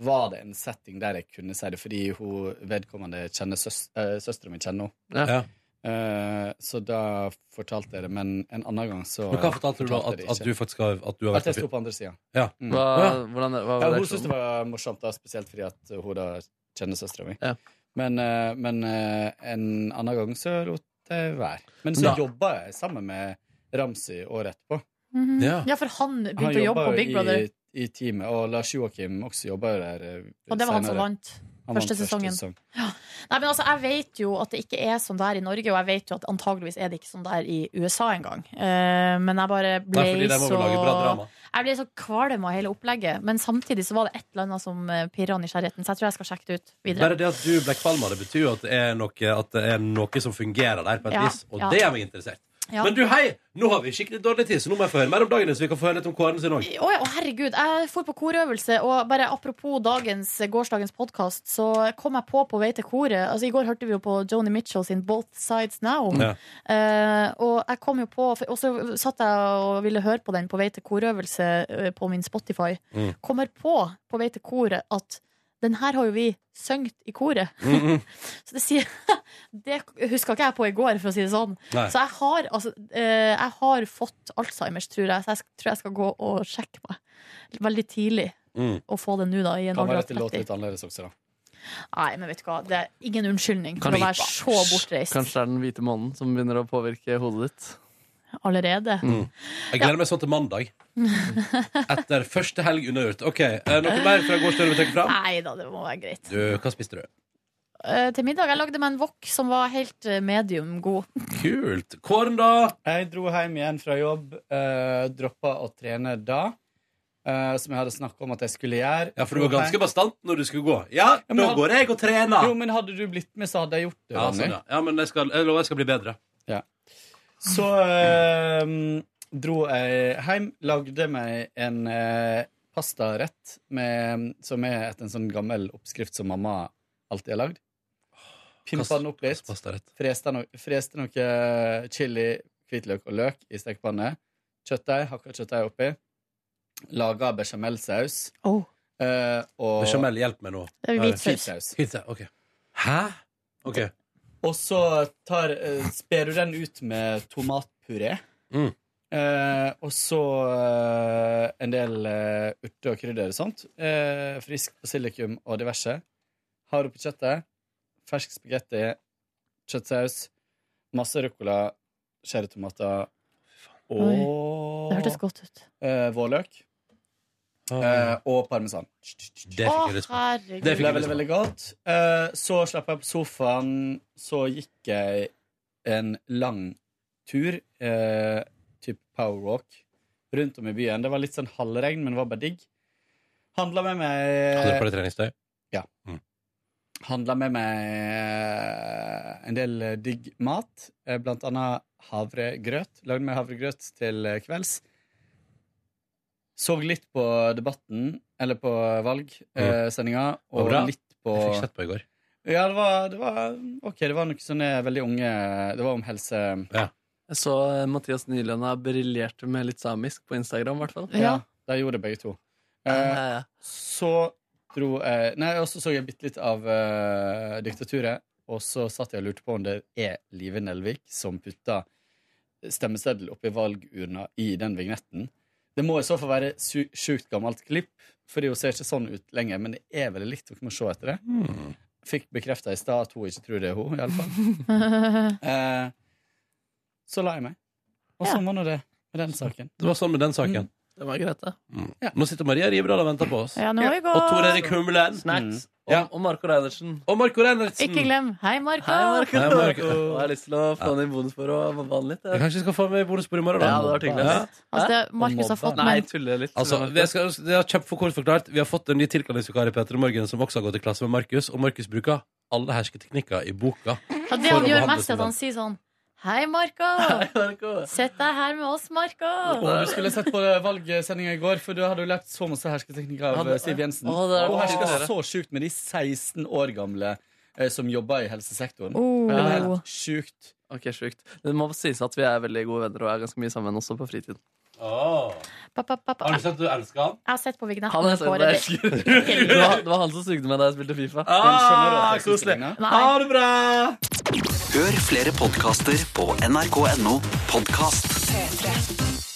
S7: var det en setting der jeg kunne si det, fordi hun vedkommende kjenner søs, eh, søsteren min kjenner henne.
S1: Ja. Ja.
S7: Eh, så da fortalte jeg det, men en annen gang så
S1: Men hva fortalte du da?
S7: fortalte jeg det
S1: At- at
S7: ikke.
S1: du faktisk har- at du har vært
S7: At jeg
S1: på fyr?
S7: sto på andre sida.
S1: Ja. Hva- hvordan- hva var
S7: ja, hun
S1: reaksjonen?
S7: syntes det var morsomt, da, spesielt fordi at hun da kjenner søstera mi. Men, eh, men eh, en annen gang så lot jeg være. Men så
S1: Da-
S7: jobba jeg sammen med Ramsi året etterpå.
S2: Mhm. Ja. for han begynte å jobbe
S7: jobba
S2: på
S7: jo
S2: Big Brother.
S7: I, i teamet, og Lars Joakim også jobba jo der. eh,
S2: Og det var han som
S7: senere.
S2: vant
S7: Han
S2: første
S7: vant
S2: sesongen.
S7: sesong.
S2: Nei, men altså, Jeg vet jo at det ikke er sånn der i Norge, og jeg vet jo at antageligvis er det ikke sånn der i USA engang. Eh, men jeg bare ble
S1: Nei, fordi der må vi
S2: så
S1: lage bra drama.
S2: Jeg ble så kvalm av hele opplegget. Men samtidig så var det et eller annet som eh, pirra nysgjerrigheten, så jeg tror jeg skal sjekke det ut videre.
S1: Bare det at du ble kvalm av det, betyr jo at det er noe, at det er noe som fungerer der, på et
S2: Ja,
S1: vis. Og
S2: ja.
S1: det er meg interessert.
S2: Ja.
S1: Men du, hei! Nå har vi skikkelig dårlig tid, så nå må jeg få høre mer om dagen din, så vi kan få høre litt om Kåren sin òg.
S2: Å ja, å, herregud, jeg for på korøvelse, og bare apropos dagens, eh, gårsdagens podkast, så kom jeg på på vei til koret Altså, I går hørte vi jo på Joni Mitchell sin Both Sides Now.
S13: Ja.
S2: Eh, og jeg kom jo på Og så satt jeg og ville høre på den på vei til korøvelse eh, på min Spotify.
S13: Mm.
S2: Kommer på på vei til koret at den her har jo vi sunget i koret. Så det sier Det huska ikke jeg på i går, for å si det sånn.
S13: Nei.
S2: Så jeg har, altså, eh, jeg har fått Alzheimers, tror jeg, så jeg sk- tror jeg skal gå og sjekke meg veldig tidlig.
S1: Mm.
S2: Og få det nå, da. I en
S7: Kan
S2: alder
S7: være
S2: av
S7: at det låter
S2: 30.
S7: litt annerledes også, da.
S2: Nei, men vet du hva, det er ingen unnskyldning for
S3: Kanskje-
S2: å være så bortreist
S3: Kanskje det er den hvite månen som begynner å påvirke hodet ditt.
S2: allerede.
S1: Jeg gleder meg sånn til mandag. Etter første helg unnagjort. OK, eh, noe mer fra gårsdagen vi trekker fram?
S2: Nei da, det må være greit.
S1: Du, hva spiste du?
S2: Eh, til middag jeg lagde meg en wok som var helt eh, medium god.
S1: Kult. Kåren, da?
S7: Jeg dro hjem igjen fra jobb. Uh, Droppa å eh, trene da. eh, som jeg hadde snakka om at jeg skulle gjøre.
S1: Ja, for du var ganske bastant når du skulle gå. Ja,
S7: men
S1: da
S7: had-
S1: går jeg og trener.
S7: Jo, men hadde du blitt med, så hadde jeg gjort det.
S1: Ja,
S7: Ronny.
S1: sånn, ja. ja men jeg, skal, jeg lover jeg skal bli bedre.
S7: Så eh, dro jeg hjem, lagde meg en eh, pastarett med, som er etter en sånn gammel oppskrift som mamma alltid har lagd. Pimpa den opp litt. Freste, no freste noe chili, hvitløk og løk i stekepanne. Kjøttdeig, hakka kjøttdeig oppi. Laga bechamelsaus.
S14: Oh.
S7: eh, og
S1: Bechamel, hjelp meg nå.
S7: Det er hvit saus.
S1: Hvit saus, ok. Hæ? Ok.
S7: Og så tar, eh, sper du den ut med tomatpuré.
S1: Mm.
S7: Eh, og så eh, en del eh, urter og krydder og sånt. Eh, frisk basilikum og diverse. Har oppi kjøttet. Fersk spagetti. Kjøttsaus. Masse ruccola. Cherrytomater. Og
S14: Det hørtes godt ut.
S7: eh, vårløk.
S3: Ah.
S7: Eh, og parmesan.
S1: Det
S14: fikk jeg lyst på. Å, herregud.
S7: Det ble veldig, veldig godt. Eh, så slapp jeg på sofaen, så gikk jeg en lang tur, eh, typ power walk, rundt om i byen. Det var litt sånn halvregn, men det var bare digg. Handla med
S1: Hadde du på deg
S7: meg
S1: treningstøy?
S7: Ja. Handla med meg en del digg mat, eh, blant annet havregrøt. Lagde meg havregrøt til eh, kvelds. Så litt på debatten, eller på valgsendinga,
S1: Mm. Var
S7: og
S1: bra.
S7: litt på
S1: Jeg fikk sett på i går.
S7: Ja, det var, det var OK, det var noe sånne veldig unge Det var om helse
S3: Jeg så eh, Mathias Nylønna briljerte med litt samisk på Instagram, i hvert fall.
S7: Ja, de gjorde begge to. Eh, så dro jeg Nei, og så så jeg bitte litt av eh, Diktaturet, og så satt jeg og lurte på om det er Live Nelvik som putta stemmeseddel oppi valgurna i den vignetten. Det må i så fall være su sjukt gammelt klipp, fordi hun ser ikke sånn ut lenger, men det er veldig likt, dere må se etter det.
S1: Hmm.
S7: Fikk bekrefta i stad at hun ikke tror det er hun, iallfall. Eh, så la jeg meg. Og sånn var nå det med den saken.
S1: Det var sånn med den saken.
S3: Det var greit, det.
S1: Mm. Nå sitter Maria Rivedal og venter på oss.
S14: Ja, nå må vi gå.
S1: Og Tor Erik Humlen.
S3: Ah. Snacks.
S1: Mm. Ja.
S3: Og Marco Reinertsen.
S1: Og Marco Reinertsen.
S14: Ikke glem. Hei, Marco!
S3: Hei, Marco.
S1: Hei, Marco.
S3: Og Jeg har lyst til å få han i bonusbordet og mobbe han litt.
S1: Jeg kanskje skal få med bonusbord i morgen, da.
S3: Ja, det var hyggelig.
S1: Ja.
S14: Altså, det- Markus har fått
S3: Nei,
S14: meg
S3: tuller litt.
S1: Altså, det, skal, det er kjempefort kort forklart Vi har fått en ny tilkallingsvikar i Peter Morgen Som også har gått i klasse med Markus Og Markus bruker alle hersketeknikker i boka
S14: Ja, det han gjør mest, er at han sier sånn Hei, Marco!
S3: Marco.
S14: Sett deg her med oss, Marco!
S7: Å, du skulle sett på valgsendinga i går, for du hadde jo lært så masse hersketeknikker av
S3: Ja, det-
S7: Siv Jensen.
S3: Å, det er
S7: Hun
S3: det
S7: hersker
S3: dere.
S7: så sjukt med de 16 år gamle eh, som jobber i helsesektoren.
S14: Oh.
S7: Det er helt sjukt.
S3: Ok, sjukt. Det må sies at vi er veldig gode venner og er ganske mye sammen også på fritiden.
S14: Pa, pa, pa, pa.
S1: Har du
S14: Jeg
S1: sett at du elsker han?
S14: har sett på Vignetten.
S3: Han er
S14: på
S3: sånn,
S14: det.
S3: det, er sjukt. det, var, det var han som sugde meg da jeg spilte Fifa.
S1: Ah, koselig.
S14: Ha
S1: det bra!
S13: Hør flere podkaster på nrk.no podkast.